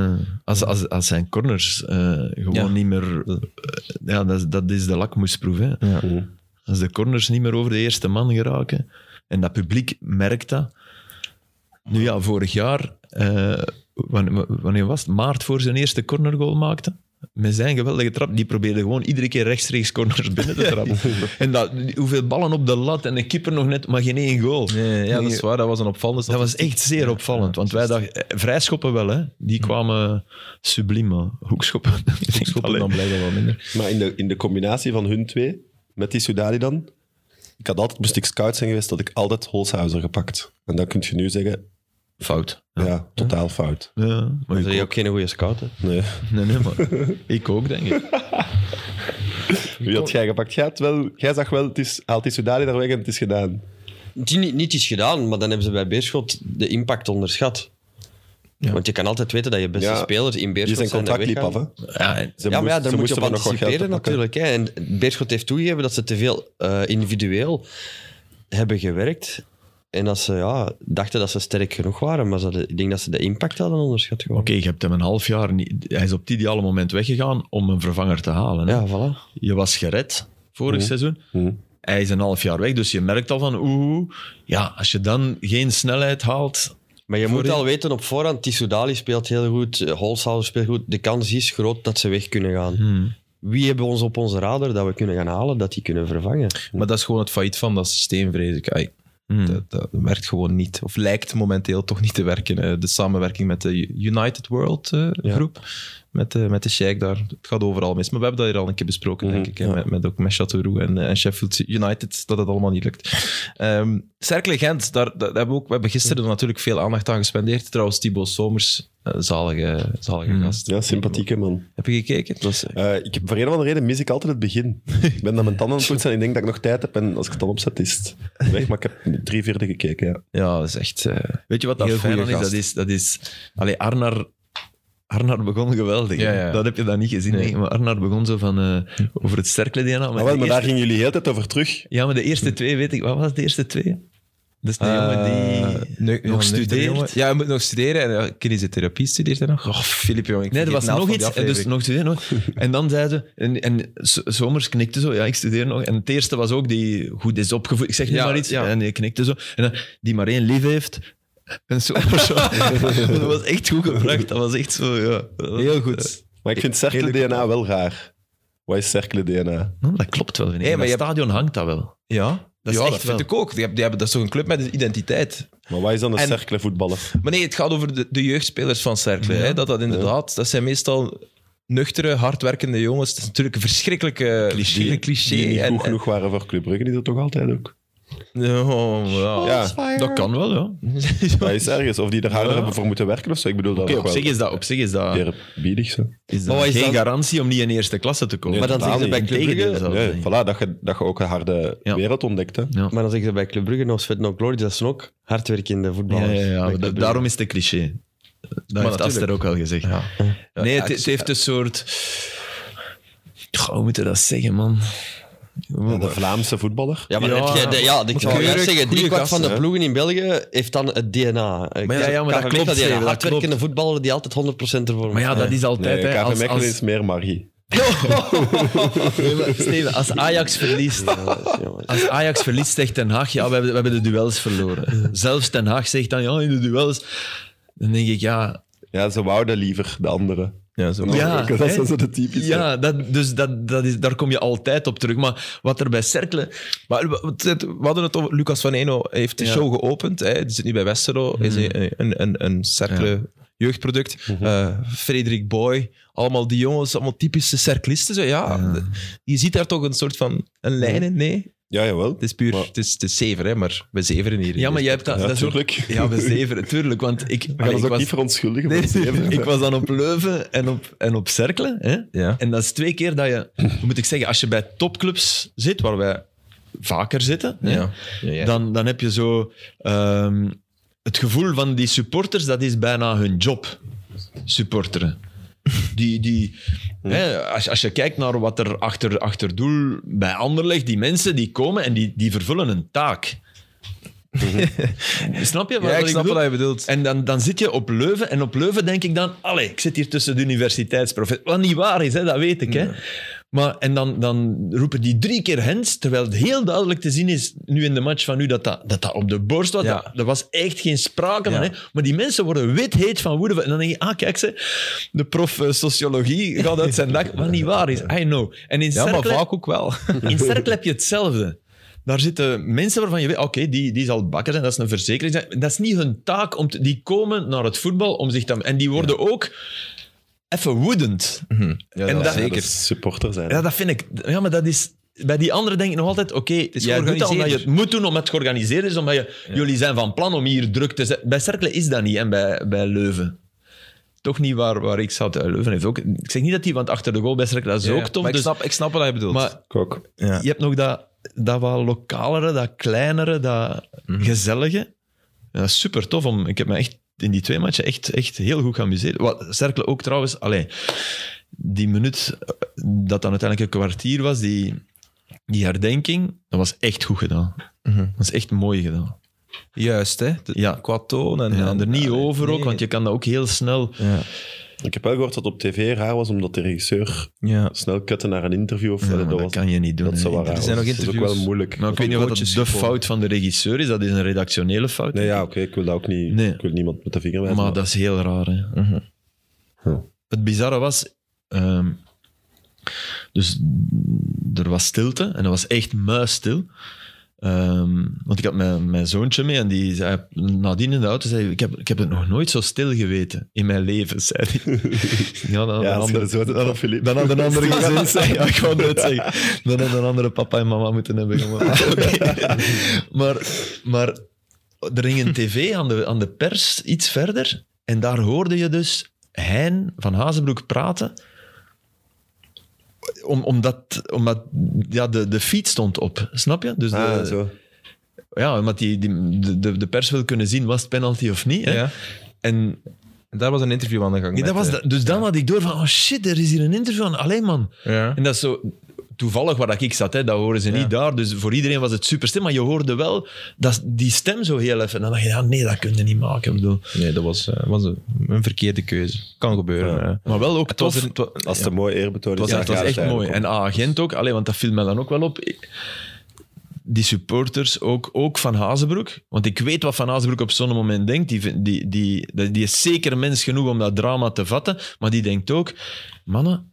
Speaker 4: Als, als, als zijn corners eh, gewoon
Speaker 1: Ja.
Speaker 4: niet meer... eh, ja, dat, is- dat is de lakmoesproef. Hè.
Speaker 1: Ja.
Speaker 4: Als de corners niet meer over de eerste man geraken. En dat publiek merkt dat. Nu ja, vorig jaar, eh, wanneer, wanneer was het? Maart voor zijn eerste cornergoal maakte. Met zijn geweldige trap, die probeerde gewoon iedere keer rechtstreeks corners binnen te trappen. en dat, hoeveel ballen op de lat en een keeper nog net, maar geen één goal.
Speaker 1: Nee, ja, dat is waar. Dat was een opvallende
Speaker 4: Dat was
Speaker 1: statistiek.
Speaker 4: echt zeer opvallend, want wij dachten, eh, vrijschoppen wel, hè? die kwamen subliem, maar hoekschoppen.
Speaker 1: Schoppen dan blijkbaar wel minder.
Speaker 2: Maar in de, in de combinatie van hun twee, met die Soudali dan, ik had altijd, moest ik scout zijn geweest, dat ik altijd Holshouser gepakt. En dan kun je nu zeggen,
Speaker 4: Fout.
Speaker 2: ja, totaal fout.
Speaker 4: Ja, maar
Speaker 3: Dan
Speaker 4: ik
Speaker 3: ben je
Speaker 4: ook.
Speaker 3: ook geen goede scout. hè.
Speaker 2: Nee.
Speaker 4: Nee, nee, maar ik ook, denk ik.
Speaker 2: Wie had jij gepakt? Jij, had wel, jij zag wel, het is, haalt die Soudali daar weg en het is gedaan.
Speaker 3: Die niet, niet is gedaan, maar dan hebben ze bij Beerschot de impact onderschat. Want je kan altijd weten dat je beste
Speaker 2: Ja,
Speaker 3: spelers in
Speaker 2: Die
Speaker 3: Beerschot
Speaker 2: zijn
Speaker 3: zijn.
Speaker 2: contract
Speaker 3: die
Speaker 2: liep af,
Speaker 3: weggaan.
Speaker 2: hè.
Speaker 4: Ja, en-
Speaker 2: Ze
Speaker 3: ja, maar ja,
Speaker 2: moest- ze
Speaker 3: daar moet je
Speaker 2: moesten
Speaker 3: op
Speaker 2: maar nog wat geld
Speaker 3: anticiperen
Speaker 2: te pakken.
Speaker 3: natuurlijk. Hè. En Beerschot heeft toegegeven dat ze te veel eh, individueel hebben gewerkt. En dat ze ja, dachten dat ze sterk genoeg waren. Maar ze hadden- ik denk dat ze de impact hadden onderschat. Gewoon.
Speaker 4: Oké, je hebt hem een half jaar niet... Hij is op het ideale moment weggegaan om een vervanger te halen. Hè?
Speaker 3: Ja, voilà.
Speaker 4: Je was gered vorig seizoen.
Speaker 2: Mhm.
Speaker 4: Hij is een half jaar weg, dus je merkt al van oeh, oeh. ja, als je dan geen snelheid haalt,
Speaker 3: Maar je moet
Speaker 4: Voorin-
Speaker 3: al weten op voorhand, Tissoudali speelt heel goed, eh, Holshouser speelt goed. De kans is groot dat ze weg kunnen gaan.
Speaker 2: Hmm.
Speaker 3: Wie hebben we ons op onze radar dat we kunnen gaan halen, dat die kunnen vervangen?
Speaker 1: Maar dat is gewoon het failliet van dat systeem, vrees ik. Ai,
Speaker 4: Hmm.
Speaker 1: dat, dat werkt gewoon niet. Of lijkt momenteel toch niet te werken. eh, De samenwerking met de United World eh, groep. Met de, met de Sheikh daar. Het gaat overal mis. Maar we hebben dat hier al een keer besproken, denk ik. hè, Met, met, ook met Chateauroux en, eh, en Sheffield United. Dat het allemaal niet lukt. Ehm Cercle Gent, daar, daar hebben we, ook, we hebben gisteren er natuurlijk veel aandacht aan gespendeerd. Trouwens, Thibaut Somers, eh, zalige, zalige gast.
Speaker 2: Ja, sympathieke man.
Speaker 1: Heb je gekeken? Dat is,
Speaker 2: Eh, ik heb, voor een of andere reden mis ik altijd het begin. ik ben naar mijn tanden aan het poetsen en ik denk dat ik nog tijd heb. En als ik het dan opzet, is het weg. Maar ik heb drie vierde gekeken, ja. Ah,
Speaker 1: ja, dat is echt... eh,
Speaker 4: Weet je wat dat
Speaker 1: Heel
Speaker 4: fijn aan
Speaker 1: goeie
Speaker 4: is? Dat
Speaker 1: gast.
Speaker 4: is, dat is allee, Arnar, Arnar begon geweldig. hè.
Speaker 1: Ja, ja.
Speaker 4: Dat heb je dan niet gezien.
Speaker 1: Nee.
Speaker 4: hè. Maar Arnar begon zo van eh, over het sterke DNA. Maar
Speaker 2: Maar, Ah, wel,
Speaker 4: de
Speaker 2: maar daar
Speaker 4: eerste-
Speaker 2: gingen jullie heel de tijd over terug.
Speaker 4: Ja, maar de eerste twee weet ik. Wat was de eerste twee? Dat is de jongen die...
Speaker 1: Eh, nee,
Speaker 4: nog
Speaker 1: ja, nee,
Speaker 4: studeert.
Speaker 1: de jongen- Ja, hij moet nog studeren. En ja, kinesiotherapie studeert hij nog. Oh, Filip, jongen. ik
Speaker 4: Nee, er was
Speaker 1: vergeet de
Speaker 4: nog
Speaker 1: naam
Speaker 4: iets.
Speaker 1: van die
Speaker 4: Dus
Speaker 1: aflevering.
Speaker 4: nog studeren. Nog. En dan zei ze... En, en S- Somers knikte zo. Ja, ik studeer nog. En het eerste was ook die goed is opgevoed. Ik zeg nu
Speaker 1: Ja,
Speaker 4: maar iets.
Speaker 1: ja.
Speaker 4: En die knikte zo. En dan, die maar één lief heeft. En Somers zo. dat was echt goed gebracht. Dat was echt zo, ja.
Speaker 1: Heel goed.
Speaker 2: Maar ik vind cercle DNA wel raar. Wat is cercle DNA?
Speaker 4: Nou, dat klopt wel, vind ik.
Speaker 1: Hey,
Speaker 4: In
Speaker 1: maar
Speaker 4: het
Speaker 1: je
Speaker 4: stadion hangt dat wel.
Speaker 1: Ja,
Speaker 4: Dat
Speaker 1: dat,
Speaker 4: is
Speaker 1: ja,
Speaker 4: echt
Speaker 1: dat vind
Speaker 4: wel.
Speaker 1: ik ook. Die hebben, die hebben, dat is toch een club met een identiteit.
Speaker 2: Maar wat is dan een
Speaker 1: En-
Speaker 2: cercle voetballer?
Speaker 1: Maar nee, het gaat over de, de jeugdspelers van Cercle. Hè? Dat dat inderdaad... Dat zijn meestal nuchtere, hardwerkende jongens. Dat is natuurlijk een verschrikkelijke
Speaker 4: Cliché.
Speaker 1: verschrikkelijk cliché.
Speaker 2: Die niet
Speaker 1: en-
Speaker 2: goed
Speaker 1: en-
Speaker 2: genoeg waren voor Club Brugge, die dat toch altijd ook?
Speaker 1: Oh, ja.
Speaker 2: Ja,
Speaker 4: Dat kan wel, ja.
Speaker 2: dat is ergens. Of die er harder
Speaker 4: Ja.
Speaker 2: hebben voor moeten werken of zo. Ik bedoel, dat
Speaker 4: Oké, op
Speaker 2: ook
Speaker 4: zich
Speaker 2: wel.
Speaker 4: is dat, op zich is dat,
Speaker 2: Eerbiedig zo.
Speaker 4: is dat
Speaker 3: Maar wat is
Speaker 4: geen
Speaker 3: dat?
Speaker 4: garantie om niet in eerste klasse te komen.
Speaker 2: Nee,
Speaker 3: maar dan zeggen ze bij Club
Speaker 4: Integendeel
Speaker 3: Brugge...
Speaker 4: zelfs,
Speaker 2: Nee,
Speaker 4: denk ik.
Speaker 2: voilà, dat je, dat je ook een harde
Speaker 4: Ja.
Speaker 2: wereld ontdekt. Hè.
Speaker 3: Maar dan zeggen ze bij Club Brugge, no sweat, no glory, dat zijn ook hardwerkende
Speaker 4: Ja, ja,
Speaker 3: voetballers.
Speaker 4: ja,
Speaker 3: Bij
Speaker 4: maar
Speaker 3: Club
Speaker 4: dat-
Speaker 3: Brugge.
Speaker 4: daarom is het een cliché. Dat heeft
Speaker 1: natuurlijk.
Speaker 4: Aster ook al gezegd.
Speaker 1: Ja,
Speaker 4: Nee, het,
Speaker 1: Ajax-
Speaker 4: het heeft een soort... Goh, hoe moet je dat zeggen, man?
Speaker 2: Ja, de Vlaamse voetballer.
Speaker 3: Ja, maar
Speaker 4: Ja,
Speaker 3: heb jij de, ja, ik zou
Speaker 1: keurig,
Speaker 3: net zeggen,
Speaker 1: goeie
Speaker 3: driekwart van de
Speaker 2: gasten, hè.
Speaker 3: ploegen in België heeft dan het DNA.
Speaker 4: ja, ja, maar dat klopt,
Speaker 3: Dat
Speaker 4: Steven,
Speaker 3: een
Speaker 4: dat
Speaker 3: hardwerkende voetballer die altijd 100% ervoor
Speaker 4: Maar ja, dat is altijd...
Speaker 2: Eh, Nee,
Speaker 4: hè,
Speaker 2: KV
Speaker 4: als,
Speaker 2: Mechelen
Speaker 4: als-
Speaker 2: is meer Marie.
Speaker 4: Nee, maar Steven, als Ajax verliest... Als Ajax verliest, zegt Ten Haag, ja, we hebben, we hebben de duels verloren. Zelfs Ten Haag zegt dan, ja, in de duels... Dan denk ik, ja,
Speaker 2: Ja, ze wouden liever de andere.
Speaker 1: Ja, zo.
Speaker 4: Ja,
Speaker 2: dat
Speaker 4: hè?
Speaker 2: is zo de typische.
Speaker 4: Ja, dat, dus dat, dat is, daar kom je altijd op terug. Maar wat er bij Cercle...
Speaker 1: Maar we- het- het- we hadden het over... Lucas van Eno heeft de
Speaker 4: Ja.
Speaker 1: show geopend. Hè. Die zit nu bij Westerlo. Is een, een, een, een cercle jeugdproduct.
Speaker 4: Mhm.
Speaker 1: Eh, Frederik Boy. Allemaal die jongens, allemaal typische cerclisten. Zo, ja, de- Je ziet daar toch een soort van een lijn in? Nee,
Speaker 2: Ja, jawel.
Speaker 1: het is puur...
Speaker 2: Maar-
Speaker 1: Het is, het is zever, hè, maar we zeveren hier. in
Speaker 4: Ja, maar
Speaker 1: deze
Speaker 4: jij hebt dat...
Speaker 2: Ja,
Speaker 4: dat is ook-
Speaker 2: tuurlijk.
Speaker 4: ja, we zeven, tuurlijk. Want ik,
Speaker 2: We gaan
Speaker 4: allee,
Speaker 2: ons
Speaker 4: ik,
Speaker 2: ook
Speaker 4: was,
Speaker 2: niet verontschuldigen.
Speaker 4: nee,
Speaker 2: voor het zeven.
Speaker 4: ik was dan op Leuven en op, en op Cercle. Hè?
Speaker 1: Ja.
Speaker 4: En dat is twee keer dat je... hoe moet ik zeggen? Als je bij topclubs zit, waar wij vaker zitten... hè,
Speaker 1: Ja. Ja, ja.
Speaker 4: Dan, dan heb je zo... ehm, het gevoel van die supporters, dat is bijna hun job. Supporteren. Die, die, hè, als, als je kijkt naar wat er achter, achter doel bij Anderlecht, die mensen die komen en die, die vervullen een taak. snap je wat
Speaker 1: Mhm. Ja,
Speaker 4: wat
Speaker 1: ik snap
Speaker 4: bedoel?
Speaker 1: wat je bedoelt.
Speaker 4: En dan, dan zit je op Leuven en op Leuven denk ik dan, allee, ik zit hier tussen de universiteitsprofessor. Wat niet waar is, hè, dat weet ik. Hè. Maar, en dan, dan roepen die drie keer Hens, terwijl het heel duidelijk te zien is nu in de match van nu dat dat, dat, dat op de borst was.
Speaker 1: Ja.
Speaker 4: Dat, er was echt geen sprake van.
Speaker 1: Ja.
Speaker 4: Hè? Maar die mensen worden witheet van woede. En dan denk je, ah kijk, ze, de prof eh, sociologie gaat uit zijn dak. Wat niet waar is, I know. En in,
Speaker 1: ja, maar
Speaker 4: Cercle-
Speaker 1: vaak ook wel.
Speaker 4: in Cercle heb je hetzelfde. Daar zitten mensen waarvan je weet, oké, die, die zal bakker zijn, dat is een verzekering. Dat is niet hun taak. Om te- die komen naar het voetbal om zich te... En die worden ook even woedend.
Speaker 1: Ja,
Speaker 4: En
Speaker 1: dat
Speaker 4: dat-
Speaker 2: Ja,
Speaker 1: zeker.
Speaker 2: dat is supporter zijn.
Speaker 4: Ja, dat vind ik. Ja, maar dat is. Bij die anderen denk ik nog altijd: oké, jij doet dat
Speaker 1: georganiseerder.
Speaker 4: omdat je het moet doen, omdat het georganiseerd is, omdat je, jullie zijn van plan om hier druk te zijn. Bij Cercle is dat niet en bij, bij Leuven. Toch niet waar, waar ik zat. Eh, Leuven heeft ook. Ik zeg niet dat die, want achter de goal bij Cercle dat is
Speaker 1: Ja, ja.
Speaker 4: ook tof.
Speaker 1: Maar ik
Speaker 4: dus-
Speaker 1: snap, ik snap wat je bedoelt.
Speaker 4: maar
Speaker 2: Ik ook.
Speaker 1: ja.
Speaker 4: je hebt nog dat, dat wat lokalere, dat kleinere, dat
Speaker 2: Mhm.
Speaker 4: gezellige. Ja, dat is super tof. Om, ik heb me echt in die twee matchen echt, echt heel goed geamuseerd. Wat Cercle ook trouwens, allee, die minuut eh, dat dan uiteindelijk een kwartier was, die, die herdenking, dat was echt goed gedaan.
Speaker 2: Mhm.
Speaker 4: Dat is echt mooi gedaan.
Speaker 1: Juist, hè. De-
Speaker 4: Ja.
Speaker 1: Qua toon. En,
Speaker 4: En, er niet
Speaker 1: Allee,
Speaker 4: over ook,
Speaker 1: nee.
Speaker 4: want je kan dat ook heel snel
Speaker 1: Ja.
Speaker 2: Ik heb wel gehoord dat het op tv raar was, omdat de regisseur
Speaker 1: Ja.
Speaker 2: snel kutte naar een interview of zo.
Speaker 4: Ja,
Speaker 2: dat,
Speaker 4: maar
Speaker 2: was-
Speaker 4: dat kan je niet doen.
Speaker 2: dat
Speaker 4: hè.
Speaker 2: zou wel raar
Speaker 4: Dat is-
Speaker 1: zijn
Speaker 2: was.
Speaker 1: nog
Speaker 2: Dat is ook wel
Speaker 1: interviews.
Speaker 2: moeilijk.
Speaker 4: Maar ik weet niet of dat
Speaker 1: coaches
Speaker 4: de
Speaker 1: gewoon.
Speaker 4: fout van de regisseur is. Dat is een redactionele fout.
Speaker 2: Nee,
Speaker 4: denk
Speaker 2: ja,
Speaker 4: ik.
Speaker 2: oké, ik wil dat ook niet.
Speaker 4: Nee.
Speaker 2: Ik wil niemand met de vinger wijzen.
Speaker 4: Maar dat is heel raar. Hè.
Speaker 1: Mhm.
Speaker 4: Het bizarre was... ehm, dus er was stilte en dat was echt muisstil. Ehm, want ik had mijn, mijn zoontje mee en die zei nadien in de auto, zei, hij, ik, heb, ik heb het nog nooit zo stil geweten in mijn leven, zei hij. ja, dan
Speaker 2: ja,
Speaker 4: een
Speaker 2: als je
Speaker 4: ander-
Speaker 2: dat zo zegt, dan Filip.
Speaker 4: dan had een ander gezin zijn. Ja, ik wou net zeggen. Dan had een andere papa en mama moeten hebben. jongen. Oké. Maar, maar er ging een tv aan de, aan de pers iets verder. En daar hoorde je dus Hein van Hazenbroek praten. Om, omdat omdat ja, de, de fiets stond op, snap je? Dus de,
Speaker 2: Ah, zo.
Speaker 4: ja, omdat die, die, de- de, de pers wil kunnen zien, was het penalty of niet. Hè?
Speaker 1: Ja.
Speaker 4: En
Speaker 1: En daar was een interview aan de gang.
Speaker 4: ja, dat
Speaker 1: met,
Speaker 4: was,
Speaker 1: eh,
Speaker 4: da- dus dan had ik door van, oh shit, er is hier een interview aan. Allee man.
Speaker 1: Ja.
Speaker 4: En dat is zo toevallig waar dat ik zat, hè, dat horen ze niet daar. Dus voor iedereen was het super stil, maar je hoorde wel dat, die stem zo heel even. En dan dacht je, ja, nee, dat kun je niet maken. Ik Bedoel.
Speaker 1: Nee, dat was, eh, was een, een verkeerde keuze. Kan gebeuren. eh. hè.
Speaker 4: Maar wel ook
Speaker 1: Het
Speaker 4: tof.
Speaker 1: was, er, het wa-
Speaker 2: Als
Speaker 1: ja.
Speaker 2: het een mooie eerbetoon is.
Speaker 4: Het was, echt-
Speaker 2: dan
Speaker 4: het was
Speaker 2: gaat
Speaker 4: echt mooi.
Speaker 2: eigenlijk
Speaker 4: En A-agent ook, alleen, want dat viel mij dan ook wel op. Ik- Die supporters ook, ook van Hazebroek. Want ik weet wat Van Hazebroek op zo'n moment denkt. Die, vind- die, die, die, die is zeker mens genoeg om dat drama te vatten. Maar die denkt ook: mannen,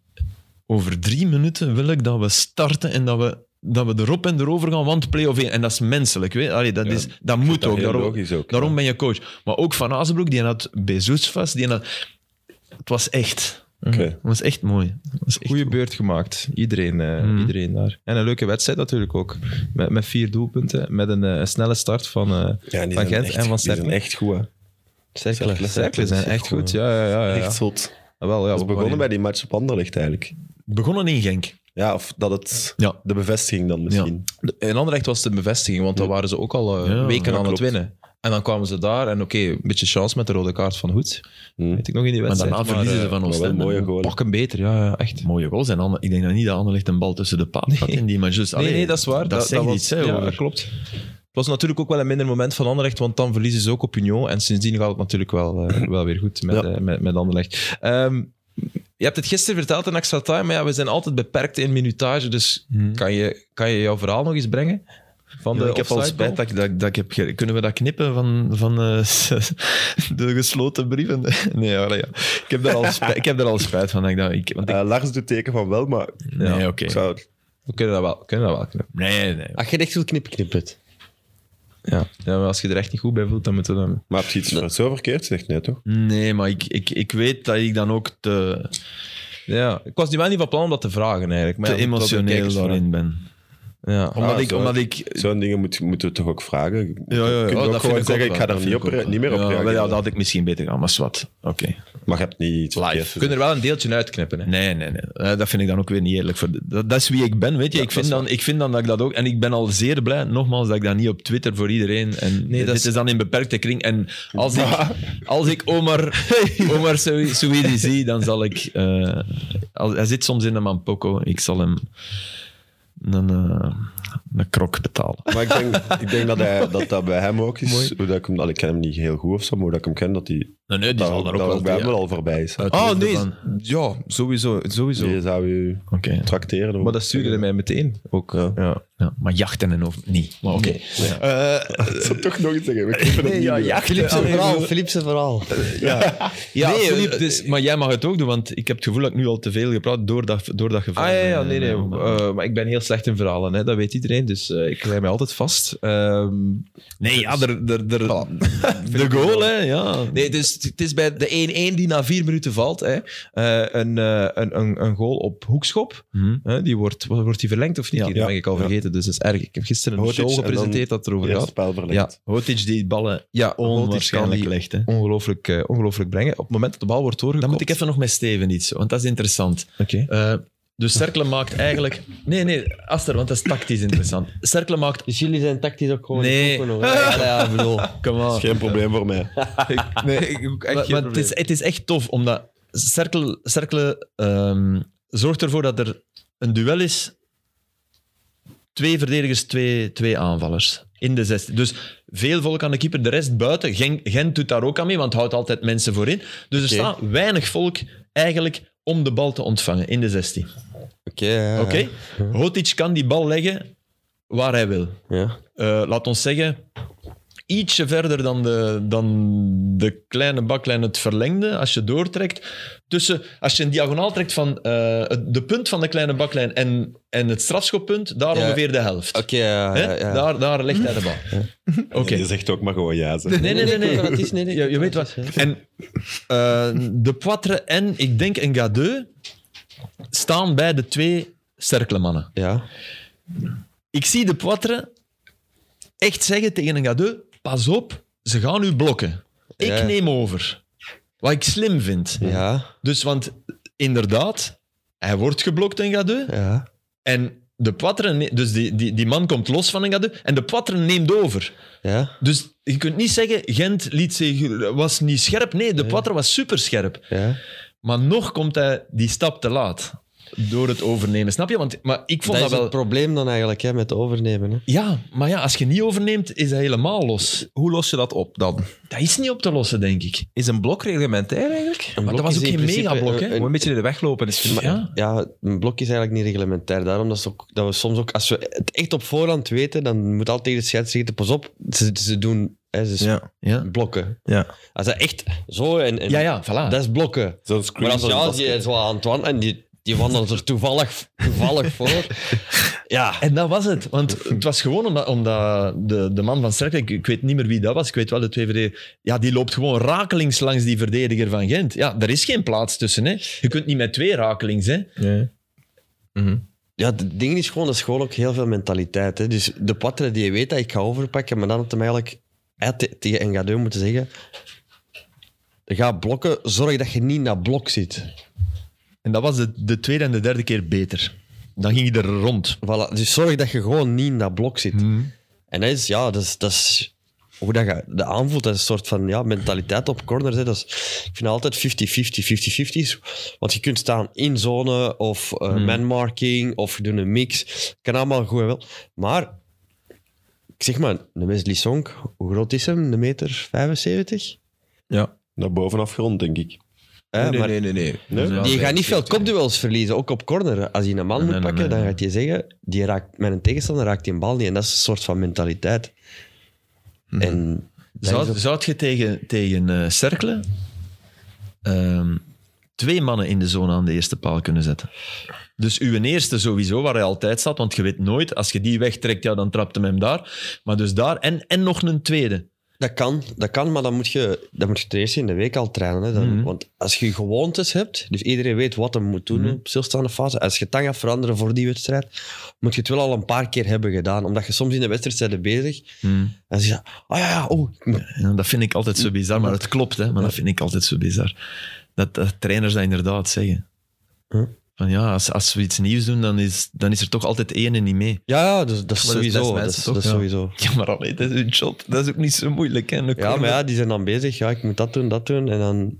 Speaker 4: over drie minuten wil ik dat we starten en dat we, dat we erop en erover gaan, want play-off één. En dat is menselijk. Weet? je. Allee, dat, is, dat moet
Speaker 2: dat
Speaker 4: ook.
Speaker 2: heel
Speaker 4: Daarom,
Speaker 2: logisch ook,
Speaker 4: daarom ben je coach. Maar ook Van Hazebroek, die had Bezoets vast. Die had, het was echt.
Speaker 2: Oké.
Speaker 4: Het was echt mooi. Het was echt Mhm.
Speaker 1: goede beurt gemaakt. Iedereen, eh, iedereen daar. En een leuke wedstrijd natuurlijk ook. Met, met vier doelpunten. Met een, eh, een snelle start van, eh
Speaker 2: Ja, en die
Speaker 1: van
Speaker 2: zijn
Speaker 1: Gent
Speaker 2: echt-
Speaker 1: en van
Speaker 2: die zijn
Speaker 1: Sterkelen.
Speaker 2: echt goed, hè.
Speaker 3: Cerkelen.
Speaker 1: Sterkelen zijn echt goed. Ja, ja, ja. ja, ja.
Speaker 2: Echt zot.
Speaker 1: Wel, ja
Speaker 2: Dat
Speaker 1: we
Speaker 2: is begonnen bij
Speaker 1: waren-
Speaker 2: die match op Anderlecht eigenlijk.
Speaker 4: Begonnen in Genk.
Speaker 2: Ja, of dat het...
Speaker 4: Ja.
Speaker 2: De bevestiging dan misschien.
Speaker 1: In Anderlecht was het een bevestiging, want dan waren ze ook al eh,
Speaker 4: Ja,
Speaker 1: weken
Speaker 4: ja,
Speaker 1: aan
Speaker 2: klopt.
Speaker 1: het winnen. En dan kwamen ze daar en oké, een beetje chance met de rode kaart van Hoed.
Speaker 2: Hm.
Speaker 1: Weet ik nog in die
Speaker 4: Maar
Speaker 1: wedstrijd.
Speaker 4: daarna verliezen ze van
Speaker 2: maar
Speaker 4: ons.
Speaker 2: wel mooie goal.
Speaker 1: Pak hem beter, ja, ja, echt.
Speaker 4: Mooie goals. En Anne- ik denk dat niet dat Anderlecht een bal tussen de paal had in die match. Dus,
Speaker 1: Nee,
Speaker 4: allee,
Speaker 1: nee, dat is waar.
Speaker 4: Dat, zegt
Speaker 1: was-
Speaker 4: iets, hè,
Speaker 1: ja,
Speaker 4: over-
Speaker 1: dat klopt. Het was natuurlijk ook wel een minder moment van Anderlecht, want dan verliezen ze ook op Union. En sindsdien gaat het natuurlijk wel, eh, wel weer goed met,
Speaker 2: Ja.
Speaker 1: eh, met, met Anderlecht. Ehm, je hebt het gisteren verteld in Extra Time, maar ja, we zijn altijd beperkt in minutage. Dus kan, je, kan je jouw verhaal nog eens brengen? Van
Speaker 4: Mhm. Ja,
Speaker 1: de
Speaker 4: ik heb al
Speaker 1: offside
Speaker 4: spijt
Speaker 1: goal?
Speaker 4: dat, ik- dat, ik- dat ik heb... ge- Kunnen we dat knippen van, van eh, de gesloten brieven? Nee, allee, ja. ik, heb daar al spijt, ik heb daar al spijt van. dat Ik dat, ik, want ik-
Speaker 2: Eh, Lars doet teken van wel, maar
Speaker 4: nee, oké.
Speaker 2: ik zou...
Speaker 1: We kunnen dat wel, kunnen dat wel knippen.
Speaker 4: Nee, nee.
Speaker 3: Als je het echt wil knippen, knip het.
Speaker 1: Ja. ja, maar als je er echt niet goed bij voelt, dan moeten we dan...
Speaker 2: Maar heb je iets zo verkeerd? Zegt nee, toch?
Speaker 4: Nee, maar ik, ik, ik weet dat ik dan ook te,
Speaker 1: Ja, ik was nu wel niet van plan om dat te vragen eigenlijk. Maar
Speaker 4: te
Speaker 1: ja, dat was een
Speaker 4: emotioneel
Speaker 1: kijkersvraag.
Speaker 4: daarin ben.
Speaker 1: Ja.
Speaker 4: Omdat,
Speaker 2: Ah,
Speaker 4: ik,
Speaker 2: zo.
Speaker 4: omdat ik
Speaker 2: Zo'n dingen moet, moeten we toch ook vragen?
Speaker 4: Ja, ja, ja.
Speaker 2: Kun je
Speaker 4: Oh,
Speaker 2: ook
Speaker 4: dat vind
Speaker 2: gewoon
Speaker 4: ook
Speaker 2: zeggen, ik
Speaker 4: wel.
Speaker 2: ga daar
Speaker 4: Dat
Speaker 2: niet,
Speaker 4: vind
Speaker 2: op,
Speaker 4: ik ook
Speaker 2: niet meer op
Speaker 4: wel. ja,
Speaker 2: reageren.
Speaker 4: wel, ja, dat had ik misschien beter gedaan, maar zwart. Oké.
Speaker 2: Maar je hebt niet iets verkeerd
Speaker 1: Je kunt er wel een deeltje uitknippen. Hè.
Speaker 4: Nee, nee, nee. Eh, Dat vind ik dan ook weer niet eerlijk. Voor de- dat, dat is wie ik ben, weet je. ik, vind dan, ik vind dan dat ik dat ook... En ik ben al zeer blij, nogmaals, dat ik dat niet op Twitter voor iedereen... En
Speaker 1: Nee, dat
Speaker 4: dit
Speaker 1: is-
Speaker 4: is... dan in beperkte kring. En als ik, als ik Omar, Omar Sou- Souidi zie, dan zal ik... eh, als, hij zit soms in de Mampoko. Ik zal hem een, eh, een krok betalen.
Speaker 2: Maar ik denk, ik denk dat, hij, dat dat bij hem ook is. Hoe dat ik, hem, allee, ik ken hem niet heel goed of zo, maar hoe dat ik hem ken, dat hij
Speaker 4: Nee, nee, die
Speaker 2: dat,
Speaker 4: zal
Speaker 2: ook-
Speaker 4: daar
Speaker 2: dat
Speaker 4: ook
Speaker 2: ook bij
Speaker 4: wel...
Speaker 2: hem wel al voorbij is.
Speaker 4: uit de
Speaker 1: Oh
Speaker 4: hoofden
Speaker 1: nee,
Speaker 4: van-
Speaker 1: ja, sowieso. sowieso.
Speaker 2: Die zou je
Speaker 4: Oké.
Speaker 2: tracteren.
Speaker 1: Maar dat stuurde hij mij meteen ook. Ja.
Speaker 4: Ja, maar jachten en of niet. Maar oké.
Speaker 2: Ik zou toch nog iets zeggen. We knippen het niet meer.
Speaker 3: Philips zijn verhaal. Philips zijn verhaal.
Speaker 4: Ja,
Speaker 1: Nee,
Speaker 4: Filip,
Speaker 1: eh,
Speaker 4: dus, maar jij mag het ook doen, want ik heb het gevoel dat ik nu al te veel gepraat door dat, door dat geval.
Speaker 1: Ah ja, ja, nee, nee.
Speaker 4: Eh,
Speaker 1: eh, maar ik ben heel slecht in verhalen, hè. dat weet iedereen. Dus eh, ik rij mij altijd vast. Ehm,
Speaker 4: nee, ja, der, der, der, de goal, hè. Ja.
Speaker 1: nee, dus het is bij de 1-1 die na vier minuten valt. Hè. Eh, een, eh, een, een, een goal op hoekschop.
Speaker 4: Hm.
Speaker 1: Hè, die wordt, wordt die verlengd of niet?
Speaker 4: Ja.
Speaker 1: Dat ben ik al vergeten, dus dat is erg. Ik heb gisteren een
Speaker 2: Hoort
Speaker 1: show
Speaker 2: iets en dan
Speaker 1: gepresenteerd dat erover
Speaker 2: Eerste
Speaker 1: gaat.
Speaker 2: spel
Speaker 1: Ja,
Speaker 2: verlegd.
Speaker 4: Hotic die ballen
Speaker 1: ja,
Speaker 4: onwaarschijnlijk
Speaker 1: onwaarschijnlijk.
Speaker 4: legt, hè.
Speaker 1: Ongelooflijk, eh, ongelooflijk brengen. Op het moment dat de bal wordt
Speaker 4: Dan
Speaker 1: doorgekomen.
Speaker 4: moet ik even nog met Steven iets, want dat is interessant. Eh, dus Cerkelen maakt eigenlijk... Nee, nee, Aster, want dat is tactisch interessant. Cerkelen maakt...
Speaker 3: Dus jullie zijn tactisch ook gewoon...
Speaker 4: Nee.
Speaker 3: ook nog, hè? Ja, ja, ik bedoel...
Speaker 4: Come on.
Speaker 2: Geen probleem voor mij.
Speaker 1: Nee, ik ook echt geen
Speaker 4: Maar, maar het,
Speaker 1: probleem.
Speaker 4: is, het is echt tof, omdat Cerkel, Cerkelen ehm, zorgt ervoor dat er een duel is. Twee verdedigers, twee, twee aanvallers. in de 16. Dus veel volk aan de keeper, de rest buiten. Genk, Gent doet daar ook aan mee, want houdt altijd mensen voor in. Dus er
Speaker 3: Oké.
Speaker 4: staat weinig volk eigenlijk om de bal te ontvangen in de 16.
Speaker 3: Oké. ja, ja.
Speaker 4: Oké? Hotic kan die bal leggen waar hij wil.
Speaker 3: Ja.
Speaker 4: Eh, laat ons zeggen, ietsje verder dan de, dan de kleine baklijn het verlengde, als je doortrekt. Tussen, als je een diagonaal trekt van eh, het- de punt van de kleine baklijn en, en het strafschoppunt, daar
Speaker 3: Ja.
Speaker 4: ongeveer de helft.
Speaker 3: Oké, ja,
Speaker 4: Hè? Nou,
Speaker 3: ja, ja.
Speaker 4: Daar, daar legt hij de bal. Oké.
Speaker 2: Je zegt ook maar gewoon ja. zeg.
Speaker 4: Nee, nee, nee. nee,
Speaker 3: ik weet wat het is, nee, nee.
Speaker 4: Je, je weet wat. En eh, De Poitre en, ik denk, een Gadeu staan bij de twee sterkele mannen.
Speaker 3: Ja.
Speaker 4: Ik zie de Poitre echt zeggen tegen een Gadeu: pas op, ze gaan u blokken. Ik
Speaker 3: Ja.
Speaker 4: neem over. Wat ik slim vind.
Speaker 3: Ja.
Speaker 4: Dus, want inderdaad, hij wordt geblokt, een Gadeu.
Speaker 3: Ja.
Speaker 4: En de Poitre, ne- dus die, die, die man komt los van een Gadeu. En de Poitre neemt over.
Speaker 3: Ja.
Speaker 4: Dus je kunt niet zeggen, Gent liet zich, was niet scherp. Nee, de Poitre was superscherp.
Speaker 3: ja.
Speaker 4: Maar nog komt hij die stap te laat door het overnemen. Snap je? Want, maar ik
Speaker 3: Dat
Speaker 4: vond dat,
Speaker 3: is het
Speaker 4: wel...
Speaker 3: probleem dan eigenlijk, hè, met overnemen. Hè.
Speaker 4: Ja, maar ja, als je niet overneemt, is hij helemaal los.
Speaker 1: Hoe los je dat op dan?
Speaker 4: Dat is niet op te lossen, denk ik.
Speaker 1: Is een blok reglementair eigenlijk? Maar
Speaker 3: blok
Speaker 1: dat was
Speaker 3: is
Speaker 1: ook
Speaker 3: in
Speaker 1: geen
Speaker 3: principe
Speaker 1: megablok, hè?
Speaker 3: een-
Speaker 1: Gewoon een beetje in de weg lopen. Is
Speaker 4: Maar, ja.
Speaker 3: Ja, een blok is eigenlijk niet reglementair. Daarom dat, ze ook, dat we soms ook, als we het echt op voorhand weten, dan moet altijd de scheidsrechter, pas op, ze, ze doen hè, ze
Speaker 1: Ja.
Speaker 4: Ja,
Speaker 3: blokken.
Speaker 1: Ja.
Speaker 3: Als dat echt zo en, en
Speaker 4: ja, ja voilà.
Speaker 3: dat is blokken.
Speaker 2: Zo'n
Speaker 3: Maar
Speaker 2: screen.
Speaker 3: als ja,
Speaker 2: zo'n
Speaker 3: die is wel aan het wandelen en die, die wandelt er toevallig, toevallig voor. Ja,
Speaker 4: En dat was het. Want het was gewoon omdat, omdat de, de man van Sterk, ik, ik weet niet meer wie dat was, ik weet wel de twee verdedigers. Ja, die loopt gewoon rakelings langs die verdediger van Gent. Ja, er is geen plaats tussen. Hè. Je kunt niet met twee rakelings. Hè.
Speaker 1: Ja. Mhm.
Speaker 3: ja het ding is gewoon, dat is gewoon ook heel veel mentaliteit. Hè. Dus de patre die weet dat ik ga overpakken, maar dan had hem eigenlijk hij had te- tegen Engadeu moeten zeggen... Ga blokken, zorg dat je niet naar blok zit.
Speaker 4: En dat was de, de tweede en de derde keer beter. Dan ging hij er rond.
Speaker 3: Voilà, dus zorg dat je gewoon niet in dat blok zit.
Speaker 1: Mhm.
Speaker 3: En dat is, ja, dat is, dat is hoe dat je de aanvoelt, dat is een soort van ja, mentaliteit op corners. Hè. Dat is, ik vind altijd 50-50, 50-50. Want je kunt staan in zone of eh,
Speaker 1: Mhm.
Speaker 3: manmarking of je doet een mix. Kan allemaal goed en wel. Maar, ik zeg maar, de Wesley Song, hoe groot is hem? Een meter 75?
Speaker 1: ja.
Speaker 2: Naar boven afgerond, denk ik.
Speaker 3: Hè,
Speaker 1: Nee,
Speaker 3: Eh, maar
Speaker 1: nee, nee, nee.
Speaker 2: Nee?
Speaker 1: Ja,
Speaker 3: die
Speaker 1: nee,
Speaker 3: gaat niet veel
Speaker 1: nee.
Speaker 3: kopduels verliezen, ook op corner. Als hij een man
Speaker 4: Nee,
Speaker 3: moet
Speaker 4: nee,
Speaker 3: pakken,
Speaker 4: nee,
Speaker 3: dan
Speaker 4: nee.
Speaker 3: gaat hij zeggen, die raakt, mijn tegenstander raakt die bal niet. En dat is een soort van mentaliteit.
Speaker 4: Mhm.
Speaker 3: En dat is
Speaker 4: Zou,
Speaker 3: ook-
Speaker 4: zou je tegen, tegen eh Cercle, ehm, twee mannen in de zone aan de eerste paal kunnen zetten? Dus uw eerste sowieso, waar hij altijd staat, want je weet nooit, als je die wegtrekt, ja, dan trapt hem hem daar. Maar dus daar, en, en nog een tweede.
Speaker 3: dat, kan, dat kan, maar dan moet je, dan moet je ten eerste in de week al trainen. Hè. Dan-
Speaker 4: Mhm.
Speaker 3: Want als je gewoontes hebt, dus iedereen weet wat hem moet doen
Speaker 4: Mhm.
Speaker 3: op stilstaande fase. Als je het dan gaat veranderen voor die wedstrijd, moet je het wel al een paar keer hebben gedaan. Omdat je soms in de wedstrijd zijde bezig
Speaker 4: Mhm.
Speaker 3: en ze zeggen, oh ja, ja, oh,
Speaker 4: Ja, dat vind ik altijd zo bizar, maar het klopt, hè, maar dat vind ik altijd zo bizar. Dat, dat trainers dat inderdaad zeggen.
Speaker 3: Huh?
Speaker 4: Van ja, als, als we iets nieuws doen, dan is, dan is er toch altijd één en niet mee.
Speaker 3: ja, ja, dat, dat is
Speaker 4: Maar dat is
Speaker 3: sowieso.
Speaker 4: best
Speaker 3: Dat
Speaker 4: mensen,
Speaker 3: is,
Speaker 4: toch?
Speaker 3: dat is
Speaker 4: Ja.
Speaker 3: sowieso.
Speaker 4: Ja, maar allee, dat is hun job. Dat is ook niet zo moeilijk. Hè? Een
Speaker 3: Ja, maar ja, die zijn dan bezig. Ja, ik moet dat doen, dat doen. En dan...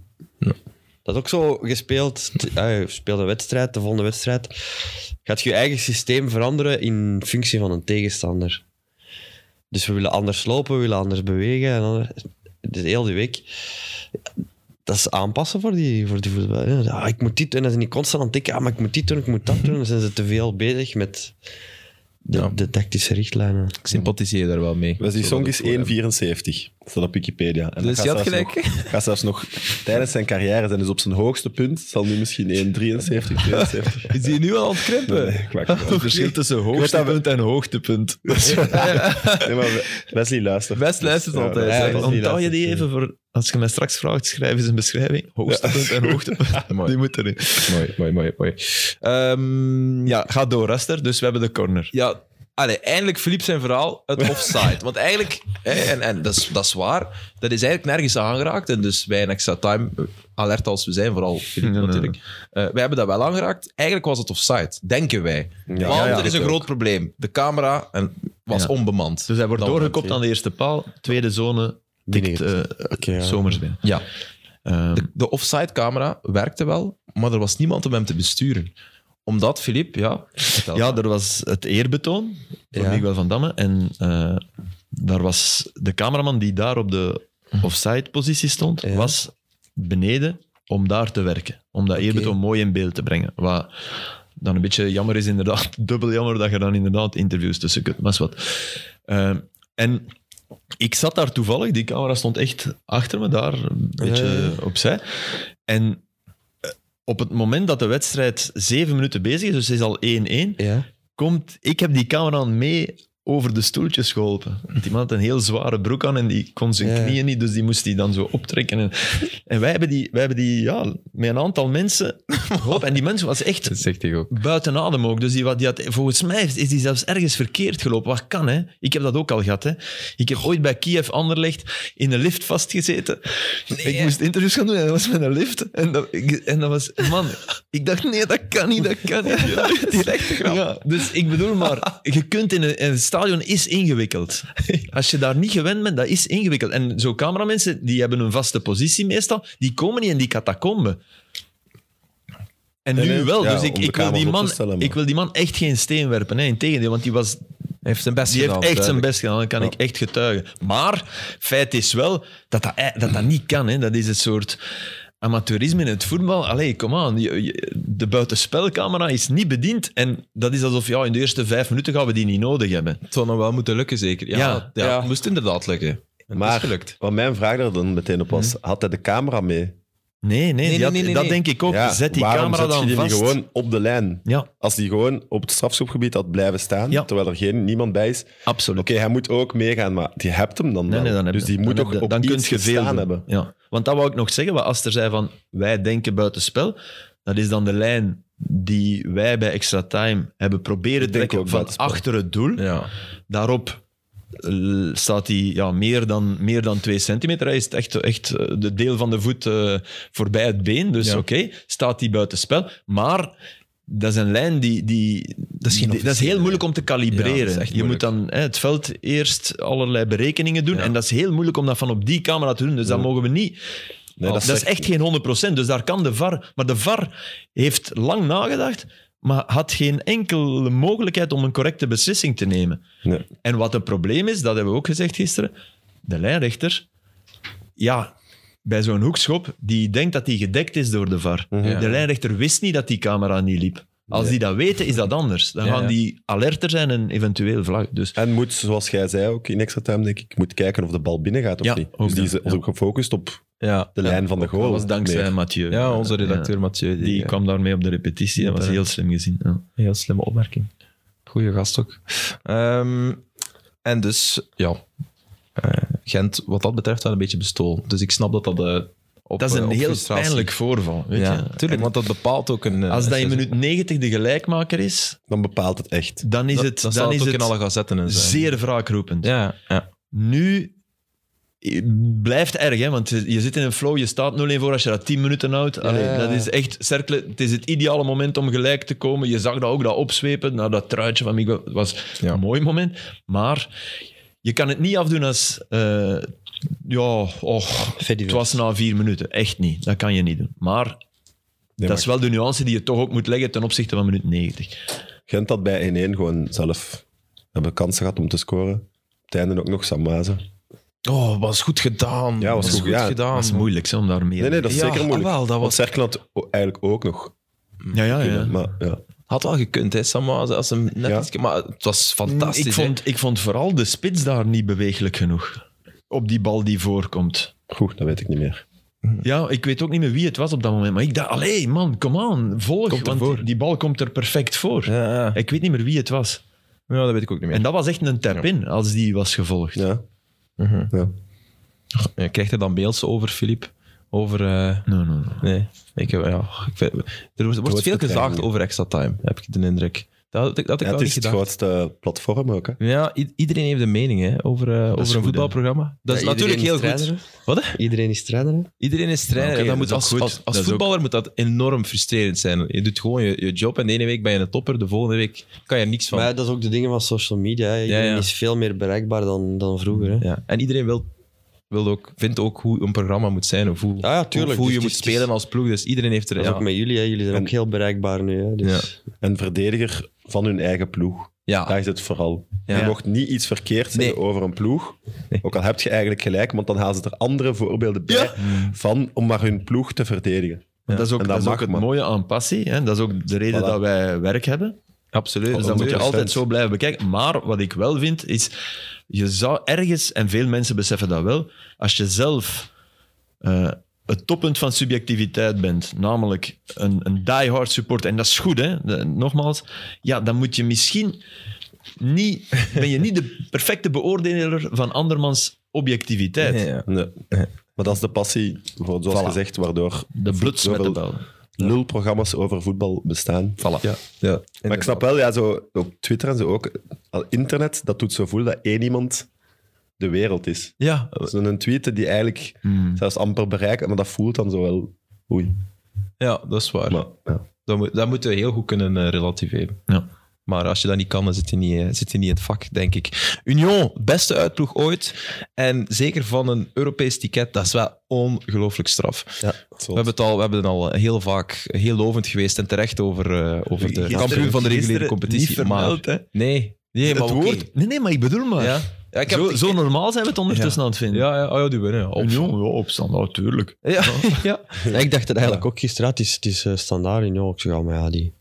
Speaker 3: Dat is ook zo gespeeld. T- ja, je speelt een wedstrijd, de volgende wedstrijd. Gaat je je eigen systeem veranderen in functie van een tegenstander. Dus we willen anders lopen, we willen anders bewegen. En ander- Dus heel die week... Dat is aanpassen voor die, voor die voetbal. Ja, ah, ik moet dit doen. En dan zijn die constant aan het denken, ah, maar ik moet dit doen, ik moet dat doen. Dan zijn ze te veel bezig met de,
Speaker 1: Ja.
Speaker 3: de tactische richtlijnen.
Speaker 1: Ik sympathiseer daar wel mee.
Speaker 2: Wesley Song is
Speaker 1: Zodat het gewoon-
Speaker 2: 1,74. Staat op Wikipedia. En
Speaker 1: Dus
Speaker 2: dat
Speaker 1: je
Speaker 2: gaat
Speaker 1: had
Speaker 2: zelfs
Speaker 1: gelijk.
Speaker 2: nog- Gaat zelfs nog tijdens zijn carrière zijn, dus op zijn hoogste punt zal nu misschien 1,73, 72.
Speaker 1: Is die nu al aan het
Speaker 2: Nee,
Speaker 1: krimpen?
Speaker 2: nee, kwak, kwak.
Speaker 4: Het verschil tussen hoogtepunt en hoogtepunt.
Speaker 2: Nee, Dus- maar Wesley luistert.
Speaker 1: Wes luistert altijd, hè.
Speaker 2: Wesley
Speaker 4: Onthoud je
Speaker 2: luistert.
Speaker 4: die even voor... Als je mij straks vraagt, schrijf eens een beschrijving. Hoogtepunt en hoogtepunt.
Speaker 1: Mooi.
Speaker 4: Die moet erin.
Speaker 1: Mooi, mooi, mooi. mooi. Ehm, ja,
Speaker 4: Ja, ga door, Raster. Dus we hebben de corner.
Speaker 1: ja. Allee, eindelijk verliep zijn verhaal het offside. Want eigenlijk, hè, en, en dat, is, dat is waar, dat is eigenlijk nergens aangeraakt. En dus wij in Extra Time, eh, alert als we zijn, vooral Filip
Speaker 4: Ja, ja.
Speaker 1: natuurlijk, eh, wij hebben dat wel aangeraakt. Eigenlijk was het offside, denken wij. Want
Speaker 2: ja,
Speaker 1: er is
Speaker 2: ik
Speaker 1: een
Speaker 2: ook.
Speaker 1: groot probleem. De camera en, was
Speaker 4: Ja.
Speaker 1: onbemand.
Speaker 4: Dus hij wordt
Speaker 1: Dan-
Speaker 4: doorgekopt aan de eerste paal. Tweede zone tikt eh
Speaker 3: Oké, ja.
Speaker 4: Somers binnen.
Speaker 1: Ja,
Speaker 4: Ehm,
Speaker 1: De, de offside-camera werkte wel, maar er was niemand om hem te besturen. Omdat Filip, ja... vertel.
Speaker 4: ja, er was het eerbetoon voor
Speaker 3: Ja.
Speaker 4: Miguel van Damme. En eh, Daar was de cameraman die daar op de offside-positie stond,
Speaker 3: Ja.
Speaker 4: was beneden om daar te werken. Om dat eerbetoon mooi in beeld te brengen. Wat dan een beetje jammer is, inderdaad. Dubbel jammer dat je dan inderdaad interviews tussen kunt. Maar is wat. Ehm, en ik zat daar toevallig, die camera stond echt achter me daar, een beetje
Speaker 3: ja.
Speaker 4: opzij. En eh, op het moment dat de wedstrijd zeven minuten bezig is, dus het is al 1-1,
Speaker 3: Ja.
Speaker 4: komt, ik heb die camera mee over de stoeltjes geholpen. Want die man had een heel zware broek aan en die kon zijn
Speaker 3: Ja.
Speaker 4: knieën niet, dus die moest die dan zo optrekken. En, en wij hebben die, wij hebben die ja, met een aantal mensen geholpen. En die mensen was echt
Speaker 1: Dat zegt hij ook.
Speaker 4: buiten adem ook. Dus die, wat- die had, volgens mij is is die zelfs ergens verkeerd gelopen. Wat kan, hè? Ik heb dat ook al gehad, hè? Ik heb ooit bij Kiev Anderlecht in een lift vastgezeten. Ik moest interviews gaan doen en dat was met een lift. En dat, ik- en dat was... Man, ik dacht, nee, dat kan niet, dat kan niet. Ja, Ja, dus ik bedoel maar, je kunt in een, een stadion is ingewikkeld. Als je daar niet gewend bent, dat is ingewikkeld. En zo cameramensen, die hebben een vaste positie meestal, die komen niet in die catacombe. En nu
Speaker 2: Nee, nee.
Speaker 4: wel,
Speaker 2: Ja,
Speaker 4: dus ik,
Speaker 2: om de
Speaker 4: ik, wil
Speaker 2: camera's
Speaker 4: die
Speaker 2: op te
Speaker 4: man,
Speaker 2: stellen, maar.
Speaker 4: ik wil die man echt geen steen werpen. Nee, integendeel, want die, was,
Speaker 1: Hij heeft zijn best
Speaker 4: die heeft
Speaker 1: gedaan.
Speaker 4: echt zijn
Speaker 1: duidelijk.
Speaker 4: best gedaan. Dat kan ik echt getuigen. Maar feit is wel dat dat, ei- dat, dat niet kan. Hè. Dat is een soort amateurisme in het voetbal. Allee, kom aan. je- je- De buitenspelcamera is niet bediend. En dat is alsof ja, in de eerste vijf minuten gaan we die niet nodig hebben.
Speaker 1: Het zou nog wel moeten lukken, zeker. Ja,
Speaker 4: Ja.
Speaker 1: ja, het moest inderdaad lukken. Het
Speaker 2: Maar-
Speaker 1: is gelukt. Hmm.
Speaker 2: Wat mijn vraag er dan meteen op was, had hij de camera mee?
Speaker 4: Nee, nee, die
Speaker 1: nee,
Speaker 4: had-
Speaker 1: nee, nee,
Speaker 4: dat
Speaker 1: nee.
Speaker 4: denk ik ook.
Speaker 2: Ja,
Speaker 4: Zet die
Speaker 2: waarom
Speaker 4: camera
Speaker 2: zet je
Speaker 4: dan
Speaker 2: die
Speaker 4: vast.
Speaker 2: niet gewoon op de lijn?
Speaker 4: Ja,
Speaker 2: Als die gewoon op het strafschopgebied had blijven staan,
Speaker 4: Ja.
Speaker 2: terwijl er geen, niemand bij is. Oké,
Speaker 4: absoluut.
Speaker 2: hij moet ook meegaan, maar die hebt hem dan
Speaker 4: Nee,
Speaker 2: wel.
Speaker 4: nee, dan heb
Speaker 2: Dus
Speaker 4: je-
Speaker 2: die moet
Speaker 4: dan
Speaker 2: toch
Speaker 4: heb je-
Speaker 2: op
Speaker 4: dan
Speaker 2: iets
Speaker 4: kun je veel
Speaker 2: gestaan
Speaker 4: doen.
Speaker 2: hebben.
Speaker 4: Ja. Want dat wou ik nog zeggen, wat Aster zei van wij denken buitenspel, dat is dan de lijn die wij bij Extra Time hebben proberen te
Speaker 2: denk
Speaker 4: trekken
Speaker 2: ook
Speaker 4: van
Speaker 2: buitenspel.
Speaker 4: achter het doel.
Speaker 1: Ja.
Speaker 4: Daarop eh, staat hij ja, meer, dan, meer dan twee centimeter. Hij is echt, echt eh, de deel van de voet eh, voorbij het been, dus
Speaker 1: Ja.
Speaker 4: oké, staat hij buitenspel. Maar... Dat is een lijn die... die dat,
Speaker 1: is geen
Speaker 4: dat is
Speaker 1: officiële
Speaker 4: heel
Speaker 1: lijn.
Speaker 4: moeilijk om te kalibreren.
Speaker 1: Ja, dat is echt
Speaker 4: je moet
Speaker 1: moeilijk.
Speaker 4: dan hè, het veld eerst allerlei berekeningen doen.
Speaker 1: Ja.
Speaker 4: En dat is heel moeilijk om dat van op die camera te doen. Dus dat mogen we niet.
Speaker 2: Nee,
Speaker 4: dat, is echt geen 100%. Dus daar kan de VAR. Maar de VAR heeft lang nagedacht. Maar had geen enkele mogelijkheid om een correcte beslissing te nemen.
Speaker 2: Nee.
Speaker 4: En wat het probleem is, dat hebben we ook gezegd gisteren. De lijnrechter, ja, bij zo'n hoekschop, die denkt dat die gedekt is door de VAR.
Speaker 1: Mhm. Ja.
Speaker 4: De lijnrechter wist niet dat die camera niet liep. Als die dat weten, is dat anders. Dan
Speaker 1: Ja,
Speaker 4: gaan
Speaker 1: ja.
Speaker 4: die alerter zijn en eventueel vlag. Dus
Speaker 2: En moet, zoals jij zei ook in extra time, denk ik, moet kijken of de bal binnen gaat of
Speaker 4: Ja,
Speaker 2: niet.
Speaker 4: ook
Speaker 2: Dus die
Speaker 4: dat,
Speaker 2: is ook gefocust op
Speaker 1: Ja.
Speaker 2: de lijn van de goal.
Speaker 4: dat was dankzij
Speaker 2: meer.
Speaker 4: Mathieu.
Speaker 1: oh, ja, onze redacteur
Speaker 4: Ja.
Speaker 1: Mathieu. Die,
Speaker 4: Die
Speaker 1: eh,
Speaker 4: kwam daarmee op de repetitie. Dat was heel slim gezien. Ja.
Speaker 1: Heel slimme opmerking. Goeie gast ook. Ehm, en dus, ja. eh, Gent, wat dat betreft, wel een beetje bestolen. Dus ik snap dat dat. eh, op,
Speaker 4: Dat is
Speaker 1: eh,
Speaker 4: een
Speaker 1: op
Speaker 4: heel
Speaker 1: frustratie-
Speaker 4: pijnlijk voorval. Weet
Speaker 1: Ja,
Speaker 4: je.
Speaker 1: tuurlijk, want dat bepaalt ook een. eh,
Speaker 4: Als dat in
Speaker 1: seizoen.
Speaker 4: minuut 90 de gelijkmaker is,
Speaker 2: Dan bepaalt het echt.
Speaker 4: dan is
Speaker 1: Dat-
Speaker 4: het,
Speaker 1: dan
Speaker 4: dan
Speaker 1: staat
Speaker 4: is
Speaker 1: het ook
Speaker 4: het
Speaker 1: in alle gazetten en zo.
Speaker 4: zeer wraakroepend.
Speaker 1: Ja, ja.
Speaker 4: Nu eh, blijft erg, hè? want je je zit in een flow, je staat 0-1 voor als je dat 10 minuten houdt. Allee,
Speaker 2: Ja.
Speaker 4: Dat is echt cerkelen. Het is het ideale moment om gelijk te komen. Je zag dat ook, dat opzwepen naar dat truitje van Miguel. Het was
Speaker 1: Ja.
Speaker 4: een mooi moment, maar je kan het niet afdoen als... eh, ja, och,
Speaker 3: Ferdinand.
Speaker 4: het was na vier minuten. Echt niet. Dat kan je niet doen. Maar
Speaker 2: Nee,
Speaker 4: dat is wel de nuance die je toch ook moet leggen ten opzichte van minuut 90.
Speaker 2: Gent had bij 1-1 gewoon zelf hebben kansen gehad om te scoren. Op het einde ook nog Samaze.
Speaker 1: Oh, was goed gedaan.
Speaker 2: Ja, was goed, ja.
Speaker 1: gedaan.
Speaker 4: Dat is moeilijk hè, om daar meer...
Speaker 2: Ah, Nee, nee, dat is
Speaker 1: Ja,
Speaker 2: zeker moeilijk.
Speaker 1: ah, wel, dat
Speaker 2: Want
Speaker 1: was,
Speaker 2: Cerkel had o- eigenlijk ook nog.
Speaker 4: ja, ja, ja.
Speaker 2: kunnen, Maar, ja.
Speaker 1: had wel gekund, hè, Sam? Als hem net
Speaker 2: Ja.
Speaker 1: iets- maar het was fantastisch.
Speaker 4: Mm, Ik vond, ik vond vooral de spits daar niet bewegelijk genoeg. Op die bal die voorkomt.
Speaker 2: Goed, dat weet ik niet meer.
Speaker 4: Ja, ik weet ook niet meer wie het was op dat moment. Maar ik dacht, allee man, come on, volg.
Speaker 1: Komt
Speaker 4: want
Speaker 1: ervoor.
Speaker 4: die bal komt er perfect voor.
Speaker 1: hè. Ja, ja.
Speaker 4: Ik weet niet meer wie het was.
Speaker 1: ja, dat weet ik ook niet meer.
Speaker 4: En dat was echt een tap-in als die was gevolgd.
Speaker 2: Ja.
Speaker 1: Mhm.
Speaker 2: Ja.
Speaker 1: Ja, Krijgt hij dan mails over, Filip? Over... eh,
Speaker 4: Nee, nee, nee.
Speaker 1: Nee, ik heb, ja, ik vind- er wordt,
Speaker 2: wordt
Speaker 1: veel
Speaker 2: het
Speaker 1: gezaagd
Speaker 2: eigenlijk.
Speaker 1: over extra time, heb ik de indruk. Dat had ik, dat had ik wel
Speaker 2: Ja, het
Speaker 1: niet
Speaker 2: is het
Speaker 1: gedacht.
Speaker 2: grootste platform ook. Hè.
Speaker 1: Ja, i- iedereen heeft een mening hè, over, eh, over
Speaker 4: goed,
Speaker 1: een
Speaker 4: hè.
Speaker 1: voetbalprogramma. Dat is
Speaker 3: Ja, iedereen
Speaker 1: natuurlijk heel
Speaker 3: is trainer,
Speaker 1: goed. Wat? hè?
Speaker 3: Iedereen is trainer. hè?
Speaker 1: Iedereen is trainer.
Speaker 4: Ja, oké,
Speaker 1: dat
Speaker 4: dat
Speaker 1: moet
Speaker 4: is ook
Speaker 1: als
Speaker 4: goed.
Speaker 1: als, als
Speaker 4: Dat is
Speaker 1: voetballer moet dat enorm frustrerend zijn. Je doet gewoon je, je job en de ene week ben je een topper, de volgende week kan je er niks van.
Speaker 3: Maar ja, dat is ook de dingen van social media. hè. Iedereen
Speaker 1: ja.
Speaker 3: is veel meer bereikbaar dan, dan vroeger. Hè.
Speaker 1: Ja. En iedereen wil, wil ook, vindt ook hoe een programma moet zijn of hoe,
Speaker 3: Ja, ja, tuurlijk.
Speaker 1: hoe
Speaker 3: Dus
Speaker 1: je
Speaker 3: het
Speaker 1: moet
Speaker 3: is-
Speaker 1: spelen als ploeg. Dus iedereen heeft er...
Speaker 3: Dat is
Speaker 1: Ja,
Speaker 3: ook met jullie. Hè. Jullie zijn
Speaker 2: En-
Speaker 3: ook heel bereikbaar nu. Hè. Dus,
Speaker 2: Een verdediger van hun eigen ploeg. Daar
Speaker 1: Ja,
Speaker 2: is het vooral.
Speaker 1: Ah. Ja.
Speaker 2: Je mocht niet iets verkeerd zeggen
Speaker 1: Nee.
Speaker 2: over een ploeg. Ook al heb je eigenlijk gelijk, want dan halen ze er andere voorbeelden bij van om maar hun ploeg te verdedigen.
Speaker 4: Want dat is ook,
Speaker 2: En
Speaker 4: dat is
Speaker 2: mag,
Speaker 4: ook het
Speaker 2: man.
Speaker 4: mooie aan passie. Hè? Dat is ook de reden
Speaker 2: Voilà.
Speaker 4: dat wij werk hebben.
Speaker 1: absoluut.
Speaker 4: Dus dat moet je
Speaker 2: 100%.
Speaker 4: altijd zo blijven bekijken. Maar wat ik wel vind, is... Je zou ergens, en veel mensen beseffen dat wel, als je zelf eh, het toppunt van subjectiviteit bent, namelijk een, een die-hard supporter, en dat is goed, hè? de- nogmaals, ja, dan moet je misschien niet... Ben je niet de perfecte beoordeler van andermans objectiviteit.
Speaker 1: Ja, ja.
Speaker 2: Nee. Maar dat is de passie, voor- zoals
Speaker 4: Voilà.
Speaker 2: gezegd, waardoor
Speaker 4: De bluts met de
Speaker 2: zoveel
Speaker 4: bel.
Speaker 2: lulprogramma's over voetbal bestaan.
Speaker 1: Ja, ja.
Speaker 2: Maar ik snap wel, ja, zo, op Twitter en zo ook, al internet, dat doet zo voelen dat één iemand de wereld is.
Speaker 1: Ja,
Speaker 2: Zo'n tweet die eigenlijk zelfs amper bereikt, maar dat voelt dan zo wel... Oei.
Speaker 1: ja, dat is waar.
Speaker 2: Maar, ja.
Speaker 1: Dat, moet, dat moeten we heel goed kunnen eh, relativeren.
Speaker 4: Ja.
Speaker 1: Maar als je dat niet kan, dan zit je niet, eh, zit je niet in het vak, denk ik. Union, beste uitploeg ooit. En zeker van een Europees ticket, dat is wel ongelooflijk straf.
Speaker 2: Ja,
Speaker 1: We hebben, het al, we hebben het al eh, heel vaak heel lovend geweest en terecht over, eh, over de
Speaker 3: Gisteren-
Speaker 1: kampioen van de reguliere
Speaker 3: gisteren
Speaker 1: competitie.
Speaker 3: niet vermeld,
Speaker 1: maar,
Speaker 3: hè?
Speaker 1: Nee, nee maar
Speaker 4: het
Speaker 1: oké.
Speaker 4: woord... Nee, nee, maar ik bedoel maar.
Speaker 1: Ja. Ja, ik heb
Speaker 4: zo,
Speaker 1: het-
Speaker 4: zo normaal zijn we het ondertussen
Speaker 1: Ja.
Speaker 4: aan het vinden.
Speaker 1: Ja, ja, oh ja, die winnen. ja. Op-
Speaker 4: Union, ja, opstand, natuurlijk.
Speaker 1: Ja, ja.
Speaker 3: Ja, ik dacht het eigenlijk ook gisteren. ja, Het is, het is eh, standaard in Jok. Maar ja, die,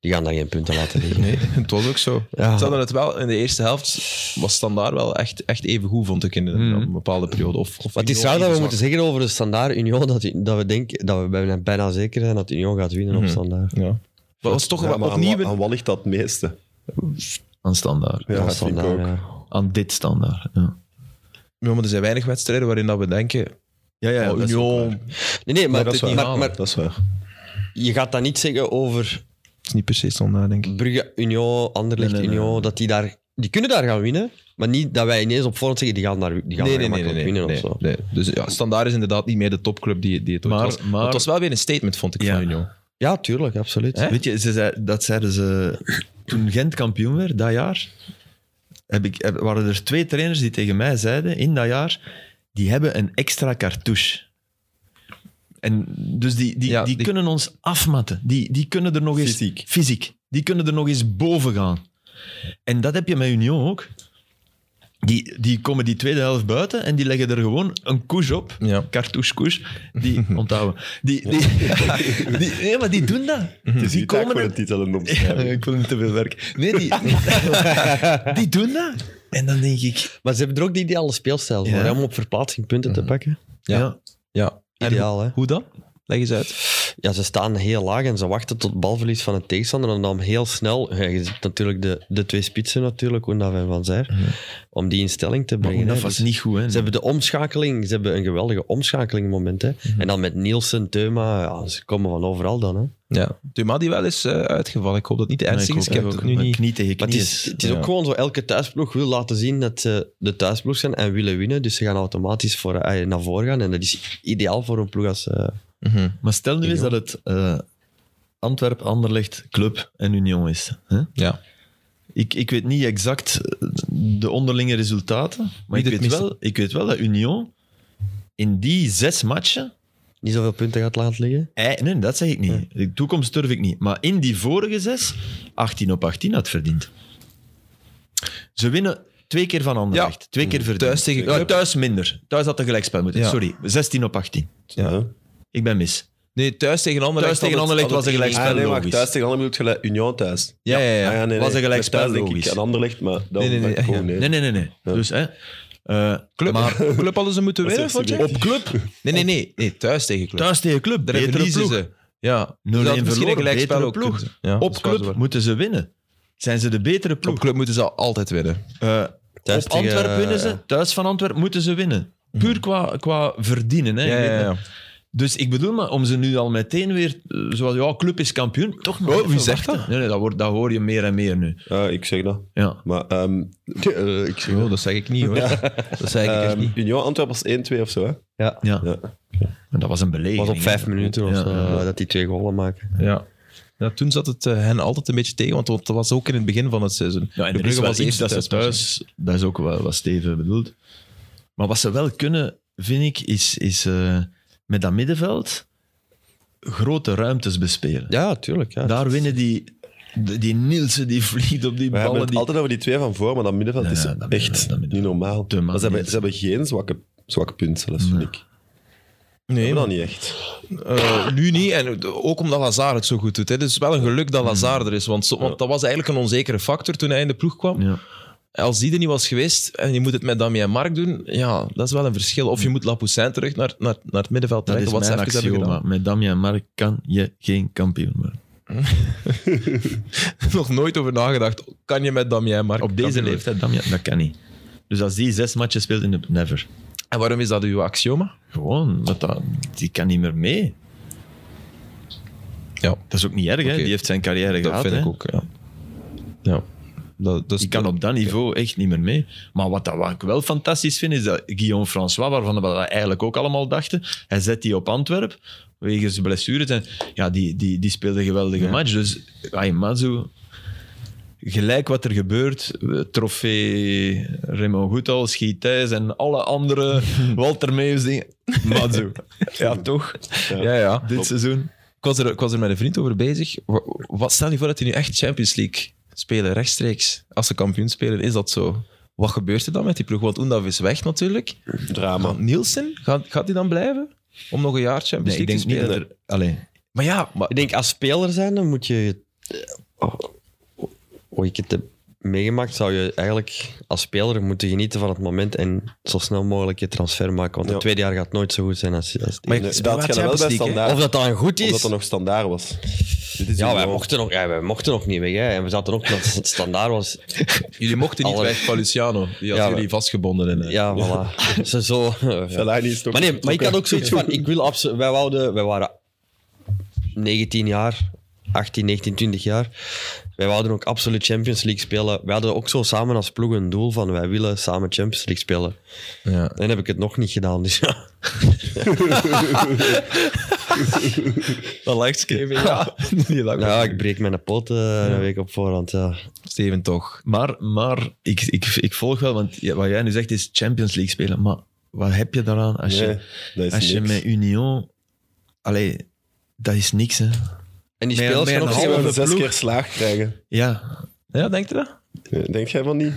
Speaker 3: die gaan daar geen punten laten liggen.
Speaker 1: Nee, het was ook zo.
Speaker 3: Ja.
Speaker 1: Ze hadden het wel in de eerste helft, was standaard wel echt, echt even goed, vond ik in een,
Speaker 4: Mhm.
Speaker 1: een bepaalde periode. Of, of
Speaker 3: Maar het is
Speaker 1: Union
Speaker 3: raar dat we
Speaker 1: even
Speaker 3: moeten zeggen over de standaard Union dat, die- dat we denken dat we bijna- bijna zeker zijn dat Union gaat winnen
Speaker 1: Mhm.
Speaker 3: op standaard.
Speaker 1: zwak. Ja. Maar het was toch
Speaker 2: Ja,
Speaker 1: wel
Speaker 2: maar aan,
Speaker 1: opnieuw...
Speaker 2: wa- aan wat ligt dat het meeste?
Speaker 4: Aan standaard.
Speaker 2: Ja,
Speaker 3: Aan
Speaker 2: dat vind ik
Speaker 3: standaard,
Speaker 2: ook.
Speaker 3: ja.
Speaker 4: Aan dit standaard. Ja,
Speaker 1: Ja, maar er zijn weinig wedstrijden waarin dat we denken...
Speaker 4: ja, ja
Speaker 1: oh,
Speaker 4: dat is ook waar.
Speaker 1: Union,
Speaker 3: Nee, nee, maar,
Speaker 2: dat is
Speaker 3: het-
Speaker 2: waar.
Speaker 3: maar, maar
Speaker 2: Dat is waar.
Speaker 3: je gaat dat niet zeggen over
Speaker 1: is niet per se standaard, denk ik.
Speaker 3: Brugge Union, Anderlecht
Speaker 4: Nee, nee, nee.
Speaker 3: Union, dat die daar... Die kunnen daar gaan winnen, maar niet dat wij ineens op voorhand zeggen die gaan daar, die gaan
Speaker 1: Nee, nee, nee. nee,
Speaker 3: daar gemakkelijk
Speaker 1: nee,
Speaker 3: winnen
Speaker 1: nee,
Speaker 3: of zo.
Speaker 1: nee. Dus ja, standaard is inderdaad niet meer de topclub die, die het ooit
Speaker 4: Maar-
Speaker 1: was. Maar,
Speaker 4: maar-
Speaker 1: het was wel weer een statement, vond ik,
Speaker 4: Ja.
Speaker 1: van Union.
Speaker 3: Ja, tuurlijk, absoluut.
Speaker 1: Hè?
Speaker 4: Weet je, ze zei, dat zeiden ze toen Gent kampioen werd, dat jaar. Heb ik, heb- waren er twee trainers die tegen mij zeiden in dat jaar, die hebben een extra cartouche. En dus die, die,
Speaker 1: Ja,
Speaker 4: die,
Speaker 1: die-
Speaker 4: kunnen ons afmatten. Die, die kunnen er nog eens...
Speaker 2: Fysiek.
Speaker 4: Fysiek. Die kunnen er nog eens boven gaan. En dat heb je met Union ook. Die, die komen die tweede helft buiten en die leggen er gewoon een koes op.
Speaker 1: Ja.
Speaker 4: Cartouche koes. Die onthouden. Die, die, die- nee, maar die doen dat.
Speaker 1: Mhm.
Speaker 2: Het is
Speaker 4: die
Speaker 2: niet dat ik
Speaker 4: komen
Speaker 2: voor
Speaker 4: er-
Speaker 2: een titel en
Speaker 4: ja,
Speaker 2: omschrijving.
Speaker 4: ik wil niet te veel werk. Nee, die, die doen dat. En dan denk ik...
Speaker 3: Maar ze hebben er ook die ideale speelstijl voor,
Speaker 4: Ja.
Speaker 3: hè, om op verplaatsing punten
Speaker 4: Mhm.
Speaker 3: te pakken.
Speaker 1: Ja.
Speaker 4: Ja.
Speaker 1: Ja. En
Speaker 3: Ideaal,
Speaker 1: hoe-
Speaker 3: hè?
Speaker 1: Hoe dan? Leg eens uit.
Speaker 3: Ja, ze staan heel laag en ze wachten tot balverlies van een tegenstander. En dan heel snel, ja, je ziet natuurlijk de, de twee spitsen natuurlijk, Oendaf en Van Zijr, om die in stelling te
Speaker 4: Mhm. Maar
Speaker 3: brengen.
Speaker 4: Oh, dat
Speaker 3: hè.
Speaker 4: was
Speaker 3: Dus
Speaker 4: niet goed, hè.
Speaker 3: Ze hebben de omschakeling, ze hebben een geweldige omschakelingmoment. Hè.
Speaker 4: Mhm.
Speaker 3: En dan met Nielsen, Teuma, ja, ze komen van overal dan. Hè.
Speaker 1: Ja. Duma die wel is eh, uitgevallen. Ik hoop dat het niet
Speaker 4: Nee,
Speaker 1: ernstig is. Ik heb
Speaker 4: hoop
Speaker 1: ook
Speaker 4: het
Speaker 1: nu
Speaker 4: ook,
Speaker 1: niet...
Speaker 4: maar Knie tegen
Speaker 3: Maar
Speaker 4: knie
Speaker 3: het is, het is
Speaker 1: ja.
Speaker 3: ook gewoon zo, elke thuisploeg wil laten zien dat ze de thuisploeg zijn en willen winnen. Dus ze gaan automatisch voor, eh, naar voren gaan. En dat is ideaal voor een ploeg als... eh,
Speaker 1: Mhm.
Speaker 4: Maar stel nu eens dat het eh Antwerp, Anderlecht, Club en Union is. Hè?
Speaker 1: Ja.
Speaker 4: Ik, ik weet niet exact eh, de onderlinge resultaten, maar ik
Speaker 1: dit
Speaker 4: weet,
Speaker 1: mist-
Speaker 4: wel, ik weet wel dat Union in die zes matchen...
Speaker 3: niet zoveel punten gaat laten liggen.
Speaker 4: ei- Nee, dat zeg ik niet. De toekomst durf ik niet. Maar in die vorige zes, 18 op 18 had verdiend. Ze winnen twee keer van Anderlecht.
Speaker 1: Ja.
Speaker 4: Twee keer verdiend.
Speaker 1: Thuis tegen
Speaker 4: Ja,
Speaker 1: Club.
Speaker 4: thuis minder. Thuis had een gelijkspel moeten.
Speaker 1: Ja.
Speaker 4: Sorry, 16 op 18.
Speaker 1: Ja.
Speaker 2: Ja.
Speaker 4: Ik ben mis.
Speaker 1: Nee, thuis tegen Anderlecht.
Speaker 4: Thuis tegen
Speaker 1: had het-
Speaker 4: Anderlecht
Speaker 1: had
Speaker 4: was
Speaker 1: het
Speaker 4: een
Speaker 1: geen-
Speaker 4: gelijkspel.
Speaker 2: Ah, nee, maar
Speaker 4: logisch.
Speaker 2: thuis tegen Anderlecht bedoel je gelijk Union thuis.
Speaker 1: Ja, ja, ja.
Speaker 2: Ah, nee, nee.
Speaker 4: Was een gelijkspel,
Speaker 2: Thuis denk
Speaker 4: logisch.
Speaker 2: Ik, aan Anderlecht, maar dat
Speaker 1: Nee, nee, nee,
Speaker 2: dat-
Speaker 1: ja,
Speaker 2: oh,
Speaker 1: ja.
Speaker 2: nee.
Speaker 4: Nee, nee, nee. nee. Dus, hè. eh,
Speaker 1: Club, maar,
Speaker 4: Maar
Speaker 1: club hadden ze moeten
Speaker 2: Dat is
Speaker 1: winnen,
Speaker 2: echt
Speaker 1: vond je?
Speaker 2: subjectief.
Speaker 1: club? Nee, nee, nee, nee. Thuis tegen club.
Speaker 4: thuis tegen club,
Speaker 1: Daar
Speaker 4: betere
Speaker 1: verliezen
Speaker 4: ploeg.
Speaker 1: ze. Ja.
Speaker 4: 0-1
Speaker 1: Ze hadden misschien
Speaker 4: verloren,
Speaker 1: een gelijkspel
Speaker 4: betere
Speaker 1: ook
Speaker 4: ploeg.
Speaker 1: kunnen- Ja, dat
Speaker 4: Op
Speaker 1: is waar, dat
Speaker 4: club
Speaker 1: is waar.
Speaker 4: moeten ze winnen. Zijn ze de betere ploeg?
Speaker 1: Op club moeten ze altijd winnen.
Speaker 4: Eh,
Speaker 3: Thuis
Speaker 4: op
Speaker 3: tegen-
Speaker 4: Antwerpen winnen
Speaker 1: eh,
Speaker 4: ze, thuis van Antwerpen moeten ze winnen. Puur qua, qua verdienen. Hè.
Speaker 1: Mhm. Ja,
Speaker 4: Ik weet
Speaker 1: ja,
Speaker 4: het.
Speaker 1: ja.
Speaker 4: Dus ik bedoel, maar om ze nu al meteen weer, eh, zoals ja, club is kampioen, toch nog.
Speaker 1: Oh,
Speaker 4: even
Speaker 1: wie zegt
Speaker 4: wachten.
Speaker 1: dat?
Speaker 4: Nee, nee, dat, wordt, dat hoor je meer en meer nu.
Speaker 2: Ah, ik zeg dat.
Speaker 4: Ja.
Speaker 2: Maar ehm, eh, ik zeg
Speaker 1: Jo, dat zeg ik niet, hoor. Dat zeg ik echt
Speaker 2: ehm,
Speaker 1: niet.
Speaker 2: Union Antwerpen was 1-2 of zo, hè?
Speaker 3: Ja.
Speaker 4: Ja.
Speaker 2: Ja.
Speaker 4: En dat was een
Speaker 3: Het
Speaker 4: beleving.
Speaker 3: was op vijf
Speaker 4: hè.
Speaker 3: minuten of
Speaker 4: Ja,
Speaker 3: zo, eh,
Speaker 4: ja.
Speaker 3: dat die twee golen maken.
Speaker 1: Ja. Ja, toen zat het eh, hen altijd een beetje tegen, want dat was ook in het begin van het seizoen.
Speaker 4: Ja, en
Speaker 1: De
Speaker 4: er is
Speaker 1: Brugge
Speaker 4: wel
Speaker 1: was
Speaker 4: iets
Speaker 1: eerste
Speaker 4: dat ze
Speaker 1: thuismatch.
Speaker 4: thuis... Dat is ook wel wat Steven bedoelt. Maar wat ze wel kunnen, vind ik, is, is eh, met dat middenveld grote ruimtes bespelen.
Speaker 3: Ja, tuurlijk. Ja.
Speaker 4: Daar winnen die... de- die Nielsen die vliegt op die
Speaker 2: We hebben
Speaker 4: ballen.
Speaker 2: het
Speaker 4: Die...
Speaker 2: altijd over die twee van voor, maar dat middenveld
Speaker 4: Ja,
Speaker 2: is
Speaker 4: ja, dat
Speaker 2: echt
Speaker 4: middenveld, dat middenveld.
Speaker 2: niet normaal.
Speaker 4: Te
Speaker 2: Maar ze hebben,
Speaker 4: magneet.
Speaker 2: ze hebben geen zwakke, zwakke punt, zelfs, vind ik. Ze
Speaker 1: Nee,
Speaker 2: hebben
Speaker 1: maar,
Speaker 2: dat niet echt.
Speaker 1: eh, nu niet. En ook omdat Lazar het zo goed doet. Hè. Het is wel een geluk dat Lazar er is. Want, zo- want dat was eigenlijk een onzekere factor toen hij in de ploeg kwam.
Speaker 4: Hmm. Ja.
Speaker 1: Als die er niet was geweest en je moet het met Damien Mark doen, ja, dat is wel een verschil. Of je moet Lapoussin terug naar, naar, naar het middenveld
Speaker 4: Dat
Speaker 1: trekken,
Speaker 4: is
Speaker 1: wat ze
Speaker 4: mijn
Speaker 1: even hebben
Speaker 4: axioma.
Speaker 1: gedaan.
Speaker 4: Met Damian en Mark kan je geen kampioen worden.
Speaker 1: Nog nooit over nagedacht. Kan je met Damien Mark
Speaker 4: Op deze
Speaker 1: kampioen
Speaker 4: leeftijd, Damian, dat kan niet. Dus als die zes matchen speelt in de... Never.
Speaker 1: worden? En waarom is dat uw axioma?
Speaker 4: Gewoon, want dat, die kan niet meer mee.
Speaker 1: Ja,
Speaker 4: Dat is ook niet erg, hè?
Speaker 1: Oké.
Speaker 4: Die heeft zijn carrière
Speaker 1: dat
Speaker 4: gehad.
Speaker 1: vind
Speaker 4: hè.
Speaker 1: ik ook. Ja. ja. Dat, dat is-
Speaker 4: Die kan op dat niveau echt niet meer mee. Maar wat, dat, wat ik wel fantastisch vind, is dat Guillaume François, waarvan we dat eigenlijk ook allemaal dachten, hij zet die op Antwerp, wegens blessures. En ja, die, die, die speelde een geweldige match. Dus, ay, Mazu, gelijk wat er gebeurt, eh, trofee Raymond Goethals, Gietijs en alle andere Walter Meus dingen. Mazu. Ja, toch?
Speaker 1: Ja, ja.
Speaker 4: Dit seizoen.
Speaker 1: Ik was, er, ik was er met een vriend over bezig. Wa- Wat, stel je voor dat die nu echt Champions League spelen, rechtstreeks. Als ze kampioen spelen, is dat zo? Wat gebeurt er dan met die ploeg? Want Oendaf is weg natuurlijk.
Speaker 2: Drama.
Speaker 1: Maar Nielsen, gaat, gaat die dan blijven? Om nog een jaar Champions
Speaker 4: Nee, ik
Speaker 1: League
Speaker 4: denk
Speaker 1: te
Speaker 4: niet
Speaker 1: spelen?
Speaker 4: dat er... Allee,
Speaker 1: Maar ja, maar,
Speaker 3: Ik denk, als speler zijn, dan moet je... Oh, hoe ik het heb meegemaakt, zou je eigenlijk als speler moeten genieten van het moment en zo snel mogelijk je transfer maken. Want
Speaker 2: Ja.
Speaker 3: het tweede jaar gaat nooit zo goed zijn als... als het
Speaker 1: Maar
Speaker 3: eerste.
Speaker 1: ik-
Speaker 2: Nee,
Speaker 1: maar het
Speaker 2: dat gaat wel
Speaker 1: Champions League,
Speaker 2: bij
Speaker 1: hè?
Speaker 2: standaard.
Speaker 3: of dat dan goed is.
Speaker 2: Omdat dat nog standaard was. Dit is
Speaker 3: Ja,
Speaker 2: hier
Speaker 3: wij
Speaker 2: wel-
Speaker 3: mochten, nog, ja, wij mochten nog niet weg. Hè. En we zaten ook dat het standaard was.
Speaker 1: jullie mochten niet
Speaker 3: Alle-
Speaker 1: weg Paluciano. Die had
Speaker 3: Ja,
Speaker 1: jullie
Speaker 3: maar-
Speaker 1: vastgebonden. In, eh.
Speaker 3: Ja, voilà. Ze zo. ja.
Speaker 2: Fellaini is toch
Speaker 3: Maar nee, maar ik had ook zoiets van: ik wil absoluut. Wij, wouden, wij waren 19 jaar, 18, 19, 20 jaar. Wij wouden ook absoluut Champions League spelen. Wij hadden ook zo samen als ploeg een doel van: wij willen samen Champions League spelen.
Speaker 1: Ja.
Speaker 3: En heb ik het nog niet gedaan, dus ja.
Speaker 1: Dat lijkt Ja, die lacht.
Speaker 3: Nou, ik breek mijn poot eh, een week op voorhand. Ja.
Speaker 1: Steven toch.
Speaker 4: Maar, maar ik, ik, ik volg wel, want ja, wat jij nu zegt is Champions League spelen. Maar wat heb je daaraan als je,
Speaker 2: Nee, dat is
Speaker 4: als je
Speaker 2: niks.
Speaker 4: met Union... Allee, dat is niks, hè.
Speaker 3: En die
Speaker 4: Meer-
Speaker 3: spelers
Speaker 4: meer
Speaker 3: gaan ook
Speaker 4: dan
Speaker 2: Als we
Speaker 3: zeggen,
Speaker 4: halve
Speaker 2: zes
Speaker 4: ploeg.
Speaker 2: keer slaag krijgen.
Speaker 4: Ja,
Speaker 1: Ja, denk je dat?
Speaker 2: Nee, Denk jij van niet?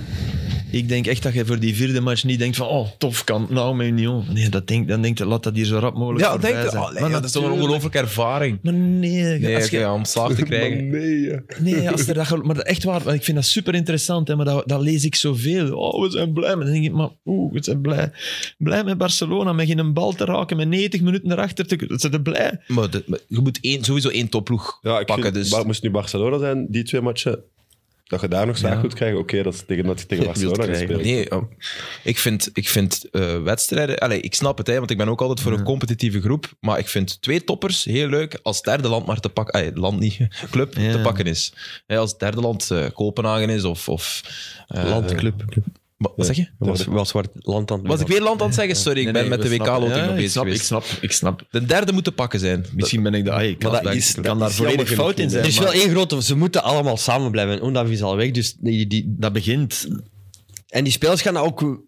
Speaker 4: ik denk echt dat je voor die vierde match niet denkt van oh, tof, kan het nou met Union. Nee, dat denk, dan denk je, laat dat hier zo rap mogelijk
Speaker 1: Ja,
Speaker 4: voorbij
Speaker 1: denk je?
Speaker 4: zijn.
Speaker 1: Allee, ja, dat is toch een
Speaker 4: natuurlijk-
Speaker 1: ongelooflijke ervaring.
Speaker 4: Maar nee,
Speaker 1: Nee,
Speaker 4: als
Speaker 1: oké,
Speaker 4: je-
Speaker 1: ja, om slaag te krijgen.
Speaker 2: Maar nee, ja.
Speaker 4: Nee, als er dat gel- maar echt waar, want ik vind dat super interessant, hè, maar dat, dat lees ik zoveel. Oh, we zijn blij. Maar dan denk ik, maar oeh, we zijn blij. Blij met Barcelona, met geen bal te raken, met 90 minuten erachter te kunnen. Ze zijn blij.
Speaker 1: Maar, de- maar je moet één, sowieso één topploeg
Speaker 2: Ja, ik
Speaker 1: pakken.
Speaker 2: vind-
Speaker 1: dus
Speaker 2: maar het moest nu Barcelona zijn, die twee matchen. Dat je daar nog slaag goed krijgen, oké, dat is tegen dat je tegen Barcelona
Speaker 4: krijgen.
Speaker 2: gespeeld.
Speaker 1: Nee, ja. ik vind, ik vind eh, wedstrijden... Allee, ik snap het, hè, want ik ben ook altijd voor een competitieve groep. Maar ik vind twee toppers heel leuk als het derde land maar te pakken... Allee, land niet, club
Speaker 4: Ja.
Speaker 1: te pakken is. Hè, als het derde land eh, Kopenhagen is of... of eh,
Speaker 3: Landclub.
Speaker 1: Wa- Wat zeg je?
Speaker 3: Was, was waar het land aan het
Speaker 1: Was ik weer land aan het zeggen? Sorry, ik ben met de WK-loting nog
Speaker 4: ik
Speaker 1: bezig
Speaker 4: snap,
Speaker 1: geweest.
Speaker 4: ik snap, ik snap.
Speaker 1: De derde moet te pakken zijn.
Speaker 4: Misschien ben ik daar... Ik kan,
Speaker 1: Maar dat
Speaker 4: daar-
Speaker 1: is-
Speaker 4: kan
Speaker 1: dat
Speaker 4: daar
Speaker 1: is
Speaker 4: volledig
Speaker 1: jammer
Speaker 4: fout in
Speaker 1: genoeg
Speaker 4: zijn.
Speaker 3: Er is wel
Speaker 4: maar
Speaker 3: één grote, ze moeten allemaal samen blijven. Oendaf is al weg, dus die, die,
Speaker 4: dat begint...
Speaker 3: En die spelers gaan dat ook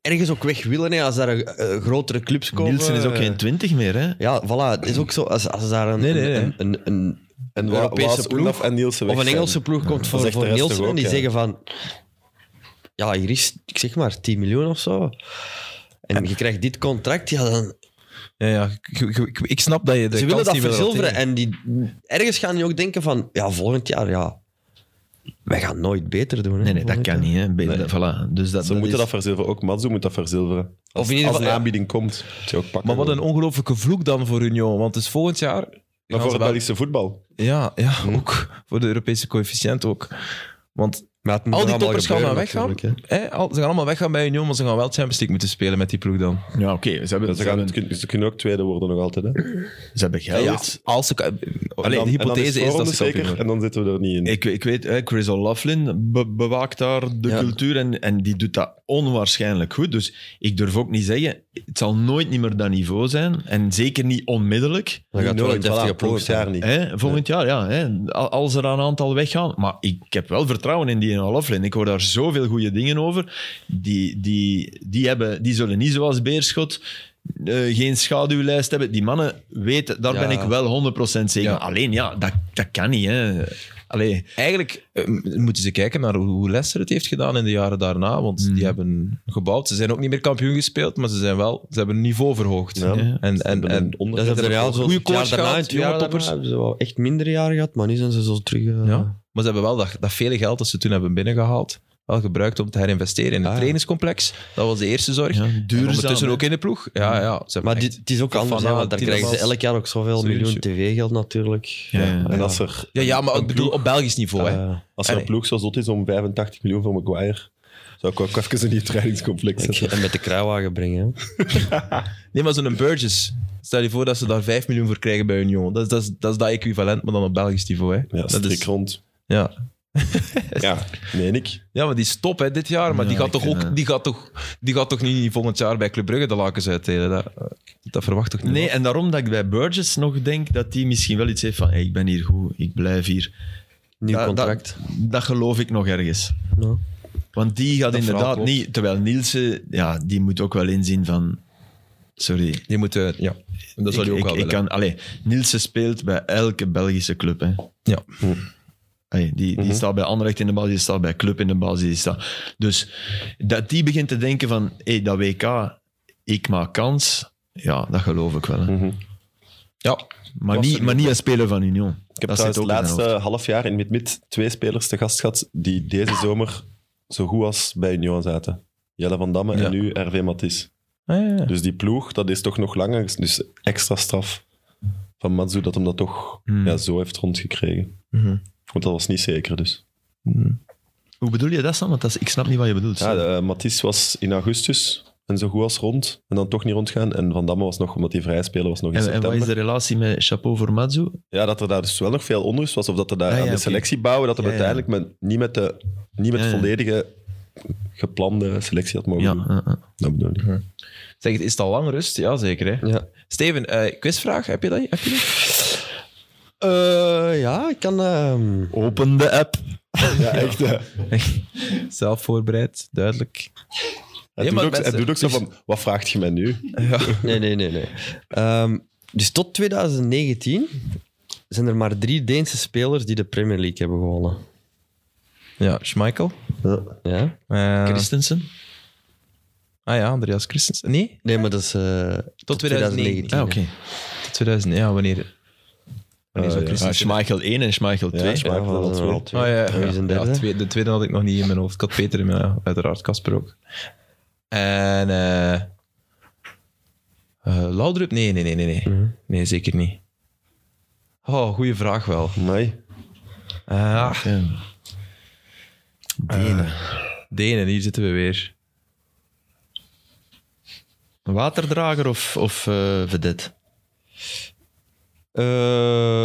Speaker 3: ergens ook weg willen hè, als daar eh, grotere clubs komen.
Speaker 4: Nielsen
Speaker 1: eh,
Speaker 4: is ook geen 20 meer, hè.
Speaker 3: Ja, voilà. Het is ook zo als, als daar een,
Speaker 1: Nee, nee, nee.
Speaker 3: een, een, een-
Speaker 2: En
Speaker 3: Een
Speaker 2: wa-
Speaker 3: Europese
Speaker 2: Waas,
Speaker 3: ploeg
Speaker 2: Oendaf en Nielsen
Speaker 3: of
Speaker 2: weg
Speaker 3: een
Speaker 2: zijn.
Speaker 3: Engelse ploeg komt
Speaker 2: Dat
Speaker 3: voor,
Speaker 2: zegt de
Speaker 3: voor
Speaker 2: rest
Speaker 3: Nielsen
Speaker 2: toch
Speaker 3: en die
Speaker 2: ook, ja.
Speaker 3: zeggen van... Ja, hier is, ik zeg maar, 10 miljoen of zo. En je krijgt dit contract, ja, dan,
Speaker 1: Ja, ja, ik, ik- ik- ik snap dat je de
Speaker 3: ze
Speaker 1: kans
Speaker 3: willen dat
Speaker 1: niet wil
Speaker 3: verzilveren.
Speaker 1: roteren.
Speaker 3: En die, ergens gaan die ook denken van, ja, volgend jaar, ja, wij gaan nooit beter doen. Hè,
Speaker 4: Nee, nee, dat
Speaker 3: volgend
Speaker 4: kan
Speaker 3: jaar.
Speaker 4: niet, hè. Be- Voilà. Dus dat,
Speaker 2: Ze
Speaker 4: dat
Speaker 2: moeten
Speaker 4: is-
Speaker 2: dat verzilveren, ook Matsu moet dat verzilveren. Als,
Speaker 3: in ieder
Speaker 2: als
Speaker 3: geval,
Speaker 2: een
Speaker 3: ja.
Speaker 2: aanbieding komt, moet je ook pakken.
Speaker 1: Maar wat een ongelooflijke vloek dan voor Union. Want het is volgend jaar...
Speaker 2: Maar
Speaker 1: gaan
Speaker 2: voor Hmm.
Speaker 1: ze
Speaker 2: het
Speaker 1: wel-
Speaker 2: Belgische voetbal.
Speaker 1: Ja, ja ook. Voor de Europese coëfficiënt ook. Want
Speaker 3: Maar het moet
Speaker 1: al
Speaker 3: nog
Speaker 1: die
Speaker 3: allemaal
Speaker 1: toppers gaan dan
Speaker 3: gebeuren
Speaker 1: weggaan.
Speaker 3: natuurlijk, hè.
Speaker 1: Hè, al- ze gaan allemaal weggaan bij Union, maar ze gaan wel Champions League moeten spelen met die ploeg dan.
Speaker 4: Ja, oké. ze, hebben,
Speaker 2: Ze,
Speaker 4: ze,
Speaker 2: gaan,
Speaker 4: hebben,
Speaker 2: ze kunnen ook tweede worden nog altijd. Hè. En
Speaker 4: ze hebben geld.
Speaker 1: als ze... ka- Allee,
Speaker 2: dan-
Speaker 1: de
Speaker 2: en dan
Speaker 1: hypothese is, dat
Speaker 2: voorronde
Speaker 1: ze kampioen
Speaker 2: zeker.
Speaker 1: worden.
Speaker 2: En dan zitten we er niet in.
Speaker 4: Ik, ik weet, hè, Chris O'Laughlin be- bewaakt daar de
Speaker 3: Ja.
Speaker 4: cultuur en, en die doet dat onwaarschijnlijk goed. Dus ik durf ook niet zeggen, het zal nooit niet meer dat niveau zijn. En zeker niet onmiddellijk.
Speaker 3: Dan gaat het wel een
Speaker 2: Nooit,
Speaker 3: deftige
Speaker 2: voilà,
Speaker 3: ploeg
Speaker 2: volgend jaar
Speaker 3: zijn.
Speaker 2: niet.
Speaker 4: Hè, volgend jaar, ja. Hè, al- als er een aantal weggaan. Maar ik, ik heb wel vertrouwen in die O'Laughlin. Ik hoor daar zoveel goede dingen over. Die, die, die, hebben, die zullen niet zoals Beerschot eh, geen schaduwlijst hebben. Die mannen weten, daar
Speaker 1: Ja.
Speaker 4: ben ik wel 100% zeker.
Speaker 1: Ja.
Speaker 4: van. Alleen ja, dat, dat kan niet. Hè. Allee,
Speaker 1: Eigenlijk eh, m- moeten ze kijken naar hoe- hoe Leicester het heeft gedaan in de jaren daarna. Want
Speaker 4: Mhm.
Speaker 1: die hebben gebouwd. Ze zijn ook niet meer kampioen gespeeld, maar ze, zijn wel, ze hebben hun niveau verhoogd.
Speaker 2: Ja.
Speaker 4: Ja.
Speaker 1: En, en, en,
Speaker 2: onder-
Speaker 3: Dat is het Real zo.
Speaker 1: goede
Speaker 3: het jaar
Speaker 1: coach
Speaker 3: daarna,
Speaker 1: gehad,
Speaker 3: het jonge
Speaker 1: jaar daarna
Speaker 3: toppers. hebben ze wel echt minder jaren gehad, maar nu zijn ze zo terug. eh,
Speaker 1: ja. Maar ze hebben wel dat, dat vele geld dat ze toen hebben binnengehaald, wel gebruikt om te herinvesteren in het
Speaker 3: Ah.
Speaker 1: trainingscomplex. Dat was de eerste zorg.
Speaker 4: ja,
Speaker 1: En ondertussen
Speaker 4: hè.
Speaker 1: ook in de ploeg. Ja, ja. Ze hebben
Speaker 3: Maar dit,
Speaker 1: echt-
Speaker 3: het is ook
Speaker 1: Van
Speaker 3: anders, hè,
Speaker 1: Aanholt,
Speaker 3: want daar krijgen ze
Speaker 1: Tielemans,
Speaker 3: elk jaar ook zoveel
Speaker 1: Zurich.
Speaker 3: miljoen tv-geld natuurlijk.
Speaker 4: Ja, ja.
Speaker 2: En als er,
Speaker 1: ja, ja, maar ik bedoel op Belgisch niveau. hè.
Speaker 3: Eh,
Speaker 2: als er een
Speaker 1: Allee.
Speaker 2: ploeg zo zot is om 85 miljoen voor Maguire, zou ik ook even in die trainingscomplex
Speaker 3: ik-
Speaker 2: zetten.
Speaker 3: en met de kruiwagen brengen. hè.
Speaker 1: Nee, maar zo'n Burgess. Stel je voor dat ze daar 5 miljoen voor krijgen bij hun jongen. Dat, is- dat, is- dat is dat equivalent, maar dan op Belgisch niveau. Hè.
Speaker 2: Ja,
Speaker 1: dat
Speaker 2: strik
Speaker 1: is,
Speaker 2: rond.
Speaker 1: ja.
Speaker 2: Ja, meen ik.
Speaker 1: Ja, maar die is top hè, dit jaar. Maar die,
Speaker 4: Ja,
Speaker 1: gaat
Speaker 4: ik
Speaker 1: toch ook,
Speaker 4: vind, eh.
Speaker 1: die, gaat toch, die gaat toch niet volgend jaar bij Club Brugge de lakens uitdelen? Dat, dat verwacht toch niet?
Speaker 4: Nee, en daarom dat ik bij Burgess nog denk dat hij misschien wel iets heeft van hey, ik ben hier goed, ik blijf hier.
Speaker 3: Nieuw
Speaker 4: Dat-
Speaker 3: contract.
Speaker 4: Dat, dat geloof ik nog ergens.
Speaker 3: Ja.
Speaker 4: Want die gaat
Speaker 1: Dat verhaal
Speaker 4: inderdaad
Speaker 1: klopt.
Speaker 4: niet... Terwijl Nielsen, ja, die moet ook wel inzien van... Sorry,
Speaker 1: Die moeten, ja, dat zal
Speaker 4: ik,
Speaker 1: je ook
Speaker 4: ik,
Speaker 1: wel
Speaker 4: ik
Speaker 1: willen.
Speaker 4: kan, allee, Nielsen speelt bij elke Belgische club. Hè.
Speaker 1: Ja. Mhm.
Speaker 4: Allee, die die staat bij Anderlecht in de basis, die staat bij Club in de basis. Die staat. Dus dat die begint te denken van, hey, dat WK, ik maak kans. Ja, dat geloof ik wel. Hè.
Speaker 1: Ja,
Speaker 4: Maar,
Speaker 2: Was
Speaker 4: niet,
Speaker 2: er
Speaker 4: maar niet als speler van Union.
Speaker 2: Ik heb
Speaker 4: dat
Speaker 2: trouwens
Speaker 4: zit
Speaker 2: het
Speaker 4: ook in zijn
Speaker 2: laatste half jaar in mid-mid twee spelers te gast gehad die deze
Speaker 1: Ah.
Speaker 2: zomer zo goed als bij Union zaten. Jelle van Damme
Speaker 1: Ja.
Speaker 2: en nu RV Matisse.
Speaker 1: Ah, ja, ja.
Speaker 2: Dus die ploeg, dat is toch nog langer. Dus extra straf van Matsu dat hem dat toch
Speaker 4: Hmm.
Speaker 2: ja, zo heeft rondgekregen.
Speaker 1: Mhm.
Speaker 2: Want dat was niet zeker dus.
Speaker 1: Mhm.
Speaker 4: Hoe bedoel je dat, Sam? Want dat is- ik snap niet wat je bedoelt.
Speaker 2: Ja, de, eh, Matisse was in augustus en zo goed als rond. En dan toch niet rondgaan. En Van Damme was nog, omdat hij vrij spelen was, nog in
Speaker 4: en, en
Speaker 2: september.
Speaker 4: wat is de relatie met Chapeau voor Mazzu?
Speaker 2: Ja, dat er daar dus wel nog veel onrust was. Of dat er daar
Speaker 4: Ah, ja,
Speaker 2: aan de
Speaker 4: oké.
Speaker 2: selectie bouwen, dat er
Speaker 4: Ja, ja.
Speaker 2: uiteindelijk men- niet met de niet met
Speaker 4: Ja, ja.
Speaker 2: volledige geplande selectie had mogen
Speaker 4: Ja,
Speaker 2: doen.
Speaker 4: eh, eh.
Speaker 2: Dat bedoel ik.
Speaker 1: Zeg, is het al lang rust? Ja, zeker. Hè?
Speaker 3: Ja.
Speaker 1: Steven, eh, quizvraag, heb je dat? Heb je dat?
Speaker 3: Eh, ja, ik kan... ehm,
Speaker 4: Open de app.
Speaker 2: Ja, echt. hè.
Speaker 1: Zelf voorbereid, duidelijk.
Speaker 2: Hij,
Speaker 1: maar
Speaker 2: doet ook,
Speaker 1: mensen-
Speaker 2: hij doet ook zo van, wat vraagt je mij nu?
Speaker 3: Nee, nee, nee. nee. Ehm, dus tot 2019 zijn er maar drie Deense spelers die de Premier League hebben gewonnen.
Speaker 1: Ja, Schmeichel.
Speaker 3: Ja?
Speaker 1: Eh,
Speaker 4: Christensen.
Speaker 1: ah ja, Andreas Christensen. Nee,
Speaker 3: Nee, maar dat is... eh,
Speaker 1: tot 2019.
Speaker 4: Ah,
Speaker 1: Ah,
Speaker 4: oké.
Speaker 1: 2000, ja, wanneer? Wanneer zou
Speaker 2: Eh, ja.
Speaker 4: Ah, Ja,
Speaker 1: Christensen...
Speaker 4: Schmeichel 1 en Schmeichel 2.
Speaker 2: Schmeichel.
Speaker 3: Ja, dat is er wel twee.
Speaker 1: Oh, ja,
Speaker 3: Wie
Speaker 1: ja.
Speaker 3: is een derde?
Speaker 1: Ja, twee- de tweede had ik nog niet in mijn hoofd. Ik had Peter in mijn ja, uiteraard Casper ook. En eh eh, Laudrup? Nee, nee, nee, nee, nee.
Speaker 3: Mhm.
Speaker 1: Nee, zeker niet. Oh, goede vraag wel.
Speaker 2: Nee.
Speaker 1: Eh, ah,
Speaker 4: Ja. Denen.
Speaker 1: Denen, hier zitten we weer.
Speaker 4: Waterdrager of, of eh, vedette?
Speaker 3: eh,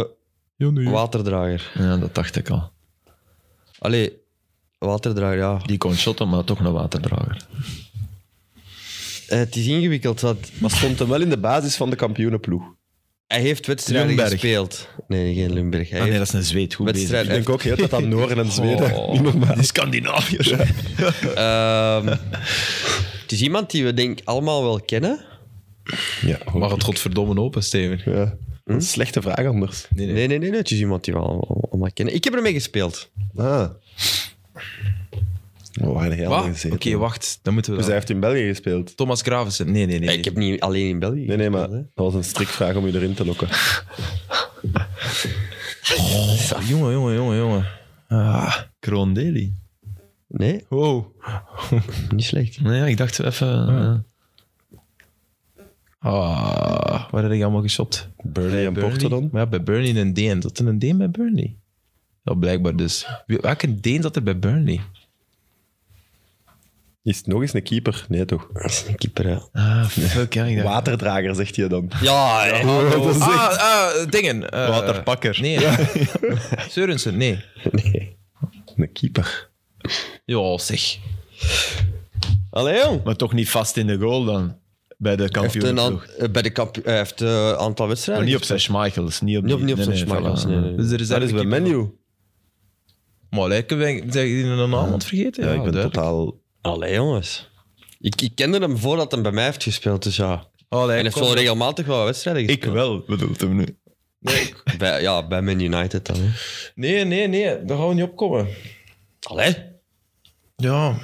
Speaker 1: Ja, nu.
Speaker 3: waterdrager.
Speaker 4: Ja, dat dacht ik al.
Speaker 3: Allee, waterdrager, ja.
Speaker 4: Die kon shotten, maar toch een waterdrager.
Speaker 3: Eh, het is ingewikkeld, want
Speaker 2: Maar stond hem wel in de basis van de kampioenenploeg.
Speaker 3: hij heeft wedstrijden
Speaker 4: Lundberg.
Speaker 3: gespeeld. Nee, geen Limburg. Hij
Speaker 4: Ah, nee,
Speaker 3: heeft
Speaker 4: dat is een zweet. Goed
Speaker 2: Ik
Speaker 3: wedstrijden...
Speaker 2: denk ook heel de tijd aan Noren en Zweden.
Speaker 4: Oh.
Speaker 2: Niet normaal.
Speaker 4: Die Scandinaviërs.
Speaker 3: Ehm, het is iemand die we denk ik allemaal wel kennen.
Speaker 2: Ja, hoor.
Speaker 1: Mag het godverdomme open, Steven?
Speaker 2: Ja.
Speaker 1: Hm?
Speaker 2: Een slechte vraag anders.
Speaker 1: Nee,
Speaker 3: Nee, nee, nee, nee, het is iemand die we allemaal allemaal kennen. Ik heb ermee gespeeld.
Speaker 2: Ah. Oh, We waren heel
Speaker 1: Wat?
Speaker 2: lang
Speaker 1: Oké,
Speaker 2: gezeten.
Speaker 1: wacht. Dan moeten we
Speaker 2: Dus hij
Speaker 1: dan.
Speaker 2: heeft in België gespeeld.
Speaker 1: Thomas Gravesen. Nee, nee, nee.
Speaker 3: Ik heb niet alleen in België.
Speaker 2: Ah, Nee, nee, maar
Speaker 3: gespeeld,
Speaker 2: dat was een strikvraag om je erin te lokken.
Speaker 1: Oh, jongen, jongen, jongen, jongen. Ah.
Speaker 4: Kroon Daly.
Speaker 3: hè. Nee,
Speaker 1: Wow.
Speaker 3: niet slecht.
Speaker 4: Nee, ja, ik dacht even... eh,
Speaker 1: Ah, waar heb ik allemaal geshopt?
Speaker 2: Burnley en Porto dan?
Speaker 1: Maar ja, bij Burnley een Deen. Dat er een Deen bij Burnley. Ja, blijkbaar dus. Wie- Welke Deen zat er bij Burnley?
Speaker 2: Is het nog eens een keeper? Nee, toch?
Speaker 3: Dat is een keeper, ja.
Speaker 4: ah, fuck, ja. Ik dacht,
Speaker 2: Waterdrager, zegt hij dan.
Speaker 3: Ja, hè.
Speaker 2: dat is echt-
Speaker 1: Ah, ah, dingen. Eh,
Speaker 4: Waterpakker.
Speaker 1: Nee. Seurensen, nee.
Speaker 3: Nee.
Speaker 2: Een keeper.
Speaker 1: Ja, zeg.
Speaker 3: Allee, jong.
Speaker 4: maar toch niet vast in de goal dan. Bij de
Speaker 3: Hij heeft, een
Speaker 4: kampioen.
Speaker 3: aan- eh, bij de kampio- hij heeft een aantal wedstrijden.
Speaker 4: Niet op zijn Schmeichels. Niet op,
Speaker 3: Niet op,
Speaker 4: die-
Speaker 3: niet op
Speaker 4: nee,
Speaker 3: zijn
Speaker 4: nee,
Speaker 3: Schmeichels,
Speaker 4: voilà.
Speaker 3: nee, nee, nee.
Speaker 1: Dus er is
Speaker 2: Dat is bij menu.
Speaker 1: Maar lijken wij zijn jullie een naam aan het vergeten?
Speaker 2: Ja, ik ben
Speaker 1: duidelijk.
Speaker 2: totaal...
Speaker 3: Allee, jongens. Ik, ik kende hem voordat hij bij mij heeft gespeeld, dus ja.
Speaker 1: Allee,
Speaker 3: En heeft
Speaker 1: kom.
Speaker 3: wel regelmatig wel wedstrijden
Speaker 4: Ik
Speaker 3: gespeeld.
Speaker 4: wel, bedoelt hem nu.
Speaker 3: Bij, ja, bij Man United dan. hè.
Speaker 1: Nee, nee, nee. Daar gaan we niet opkomen.
Speaker 3: Allee.
Speaker 1: Ja.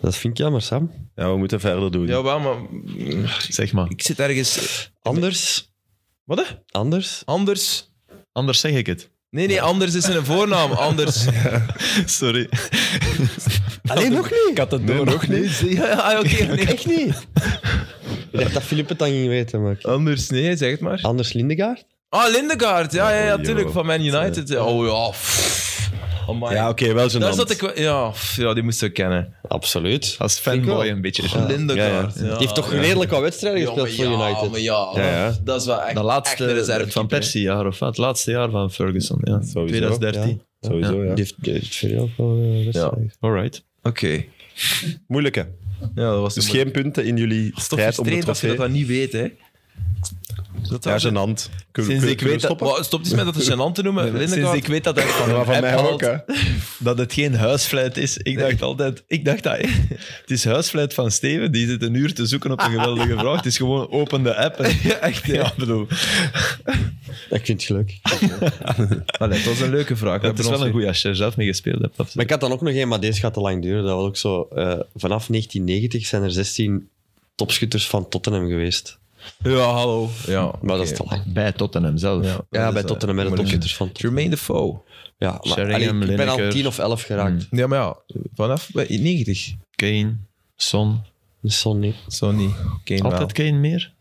Speaker 3: Dat vind ik jammer, Sam.
Speaker 2: Ja, we moeten verder doen.
Speaker 1: Jawel, maar... Mm,
Speaker 4: Zeg maar.
Speaker 1: Ik zit ergens...
Speaker 3: Anders.
Speaker 1: Wat? hè?
Speaker 3: Anders.
Speaker 1: Anders?
Speaker 4: Anders zeg ik het.
Speaker 1: Nee, nee. Anders is een voornaam. Anders.
Speaker 4: Sorry.
Speaker 3: Alleen nog niet.
Speaker 2: Ik had het door. nog niet.
Speaker 1: Ja, ja, oké. nee.
Speaker 3: Echt niet. Ik dacht dat Filip het dan ging weten, maar...
Speaker 1: Anders, nee. Zeg het maar.
Speaker 3: Anders Lindegaard?
Speaker 1: Ah, Lindegaard. Ja, ja, ja,
Speaker 2: Oh,
Speaker 1: tuurlijk.
Speaker 2: joh.
Speaker 1: Van Man United. Ja, Oh ja. pff. Oh, Amai.
Speaker 2: Ja, oké, wel
Speaker 1: Daar
Speaker 2: gênant.
Speaker 1: zat ik... wel- Ja, pff, ja, die moest ik kennen.
Speaker 3: Absoluut.
Speaker 4: Als
Speaker 3: Ik wel.
Speaker 4: fanboy een beetje.
Speaker 1: Lindegaard.
Speaker 2: ja, ja.
Speaker 1: ja.
Speaker 3: Die heeft toch redelijk wat wedstrijden
Speaker 1: Ja, maar
Speaker 3: gespeeld voor
Speaker 1: ja,
Speaker 3: United.
Speaker 1: maar ja,
Speaker 2: Ja, ja.
Speaker 1: Dat is wel echt,
Speaker 4: Dat laatste
Speaker 1: echt een
Speaker 4: het van
Speaker 1: reservekeeper, hè.
Speaker 4: Persie jaar of wat? Het laatste jaar van Ferguson. Ja.
Speaker 2: Sowieso,
Speaker 4: 2013.
Speaker 2: Sowieso, ja.
Speaker 3: Die heeft, die heeft veel ook wel eh, wedstrijden.
Speaker 4: Alright.
Speaker 1: Oké.
Speaker 2: Moeilijke.
Speaker 1: Ja, dat was
Speaker 2: Dus
Speaker 1: een-
Speaker 2: geen punten in jullie
Speaker 1: Het is toch
Speaker 2: strijd om de
Speaker 1: frustrerend dat je dat
Speaker 2: trofee.
Speaker 1: dan niet weet, hè? Dat
Speaker 2: Ja,
Speaker 1: was-
Speaker 2: gênant. Kunnen- Kunnen
Speaker 1: Sinds
Speaker 2: we
Speaker 1: ik weet dat...
Speaker 2: stoppen?
Speaker 1: Maar Stop eens met dat het gênant te noemen.
Speaker 4: Sinds
Speaker 1: Lindegaard.
Speaker 4: ik weet dat hij van,
Speaker 2: Maar
Speaker 4: hem
Speaker 2: van mij
Speaker 4: haalt,
Speaker 2: ook, hè.
Speaker 4: dat het geen huisfluit is. Ik dacht altijd, ik dacht dat het is huisfluit van Steven. Die zit een uur te zoeken op een geweldige vraag. Het is gewoon open de app. En, ja, echt. Ja, bedoel.
Speaker 3: Ik vind het leuk.
Speaker 1: Allee, dat was een leuke vraag. We
Speaker 4: Het
Speaker 1: hebben
Speaker 4: is wel
Speaker 1: ons
Speaker 4: een
Speaker 1: weer-
Speaker 4: goeie als je er zelf mee gespeeld hebt.
Speaker 3: Maar ik had dan ook nog één, maar deze gaat te lang duren. Dat was ook zo. eh, vanaf 1990 zijn er 16 topschutters van Tottenham geweest.
Speaker 1: Ja, hallo. Ja,
Speaker 3: Maar dat is
Speaker 1: oké.
Speaker 3: te lang.
Speaker 4: Bij Tottenham zelf.
Speaker 1: Ja,
Speaker 3: Ja,
Speaker 1: dat
Speaker 3: bij
Speaker 1: is, eh,
Speaker 3: Tottenham hebben de
Speaker 1: moeilijk.
Speaker 3: topschutters van Tottenham.
Speaker 1: Jermaine Defoe.
Speaker 3: Ja, maar
Speaker 4: Sheringham,
Speaker 3: allee, ik ben al
Speaker 4: Lineker.
Speaker 3: 10 of 11 geraakt.
Speaker 1: Ja, maar ja, vanaf bij 90.
Speaker 4: Kane, Son.
Speaker 3: Son niet.
Speaker 1: Zo niet. Kane
Speaker 4: Altijd Kane meer?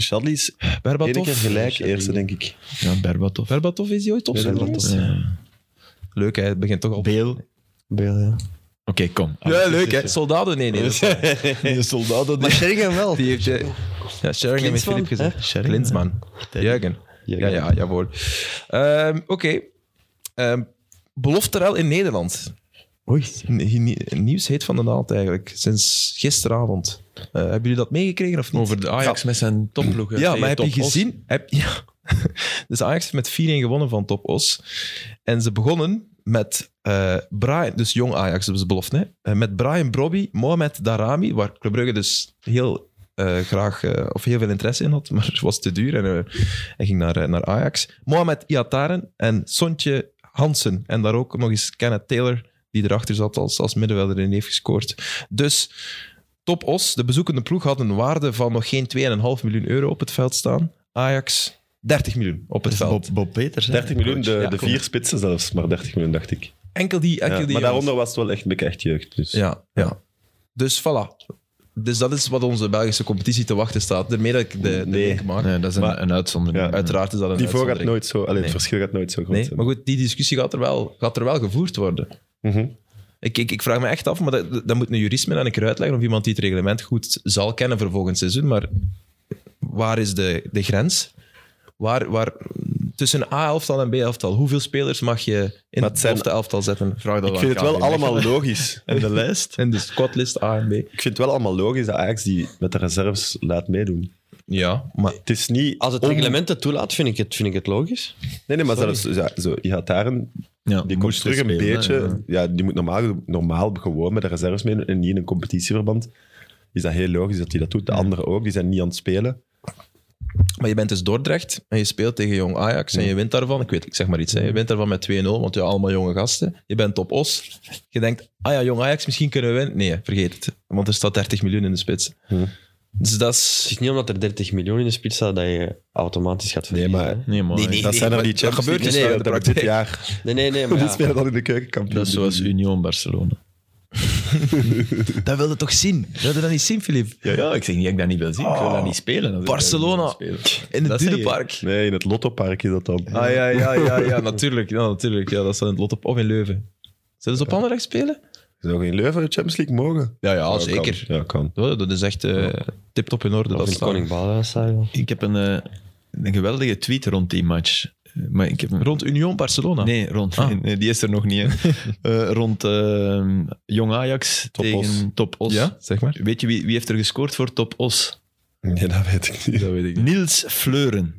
Speaker 2: Shadley is
Speaker 1: wel.
Speaker 2: één
Speaker 1: Berbatov.
Speaker 2: keer gelijk eerste, denk ik.
Speaker 4: Ja, Berbatov.
Speaker 1: Berbatov is die ooit opzet.
Speaker 2: Berbatov,
Speaker 4: Ja.
Speaker 1: Leuk, hè? Het begint toch al... Ah, dus
Speaker 4: Beel. Oké,
Speaker 3: Beel, ja.
Speaker 4: kom.
Speaker 1: leuk, hè? Soldado, nee, nee. dat is-
Speaker 4: Die soldaten.
Speaker 3: Maar Sheringham wel.
Speaker 1: Die heeft... eh, Ja, Sheringham heeft
Speaker 3: Klinsmann,
Speaker 1: Filip
Speaker 3: hè?
Speaker 1: gezegd. Klinsman. Jurgen. Ja,
Speaker 3: Jurgen.
Speaker 1: ja, jawohl. Ehm, Oké. Ehm, belofterel in Nederland.
Speaker 3: Oei.
Speaker 1: Nie- nie- Nieuws heet van de naald eigenlijk, sinds gisteravond. Eh, hebben jullie dat meegekregen of niet?
Speaker 4: Over de Ajax met zijn topploegen.
Speaker 1: ja,
Speaker 4: tegen
Speaker 1: maar heb je
Speaker 4: Top Os.
Speaker 1: gezien? Heb, ja. Dus Ajax heeft met 4-1 gewonnen van Top Os. En ze begonnen met eh, Brian, dus jong Ajax, dat is belofte. Hè? Eh, met Brian Brobby, Mohamed Darami, waar Club Brugge dus heel eh, graag, eh, of heel veel interesse in had, maar het was te duur en eh, hij ging naar, eh, naar Ajax. Mohamed Iataren en Sontje Hansen. En daar ook nog eens Kenneth Taylor, die erachter zat als, als middenvelder en heeft gescoord. Dus Top Os, de bezoekende ploeg, had een waarde van nog geen 2,5 miljoen euro op het veld staan. Ajax, 30 miljoen op het
Speaker 4: Dat is
Speaker 1: veld.
Speaker 4: Bob, Bob Peters. hè?
Speaker 2: 30 miljoen, de,
Speaker 1: Ja,
Speaker 2: de
Speaker 1: kom.
Speaker 2: vier spitsen zelfs, maar 30 miljoen, dacht ik.
Speaker 1: Enkel die,
Speaker 2: Ja,
Speaker 1: enkel die
Speaker 2: maar
Speaker 1: jongens.
Speaker 2: daaronder was het wel echt een beetje echt jeugd. Dus.
Speaker 1: Ja, ja. Dus voilà. Dus dat is wat onze Belgische competitie te wachten staat. Daarmee dat ik de, de
Speaker 2: Nee.
Speaker 1: link maak.
Speaker 4: Nee, dat is een,
Speaker 2: Maar-
Speaker 4: een uitzondering.
Speaker 2: Ja.
Speaker 1: Uiteraard is dat een
Speaker 2: Die voor gaat
Speaker 1: uitzondering.
Speaker 2: nooit zo, allee,
Speaker 1: Nee.
Speaker 2: het verschil gaat nooit zo groot
Speaker 1: Nee,
Speaker 2: zijn.
Speaker 1: maar goed, die discussie gaat er wel, gaat er wel gevoerd worden.
Speaker 2: Mhm.
Speaker 1: Ik, ik, ik vraag me echt af, maar dat, dat moet een jurist me dan een keer uitleggen of iemand die het reglement goed zal kennen voor volgend seizoen. Maar waar is de, de grens? Waar, waar, tussen A-elftal en B-elftal, hoeveel spelers mag je in
Speaker 2: Maar
Speaker 1: het
Speaker 2: het zijn-
Speaker 1: elftal elftal zetten?
Speaker 4: Vraag dat
Speaker 2: Ik vind het wel allemaal logisch.
Speaker 4: in de lijst.
Speaker 1: In de squadlist A en B.
Speaker 2: Ik vind het wel allemaal logisch dat Ajax die met de reserves laat meedoen.
Speaker 1: Ja, maar
Speaker 2: Het is niet...
Speaker 3: Als het
Speaker 2: om-
Speaker 3: reglement het toelaat, vind ik het, vind ik het logisch.
Speaker 2: Nee, nee, maar zelfs ja, zo, Ihataren,
Speaker 4: Ja,
Speaker 2: die komt
Speaker 4: moest
Speaker 2: terug een
Speaker 4: spelen, hè.
Speaker 2: beetje... Ja. die moet normaal, normaal gewoon met de reserves meedoen en niet in een competitieverband. Is dat heel logisch dat hij dat doet. De anderen ook, die zijn niet aan het spelen.
Speaker 1: Maar je bent dus Dordrecht en je speelt tegen jong Ajax en je wint daarvan. Ik weet, ik zeg maar iets. Hè. Je wint daarvan met 2-0, want je allemaal jonge gasten. Je bent op os. Je denkt, ah ja, jong Ajax, misschien kunnen we winnen. Nee, vergeet het. Want er staat 30 miljoen in de spits.
Speaker 2: Hm.
Speaker 1: Dus dat
Speaker 3: Het
Speaker 1: is...
Speaker 3: is niet omdat er 30 miljoen in de spits staat dat je automatisch gaat verliezen.
Speaker 2: maar-
Speaker 3: hè.
Speaker 4: Nee, maar
Speaker 1: Nee, nee.
Speaker 2: dat zijn er
Speaker 1: maar
Speaker 2: die
Speaker 1: dat
Speaker 2: Champions
Speaker 1: gebeurt
Speaker 2: League
Speaker 1: dus wel in de
Speaker 2: wedstrijden dat we dit
Speaker 1: praktijk.
Speaker 2: jaar.
Speaker 3: Nee, nee, nee. Maar
Speaker 2: Die
Speaker 3: ja.
Speaker 2: spelen dan in de keukenkampioen.
Speaker 4: dat is zoals
Speaker 2: Divisie.
Speaker 4: Union Barcelona.
Speaker 1: Dat wilde toch zien? Dat wilde dat niet zien, Filip?
Speaker 4: Ja, ja, ik zeg niet dat ik dat niet wil zien. Ik wil dat niet spelen. als ik dat
Speaker 1: Oh, Barcelona.
Speaker 4: niet wil spelen.
Speaker 1: In het
Speaker 4: Dat zeg je.
Speaker 1: Dudepark.
Speaker 2: Nee, in het Lottopark is dat dan.
Speaker 1: Ah ja, ja, ja, ja, natuurlijk. Ja, natuurlijk. Ja, dat staat in het lot op. Of in Leuven. Zullen ze op Anderlecht spelen?
Speaker 2: Zou geen Leuven de Champions League mogen?
Speaker 1: Ja, ja,
Speaker 2: Ja,
Speaker 1: Ah, zeker.
Speaker 2: kan. Ja, kan.
Speaker 1: Ja, Dat is echt eh, tip-top in orde.
Speaker 3: Of
Speaker 1: Dat
Speaker 3: in het
Speaker 1: staat.
Speaker 3: Koning Ballenstadion.
Speaker 4: Ik heb een, eh, een geweldige tweet rond die match. Eh, Maar ik heb hem-
Speaker 1: Rond Union Barcelona.
Speaker 4: Nee, rond,
Speaker 1: Ah.
Speaker 4: nee, nee, die is er nog niet. hè. Eh, rond eh, Jong Ajax
Speaker 2: Top
Speaker 4: tegen
Speaker 2: Os.
Speaker 4: Top Os.
Speaker 1: Ja, zeg maar.
Speaker 4: Weet je wie, wie heeft er gescoord voor Top Os?
Speaker 2: Nee, dat weet ik niet.
Speaker 1: Dat weet ik niet.
Speaker 4: Niels Fleuren.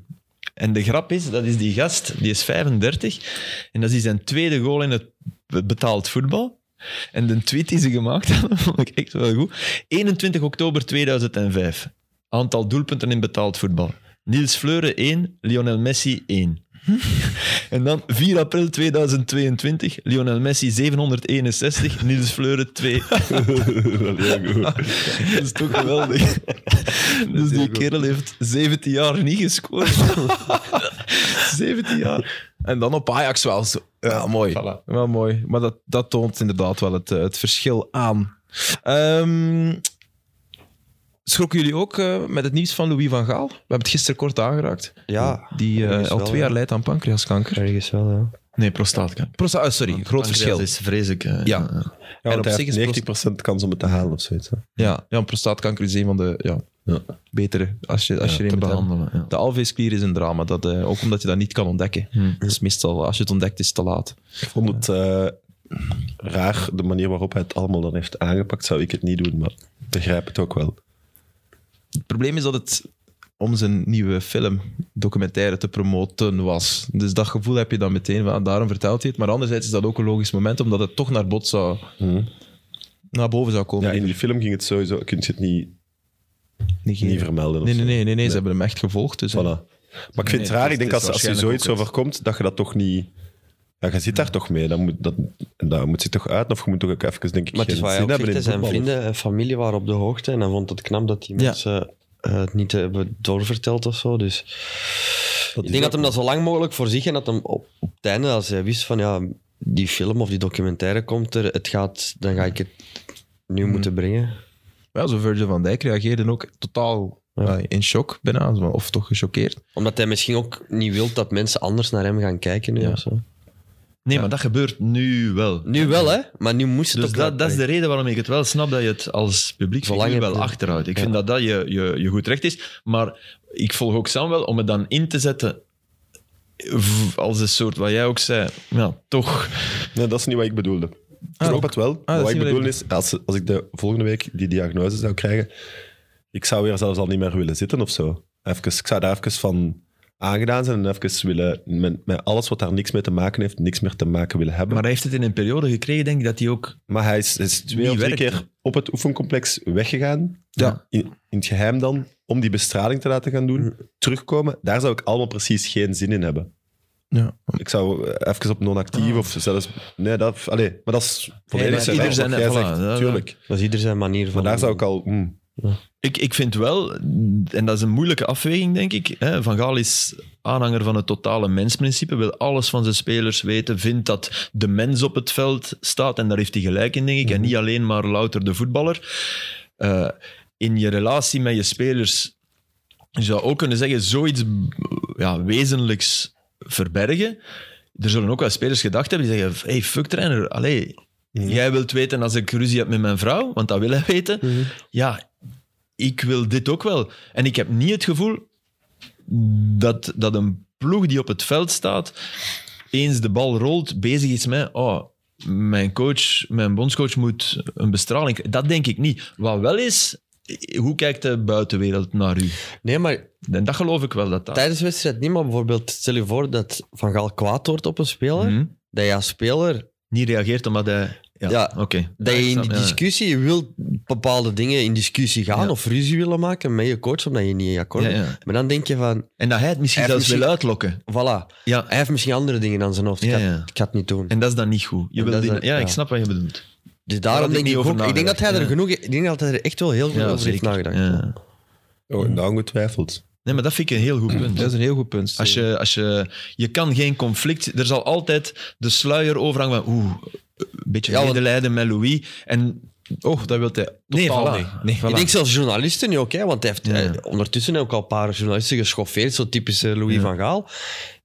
Speaker 4: En de grap is, dat is die gast, die is 35. En dat is zijn tweede goal in het be- betaald voetbal. En de tweet die ze gemaakt hebben, vond ik echt wel goed. 21 oktober 2005. Aantal doelpunten in betaald voetbal. Niels Fleuren 1, Lionel Messi 1. en dan 4 april 2022, Lionel Messi 761, Niels Fleuren 2.
Speaker 2: Wel heel goed.
Speaker 4: Dat is toch geweldig. dus die kerel heeft 17 jaar niet gescoord. 17 jaar.
Speaker 1: En dan op Ajax wel. Zo. Ja, mooi.
Speaker 4: Voilà.
Speaker 1: Wel mooi. Maar dat, dat toont inderdaad wel het, eh, het verschil aan. Ehm, schrokken jullie ook eh, met het nieuws van Louis van Gaal? We hebben het gisteren kort aangeraakt.
Speaker 3: Ja,
Speaker 1: Die eh,
Speaker 3: ergens
Speaker 1: al
Speaker 3: wel,
Speaker 1: twee
Speaker 3: ja.
Speaker 1: jaar leidt aan pancreaskanker.
Speaker 3: ergens wel, ja.
Speaker 4: Nee, prostaatkanker.
Speaker 1: Prosta- ah, sorry, groot verschil.
Speaker 4: Dat is vreselijk. eh,
Speaker 1: Ja.
Speaker 2: Ja,
Speaker 1: op
Speaker 2: want hij
Speaker 1: zich is
Speaker 2: heeft 90% kans om het te halen of zoiets. hè.
Speaker 1: Ja, ja prostaatkanker is een van de ja,
Speaker 2: Ja.
Speaker 1: betere als je, als
Speaker 4: ja,
Speaker 1: je erin
Speaker 4: te
Speaker 1: moet hebben.
Speaker 4: behandelen. ja.
Speaker 1: De alveesklier is een drama, dat, eh, ook omdat je dat niet kan ontdekken.
Speaker 4: Hmm.
Speaker 1: Dus meestal, als je het ontdekt, is het te laat.
Speaker 2: Ik vond het eh, raar, de manier waarop hij het allemaal dan heeft aangepakt, zou ik het niet doen, maar ik begrijp het ook wel.
Speaker 1: Het probleem is dat het om zijn nieuwe film, documentaire, te promoten was. Dus dat gevoel heb je dan meteen, van, ah, daarom vertelt hij het. Maar anderzijds is dat ook een logisch moment, omdat het toch naar bod zou... Naar boven zou komen.
Speaker 2: Mhm. Ja, in die film ging het sowieso, kun je het niet,
Speaker 1: Negeren.
Speaker 2: niet vermelden. of
Speaker 1: nee, nee,
Speaker 2: zo.
Speaker 1: nee, nee, nee, ze hebben hem echt gevolgd. Dus,
Speaker 2: Voilà. Maar ik vind
Speaker 1: Nee,
Speaker 2: het raar,
Speaker 1: het
Speaker 2: ik denk
Speaker 1: is
Speaker 2: als, als je
Speaker 1: waarschijnlijk
Speaker 2: zoiets
Speaker 1: ook het-
Speaker 2: overkomt, dat je dat toch niet... Ja, je zit daar toch mee, dat moet, dat, dat moet zich toch uit, of je moet toch ook even, denk ik,
Speaker 3: Maar het is
Speaker 2: geen
Speaker 3: wat hij
Speaker 2: zin
Speaker 3: ook
Speaker 2: hebben
Speaker 3: zegt, hè,
Speaker 2: in
Speaker 3: zijn
Speaker 2: voetbal.
Speaker 3: vrienden en familie waren op de hoogte en hij vond het knap dat die
Speaker 1: Ja.
Speaker 3: mensen eh, het niet hebben doorverteld of zo. Dus ik denk dat hem dat zo lang mogelijk voor zich en dat hem op, op het einde, als hij wist van ja, die film of die documentaire komt er, het gaat, dan ga ik het nu moeten brengen.
Speaker 1: Ja, zo Virgil van Dijk reageerde ook totaal eh, in shock, bijna. Of toch gechoqueerd.
Speaker 3: Omdat hij misschien ook niet wil dat mensen anders naar hem gaan kijken nu
Speaker 1: Ja.
Speaker 3: of zo.
Speaker 4: Nee, maar dat gebeurt nu wel.
Speaker 3: Nu wel, hè? Maar nu moest het
Speaker 4: Dus
Speaker 3: ook
Speaker 4: dat,
Speaker 3: wel.
Speaker 4: dat is de reden waarom ik het wel snap dat je het als publiek
Speaker 3: Zolang
Speaker 4: figuur
Speaker 3: je
Speaker 4: wel
Speaker 3: het-
Speaker 4: achterhoudt. Ik
Speaker 3: ja.
Speaker 4: vind dat dat je, je, je goed recht is. Maar ik volg ook Sam wel om het dan in te zetten v- als een soort, wat jij ook zei, ja, toch.
Speaker 2: Nee, dat is niet wat ik bedoelde. Ik snap het wel.
Speaker 1: Ah, dat is
Speaker 2: wat ik
Speaker 1: niet wat
Speaker 2: bedoelde
Speaker 1: ik-
Speaker 2: is, als, als ik de volgende week die diagnose zou krijgen, ik zou weer zelfs al niet meer willen zitten of zo. Even, ik zou daar even van aangedaan zijn en even willen, met, met alles wat daar niks mee te maken heeft, niks meer te maken willen hebben.
Speaker 4: Maar
Speaker 2: Maar,
Speaker 4: hij heeft het in een periode gekregen, denk ik, dat hij ook...
Speaker 2: hij is, is twee
Speaker 4: Niet
Speaker 2: of drie
Speaker 4: werkte.
Speaker 2: keer op het oefencomplex weggegaan.
Speaker 1: Ja.
Speaker 2: In, in het geheim dan, om die bestraling te laten gaan doen. Terugkomen, daar zou ik allemaal precies geen zin in hebben.
Speaker 1: Ja.
Speaker 2: Ik zou eh, even op non-actief of zelfs... Nee, dat, allee, maar dat is
Speaker 4: Nee,
Speaker 2: volledig
Speaker 4: maar ieder
Speaker 2: wat
Speaker 4: zijn-
Speaker 2: jij
Speaker 4: voilà,
Speaker 2: zegt,
Speaker 4: dat- dat-
Speaker 2: tuurlijk.
Speaker 3: Dat is ieder zijn manier van.
Speaker 2: Maar daar zou ik al... mm,
Speaker 4: Ik, ik vind wel, en dat is een moeilijke afweging, denk ik. Hè? Van Gaal is aanhanger van het totale mensprincipe, wil alles van zijn spelers weten, vindt dat de mens op het veld staat. En daar heeft hij gelijk in, denk ik. En niet alleen maar louter de voetballer. Eh, in je relatie met je spelers je zou ook kunnen zeggen, zoiets ja, wezenlijks verbergen. Er zullen ook wel spelers gedacht hebben die zeggen, hey, fuck trainer, allee, jij wilt weten als ik ruzie heb met mijn vrouw, want dat wil hij weten. Ja, ik wil dit ook wel. En ik heb niet het gevoel dat, dat een ploeg die op het veld staat, eens de bal rolt, bezig is met, oh, mijn coach, mijn bondscoach moet een bestraling krijgen. Dat denk ik niet. Wat wel is, hoe kijkt de buitenwereld naar u?
Speaker 3: Nee, maar
Speaker 4: En dat geloof ik wel dat dat.
Speaker 3: tijdens de wedstrijd niet, maar bijvoorbeeld stel je voor dat Van Gaal kwaad wordt op een speler.
Speaker 4: Mhm.
Speaker 3: Dat je als speler,
Speaker 4: Niet reageert omdat hij. Ja,
Speaker 3: Ja,
Speaker 4: oké.
Speaker 3: dat je in
Speaker 4: Ja,
Speaker 3: die
Speaker 4: ja.
Speaker 3: discussie, je wilt bepaalde dingen in discussie gaan
Speaker 4: Ja.
Speaker 3: of ruzie willen maken met je coach, omdat je niet in akkoord
Speaker 4: Ja,
Speaker 3: bent.
Speaker 4: ja.
Speaker 3: Maar dan denk je van,
Speaker 4: En dat hij het misschien
Speaker 3: Hij
Speaker 4: zelfs
Speaker 3: heeft
Speaker 4: wil uitlokken.
Speaker 3: voilà,
Speaker 4: Ja,
Speaker 3: hij heeft misschien andere dingen aan zijn hoofd. Ik,
Speaker 4: Ja,
Speaker 3: ga,
Speaker 4: ja.
Speaker 3: ik ga het niet doen.
Speaker 4: en dat is dan niet goed. Je
Speaker 3: En
Speaker 4: wil
Speaker 3: dat is
Speaker 4: die-
Speaker 3: dan-
Speaker 4: ja,
Speaker 3: ja.
Speaker 4: ik snap wat je bedoelt.
Speaker 3: dus
Speaker 4: had
Speaker 3: daarom
Speaker 4: ik
Speaker 3: denk
Speaker 4: niet
Speaker 3: ik
Speaker 4: over
Speaker 3: ook, ik denk dat hij er
Speaker 4: nagedacht,
Speaker 3: genoeg, ik denk dat hij er echt wel heel goed
Speaker 4: Ja,
Speaker 3: over heeft
Speaker 4: zeker.
Speaker 3: nagedacht.
Speaker 4: Ja.
Speaker 2: Oh, en dat ongetwijfeld.
Speaker 4: Nee, maar dat vind ik een heel goed punt.
Speaker 1: Dat is een heel goed punt.
Speaker 4: Als je, als je, je kan geen conflict. Er zal altijd de sluier overhangen van. Oeh, een beetje
Speaker 3: Ja, want-
Speaker 4: medelijden met Louis. En
Speaker 1: Oh, dat wil hij totaal
Speaker 4: Nee, voilà.
Speaker 1: niet. Nee,
Speaker 3: Ik
Speaker 1: voilà.
Speaker 3: denk zelfs journalisten nu ook, hè, want hij heeft
Speaker 4: Ja.
Speaker 3: eh, ondertussen ook al een paar journalisten geschoffeerd, zo typisch eh, Louis
Speaker 4: Ja.
Speaker 3: van Gaal.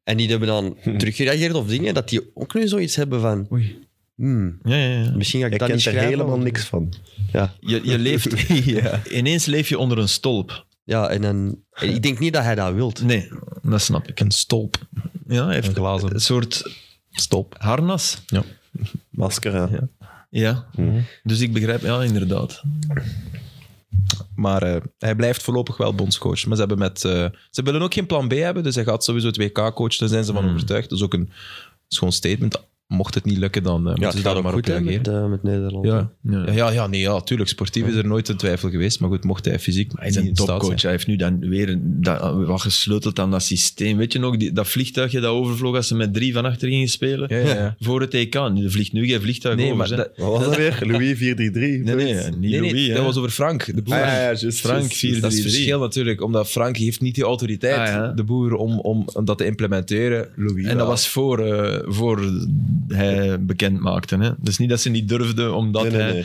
Speaker 3: En die hebben dan teruggereageerd op dingen, dat die ook nu zoiets hebben van...
Speaker 1: Oei.
Speaker 3: hmm,
Speaker 4: ja, ja, ja.
Speaker 3: misschien ga ik
Speaker 2: Ik
Speaker 3: dat niet
Speaker 2: kent er
Speaker 3: schrijven.
Speaker 2: helemaal
Speaker 3: of-
Speaker 2: niks van.
Speaker 3: Ja,
Speaker 4: Je, je leeft. Ineens leef je onder een stolp.
Speaker 3: ja en, dan, en ik denk niet dat hij dat wilt.
Speaker 4: Nee, dat snap ik.
Speaker 1: Een stolp.
Speaker 4: Ja, hij heeft
Speaker 1: Een glazen.
Speaker 4: een soort
Speaker 1: Stolp.
Speaker 4: harnas.
Speaker 2: Masker, ja.
Speaker 4: Ja,
Speaker 1: Mhm.
Speaker 4: dus ik begrijp, ja, inderdaad.
Speaker 1: Maar eh, hij blijft voorlopig wel bondscoach. Maar ze, hebben met, eh, ze willen ook geen plan B hebben, dus hij gaat sowieso het WK coachen. Daar zijn ze van overtuigd. Dat is ook een schoon statement. mocht het niet lukken, dan eh, moeten
Speaker 3: het
Speaker 1: ze
Speaker 3: gaat
Speaker 1: daar
Speaker 3: ook
Speaker 1: maar op
Speaker 3: goed hè,
Speaker 1: reageren.
Speaker 3: met, eh, met Nederland.
Speaker 1: Ja.
Speaker 4: Ja.
Speaker 1: Ja. Ja, ja, nee, ja, tuurlijk. Sportief is er nooit een twijfel geweest. Maar goed, mocht hij fysiek
Speaker 4: Hij is
Speaker 1: niet
Speaker 4: een
Speaker 1: in staat zijn.
Speaker 4: topcoach. Hij heeft nu dan weer een- dat, wat gesleuteld aan dat systeem. Weet je nog, die, dat vliegtuigje dat overvloog als ze met drie van achter gingen spelen?
Speaker 1: Ja, ja, ja.
Speaker 4: Voor het EK. Nu, Er vliegt nu geen vliegtuig
Speaker 1: Nee,
Speaker 4: over.
Speaker 1: maar
Speaker 4: hè.
Speaker 1: dat,
Speaker 2: Wat was dat weer? Louis 433?
Speaker 4: nee, nee,
Speaker 2: zoiets?
Speaker 4: niet
Speaker 1: nee, nee,
Speaker 4: Louis, hè.
Speaker 1: dat was over Frank, de boer.
Speaker 2: Ah, ja, ja, juist,
Speaker 4: Frank,
Speaker 2: juist,
Speaker 4: vier-
Speaker 1: Dat is het
Speaker 4: 3-3.
Speaker 1: verschil natuurlijk, omdat Frank heeft niet die autoriteit,
Speaker 4: Ah, ja.
Speaker 1: de boer, om, om, om dat te implementeren. Louis,
Speaker 4: En dat
Speaker 1: wel.
Speaker 4: was voor, eh, voor hij bekend maakte. Hè? Dus niet dat ze niet durfden, omdat
Speaker 2: Nee, nee,
Speaker 4: hij...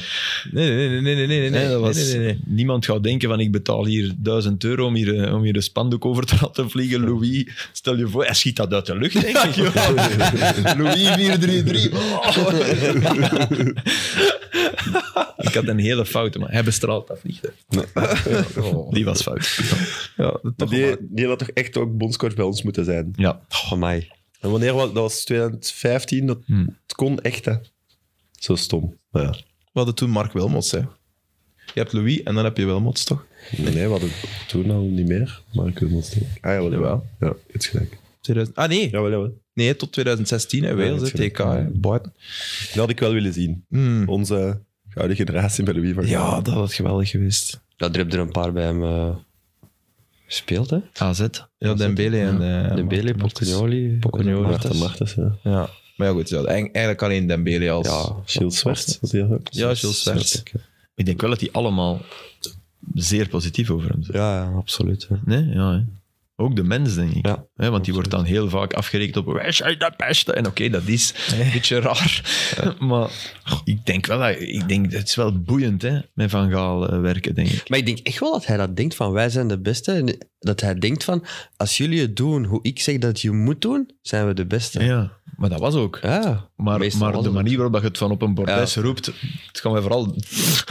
Speaker 2: nee.
Speaker 1: Nee, nee, nee, nee, nee, nee, nee,
Speaker 4: Nee, dat was,
Speaker 1: nee, nee, nee.
Speaker 4: Niemand gaat denken van ik betaal hier 1000 euro om hier, eh, om hier een spandoek over te laten vliegen. Louis, stel je voor, hij schiet dat uit de lucht, denk ik. joh. Louis 433. Oh. ik had een hele fout, maar hij bestraalt dat vliegtuig. oh. Die was fout.
Speaker 1: Ja,
Speaker 2: Maar
Speaker 1: toch
Speaker 2: Die, die had toch echt ook bondscoach bij ons moeten zijn?
Speaker 4: Ja.
Speaker 3: Oh, mij.
Speaker 2: En wanneer was dat? was 2015. Dat
Speaker 4: Hmm.
Speaker 2: het kon echt, hè? Zo stom. Maar ja.
Speaker 1: We hadden toen Mark Wilmots, hè. Je hebt Louis en dan heb je Wilmots, toch?
Speaker 2: Nee, nee, we hadden toen al niet meer. Maar ik wil nog steeds. Ah, jawel,
Speaker 1: Jawel.
Speaker 2: Ja, het is gelijk.
Speaker 1: 2000 Ah, nee.
Speaker 2: Jawel, jawel.
Speaker 1: Nee, tot 2016 in
Speaker 2: dat
Speaker 1: Wales,
Speaker 2: is
Speaker 1: hè, TK.
Speaker 2: gelijk.
Speaker 1: hè. Buiten.
Speaker 2: Dat had ik wel willen zien.
Speaker 1: Hmm.
Speaker 2: Onze gouden generatie bij Louis van Gaal.
Speaker 1: Ja, dat had geweldig geweest.
Speaker 3: Dat dript er een paar bij hem eh, gespeeld, hè?
Speaker 4: AZ.
Speaker 1: Ja, Dembele en... eh,
Speaker 3: De Bele,
Speaker 1: Martens.
Speaker 3: Pocagnoli.
Speaker 1: Pocagnoli.
Speaker 2: Maarten Martens, ja.
Speaker 1: Ja. Maar ja, goed. Ja, eigen- eigenlijk alleen Dembele als...
Speaker 3: Ja,
Speaker 2: Gilles Zwart, was die dat ook?
Speaker 1: Ja, Gilles Zwart.
Speaker 2: Zwart, oké.
Speaker 4: Ik denk wel dat die allemaal zeer positief over hem zijn.
Speaker 3: ja, ja, absoluut. hè.
Speaker 4: Nee, ja. hè. Ook de mens, denk ik.
Speaker 3: Ja.
Speaker 4: Hè, want die wordt dan heel vaak afgerekend op... Wij zijn de beste. En oké, dat is een beetje raar. Maar ik denk wel... dat- Ik denk, het is wel boeiend, hè. Met Van Gaal eh, werken, denk ik.
Speaker 3: Maar ik denk echt wel dat hij dat denkt van wij zijn de beste. En dat hij denkt van als jullie het doen hoe ik zeg dat je moet doen, zijn we de beste. Ja,
Speaker 4: Ja, maar dat was ook. Maar,
Speaker 3: meestal
Speaker 4: maar
Speaker 3: was
Speaker 4: de
Speaker 3: het.
Speaker 4: manier waarop dat je het van op een bordes roept... Het gaat mij vooral...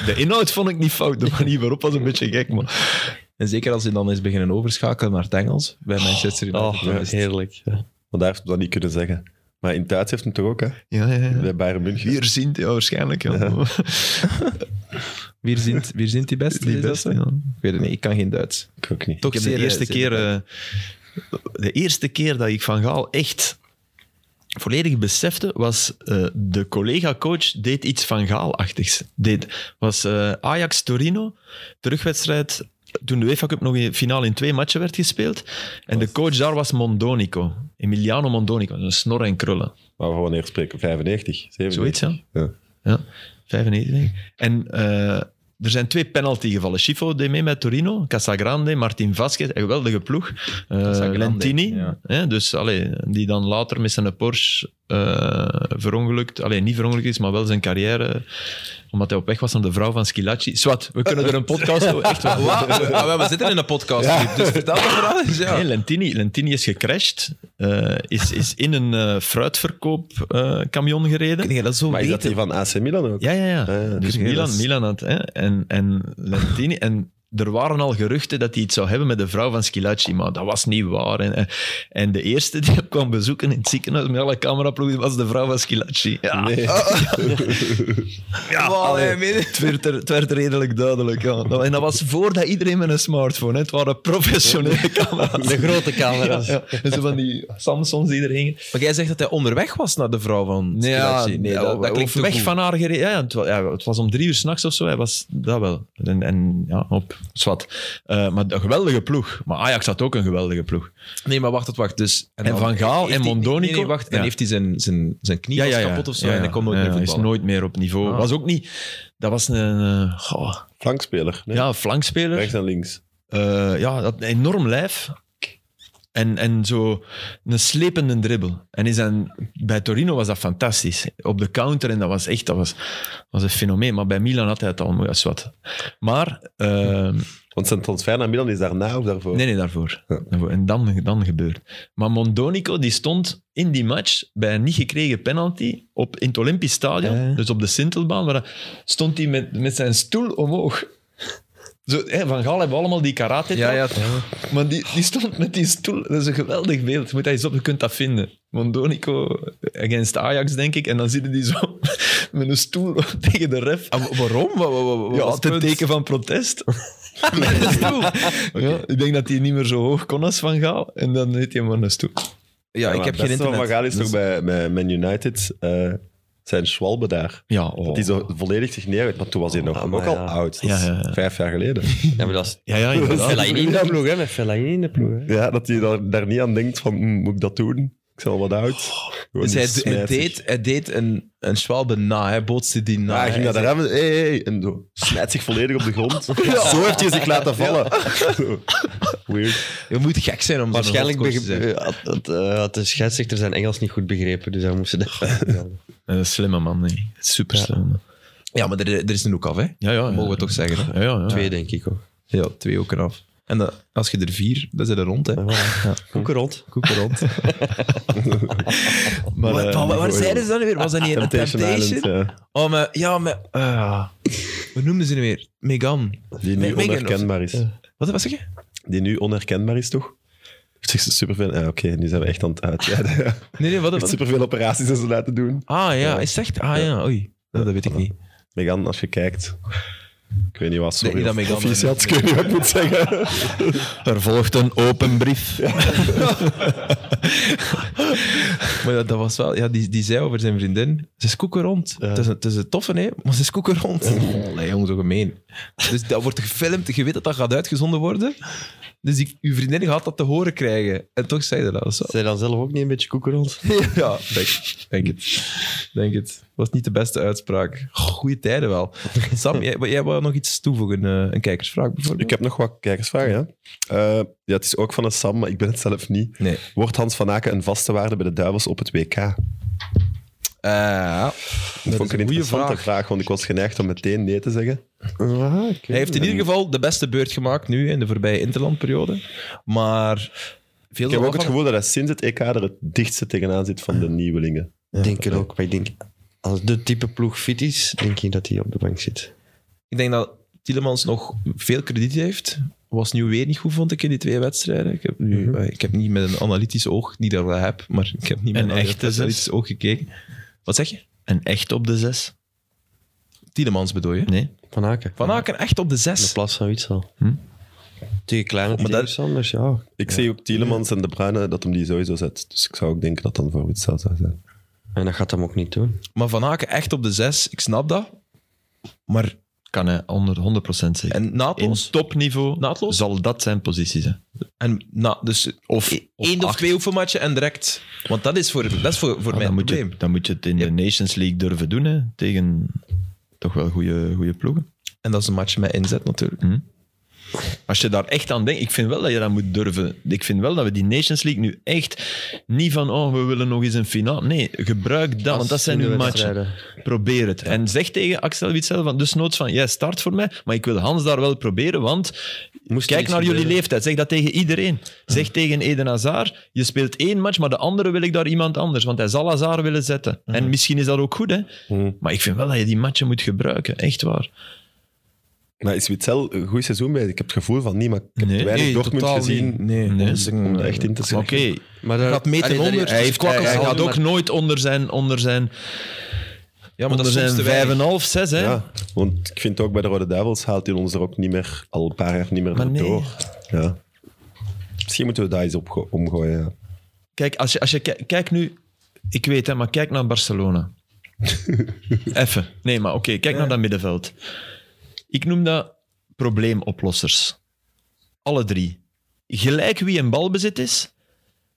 Speaker 4: De inhoud vond ik niet fout. De manier waarop was een beetje gek, maar...
Speaker 1: En zeker als ze dan eens beginnen overschakelen naar het Engels bij Manchester United. Dus
Speaker 3: Oh,
Speaker 1: dan is het-
Speaker 3: heerlijk. Ja.
Speaker 2: Maar daar heeft hij dat niet kunnen zeggen. Maar in Duits heeft hij hem toch ook, hè?
Speaker 4: Ja, ja, ja.
Speaker 2: Bij Bayern München.
Speaker 4: Hier zint, ja, waarschijnlijk. Ja.
Speaker 1: Wie zint, wie zint die beste?
Speaker 4: Die
Speaker 1: Is dat
Speaker 4: beste,
Speaker 1: zo?
Speaker 4: ja.
Speaker 1: Ik weet het niet, ik kan geen Duits.
Speaker 2: Ik ook niet.
Speaker 1: Toch
Speaker 4: Ik heb de
Speaker 1: zeer-
Speaker 4: eerste
Speaker 1: zeer-
Speaker 4: keer... eh, de eerste keer dat ik Van Gaal echt volledig besefte, was eh, de collega-coach deed iets Van Gaal-achtigs. Deed, was eh, Ajax-Torino, terugwedstrijd toen de UEFA Cup nog in finale in twee matchen werd gespeeld. En de coach daar was Mondonico. Emiliano Mondonico, een snor en krullen.
Speaker 2: Maar van wanneer spreken we? 95, 97?
Speaker 4: Zoiets, ja.
Speaker 2: Ja.
Speaker 4: Ja, 95. En eh, er zijn twee penaltygevallen. Schifo deed mee met Torino, Casagrande, Martin Vasquez, een geweldige ploeg. Eh
Speaker 1: Casagrande,
Speaker 4: Lentini,
Speaker 1: ja.
Speaker 4: hè, dus, allee, die dan later met zijn Porsche eh, verongelukt, allee, niet verongelukt is, maar wel zijn carrière, omdat hij op weg was naar de vrouw van Schilacci. Zwat, we kunnen er een podcast over, echt waar.
Speaker 1: Ah, we zitten in een podcast, Filip, dus vertel dat verhaal eens. Ja.
Speaker 4: Nee, Lentini, Lentini is gecrashed, eh, is, is in een eh, fruitverkoopcamion gereden.
Speaker 1: Kun je dat zo
Speaker 2: Maar is dat
Speaker 1: weten?
Speaker 2: die van AC Milan ook?
Speaker 4: Ja, ja, ja.
Speaker 2: ja,
Speaker 4: dus
Speaker 1: kun je
Speaker 4: Milan,
Speaker 1: dat-
Speaker 4: Milan had... Hè, en, en Lentini... en er waren al geruchten dat hij iets zou hebben met de vrouw van Schilacci, maar dat was niet waar. En, en de eerste die hem kwam bezoeken in het ziekenhuis met alle cameraploegen was de vrouw van Schilacci. Ja,
Speaker 2: Nee.
Speaker 4: ja, allee, het, werd er, het werd redelijk duidelijk. Ja. Nou, En dat was voordat iedereen met een smartphone... Hè. Het waren professionele camera's.
Speaker 3: De grote camera's.
Speaker 4: Ja, ja. En zo van die Samsons die er hingen.
Speaker 1: Maar jij zegt dat hij onderweg was naar de vrouw van
Speaker 4: Nee, ja,
Speaker 1: Scalacci. Nee, dat, dat klinkt te
Speaker 4: weg
Speaker 1: goed.
Speaker 4: van haar gereden. Ja, ja, het, wa- ja, het was om drie uur s'nachts of zo. Hij was dat wel. En, en ja, op zwart. Eh, maar een geweldige ploeg. Maar Ajax had ook een geweldige ploeg.
Speaker 1: Nee, maar wacht, wacht, wacht. Dus,
Speaker 4: En
Speaker 1: dan
Speaker 4: Van Gaal
Speaker 1: heeft
Speaker 4: en
Speaker 1: hij-
Speaker 4: Mondonico?
Speaker 1: Nee, nee, wacht. Dan
Speaker 4: Ja.
Speaker 1: heeft hij zijn, zijn, zijn knie was kapot of zo
Speaker 4: Ja,
Speaker 1: en hij kon nooit
Speaker 4: ja,
Speaker 1: meer
Speaker 4: hij is
Speaker 1: voetballen.
Speaker 4: nooit meer op niveau.
Speaker 1: Ah.
Speaker 4: Was ook niet. Dat was een eh, goh,
Speaker 2: Flankspeler. Nee.
Speaker 4: ja, flankspeler.
Speaker 2: Rechts en links.
Speaker 4: Eh, ja, dat enorm lijf. En, en zo een slepende dribbel. En is dan, bij Torino was dat fantastisch. Op de counter, en dat was echt dat was, was een fenomeen. Maar bij Milan had hij het al mooi als wat. Maar, eh,
Speaker 2: Want zijn transfer naar Milan is daarna of daarvoor?
Speaker 4: nee, nee, daarvoor.
Speaker 2: Ja.
Speaker 4: Daarvoor. En dan, dan gebeurt. Maar Mondonico die stond in die match bij een niet gekregen penalty op, in het Olympisch Stadion,
Speaker 3: Ja, ja.
Speaker 4: dus op de Sintelbaan, waar, hij- stond hij met, met zijn stoel omhoog. Zo, hè, van Gaal hebben we allemaal die karate
Speaker 1: Ja, ja.
Speaker 4: maar die, die stond met die stoel. Dat is een geweldig beeld. Je Moet dat eens op, je kunt dat vinden. Mondonico against Ajax, denk ik. En dan zitten die zo met een stoel tegen de ref.
Speaker 1: Ah, wa- waarom? Wa- wa- wa- wa-
Speaker 4: Ja,
Speaker 1: wat
Speaker 4: ten
Speaker 1: punt?
Speaker 4: teken van protest. met een stoel. Ja, ik denk dat hij niet meer zo hoog kon als Van Gaal. En dan heeft hij maar een stoel.
Speaker 1: Ja, ik
Speaker 2: maar
Speaker 1: heb geen
Speaker 2: het beste van
Speaker 1: internet.
Speaker 2: Van Gaal is
Speaker 1: Dus-
Speaker 2: toch bij, bij Man United eh, zijn Schwalbe daar.
Speaker 4: Ja, oh.
Speaker 2: Dat hij zo volledig zich neerwet. Maar toen was hij nog
Speaker 3: Ah,
Speaker 2: ook
Speaker 3: maar
Speaker 2: al
Speaker 3: ja.
Speaker 2: oud. Dat is
Speaker 4: Ja, ja, ja.
Speaker 2: vijf jaar geleden.
Speaker 3: Ja, maar dat is
Speaker 4: ja, ja, inderdaad.
Speaker 3: Fellaini in de ploeg, hè. Met Fellaini in de ploeg, hè.
Speaker 2: Ja, dat hij daar, daar niet aan denkt van, "Hm, moet ik dat doen? Ik zal wat oud. Gewoon
Speaker 1: Dus
Speaker 2: die
Speaker 1: hij, hij
Speaker 2: smijt zich.
Speaker 1: deed, hij deed een, een Schwalbe na, hij bootste die na.
Speaker 2: Ja, hij ging
Speaker 1: Hij
Speaker 2: naar
Speaker 1: zei-
Speaker 2: de remmen. Hey, hey, en zo. Smijt zich volledig op de grond. Zo heeft hij zich laten vallen. Zo. Weird.
Speaker 1: Je moet gek zijn om zo'n
Speaker 3: Waarschijnlijk
Speaker 1: hotcoach te
Speaker 3: beg-
Speaker 1: zijn.
Speaker 3: eh, had, had, eh, had de scheidsrechter zijn Engels niet goed begrepen, dus hij moest ze dat...
Speaker 4: Een slimme man, nee. Super slimme man.
Speaker 1: Ja, maar er, er is een hoek af, hè?
Speaker 4: Ja, ja. ja.
Speaker 1: Mogen we toch zeggen, hè?
Speaker 4: Ja, ja, ja.
Speaker 3: Twee, denk ik ook.
Speaker 1: Ja, twee hoeken af. En dan- als je er vier, dan zit er rond, hè?
Speaker 3: Koeken rond.
Speaker 1: Koeken rond.
Speaker 2: Maar,
Speaker 1: Wat-
Speaker 2: eh,
Speaker 1: wat- wat
Speaker 2: mooi.
Speaker 1: zeiden ze dan weer? Was dat niet een
Speaker 2: Temptation
Speaker 1: Temptation?
Speaker 2: Island, ja.
Speaker 1: Oh, maar, ja, maar... eh, hoe noemden ze hem weer? Megan.
Speaker 2: Die nu
Speaker 1: Megan of-
Speaker 2: onherkenbaar is.
Speaker 1: Wat was ik?
Speaker 2: Die nu onherkenbaar is, toch? Heeft zich superveel... Ja, oké, nu zijn we echt aan het uitrijden. Hij
Speaker 1: Nee, nee, wat,
Speaker 2: heeft
Speaker 1: wat?
Speaker 2: superveel operaties en zo laten doen.
Speaker 1: Ah, ja, is het echt? Ah, ja, oei. Nou, dat weet ik niet.
Speaker 2: Megan, als je kijkt... Ik weet niet wat, sorry.
Speaker 1: Nee, niet
Speaker 2: of
Speaker 1: dat Meghan-
Speaker 2: proficiat, ik weet niet wat ik moet zeggen.
Speaker 4: Er volgt een open brief.
Speaker 1: Maar dat, dat was wel... Ja, die, die zei over zijn vriendin, ze is koeken rond. Het, is een, het is een toffe, hè? Maar ze is koeken rond. Allee, jong, zo gemeen. Dus dat wordt gefilmd. Je weet dat dat gaat uitgezonden worden. Dus die, uw vriendin gaat dat te horen krijgen. En toch zei ze dat. dat. is wel-
Speaker 3: Zij dan zelf ook niet een beetje koeken rond?
Speaker 1: Ja, denk, denk het. Denk het. Was niet de beste uitspraak. Goeie tijden wel. Sam, jij, jij wou nog iets toevoegen? eh, Een kijkersvraag bijvoorbeeld?
Speaker 2: Ik heb nog wat kijkersvragen, ja. Eh, ja, het is ook van een Sam, maar ik ben het zelf niet.
Speaker 1: Nee.
Speaker 2: Wordt Hans van Aken een vaste waarde bij de Duivels op het WK? Dat,
Speaker 1: Eh,
Speaker 2: vond ik
Speaker 1: een
Speaker 2: een
Speaker 1: goeie
Speaker 2: interessante vraag.
Speaker 1: vraag.
Speaker 2: want ik was geneigd om meteen nee te zeggen.
Speaker 1: hij heeft in ieder geval de beste beurt gemaakt nu in de voorbije interlandperiode. Maar veel
Speaker 2: Ik heb ook het gevoel dat hij sinds het EK er het dichtste tegenaan zit van de nieuwelingen.
Speaker 3: Ik denk het ook, maar ik denk... Als de type ploeg fit is, denk ik dat hij op de bank zit.
Speaker 1: Ik denk dat Tielemans nog veel krediet heeft. Was nu weer niet goed, vond ik, in die twee wedstrijden. Ik heb, nu, eh, ik heb niet met een analytisch oog, niet dat ik dat heb, maar ik heb niet met
Speaker 4: Een
Speaker 1: een,
Speaker 4: echte zes.
Speaker 1: analytisch oog gekeken. Wat zeg je?
Speaker 4: En echt op de zes?
Speaker 1: Tielemans bedoel je?
Speaker 4: Nee.
Speaker 3: Van Aken.
Speaker 1: Van Aken echt op de
Speaker 3: In de
Speaker 1: zes.
Speaker 3: plaats van Witsel.
Speaker 4: Hm?
Speaker 3: Tegen kleine
Speaker 2: Maar dat-
Speaker 3: teams anders, ja.
Speaker 2: Ik zie ook Tielemans en De Bruyne dat hem die sowieso zet. Dus ik zou ook denken dat dan voor Witzel zou zijn.
Speaker 3: En dat gaat hem ook niet doen.
Speaker 1: Maar Van Aken echt op de zes, ik snap dat. Maar
Speaker 4: Kan hij onder 100% zeggen.
Speaker 1: en
Speaker 4: In
Speaker 1: naadloos?
Speaker 4: topniveau
Speaker 1: Naadloos?
Speaker 4: zal dat zijn positie zijn.
Speaker 1: En na, dus of, één of,
Speaker 4: acht.
Speaker 1: twee oefenmatchen en direct. Want dat is voor, dat is voor, voor
Speaker 4: Ah,
Speaker 1: mijn
Speaker 4: dan, moet
Speaker 1: probleem.
Speaker 4: je, dan moet je het in de Nations League durven doen hè, tegen toch wel goede, goede ploegen.
Speaker 1: En dat is een match met inzet natuurlijk.
Speaker 4: Als je daar echt aan denkt, ik vind wel dat je dat moet durven. Ik vind wel dat we die Nations League nu echt niet van, oh, we willen nog eens een finale. Nee, gebruik dat, want dat zijn nu matchen. Probeer het. En zeg tegen Axel Witsel, van, dus noods van, jij start voor mij, maar ik wil Hans daar wel proberen, want
Speaker 3: Moest er
Speaker 4: kijk
Speaker 3: iets
Speaker 4: naar jullie
Speaker 3: gebeuren? Hm.
Speaker 4: leeftijd. Zeg dat tegen iedereen. Zeg tegen Eden Hazard, je speelt één match, maar de andere wil ik daar iemand anders, want hij zal Hazard willen zetten.
Speaker 3: Hm.
Speaker 4: En misschien is dat ook goed, hè. Maar ik vind wel dat je die matchen moet gebruiken, echt waar.
Speaker 2: Maar is Witzel een goed seizoen bezig? Ik heb het gevoel van niet, maar ik heb
Speaker 4: Nee,
Speaker 2: weinig
Speaker 1: Nee,
Speaker 2: Dortmund
Speaker 1: totaal
Speaker 2: gezien.
Speaker 1: niet. Nee,
Speaker 4: Nee.
Speaker 1: Dus ik-
Speaker 2: Om dat echt in te
Speaker 4: Oké,
Speaker 2: zeggen.
Speaker 3: Maar daar,
Speaker 1: Gaat meten
Speaker 3: eh, Allee, daar-
Speaker 1: onder,
Speaker 3: Hij,
Speaker 1: dus
Speaker 3: heeft,
Speaker 1: kwakkels
Speaker 3: hij,
Speaker 4: Hij
Speaker 1: Ja,
Speaker 4: gaat
Speaker 3: maar-
Speaker 4: ook nooit onder zijn, onder zijn,
Speaker 1: Ja, maar dat
Speaker 4: onder
Speaker 1: is soms
Speaker 4: zijn
Speaker 1: te weinig.
Speaker 4: 5,5, 6. Hè?
Speaker 2: Ja, want ik vind ook bij de Rode Duivels haalt hij ons er ook niet meer, al een paar jaar niet meer
Speaker 4: Maar nee.
Speaker 2: door. Ja. Misschien moeten we daar eens op go- omgooien. Ja.
Speaker 4: Kijk, als je, als je kijk, kijk nu, ik weet hè, maar kijk naar Barcelona. Even. Nee, maar oké, kijk naar dat middenveld. Ik noem dat probleemoplossers. Alle drie. Gelijk wie een balbezit is,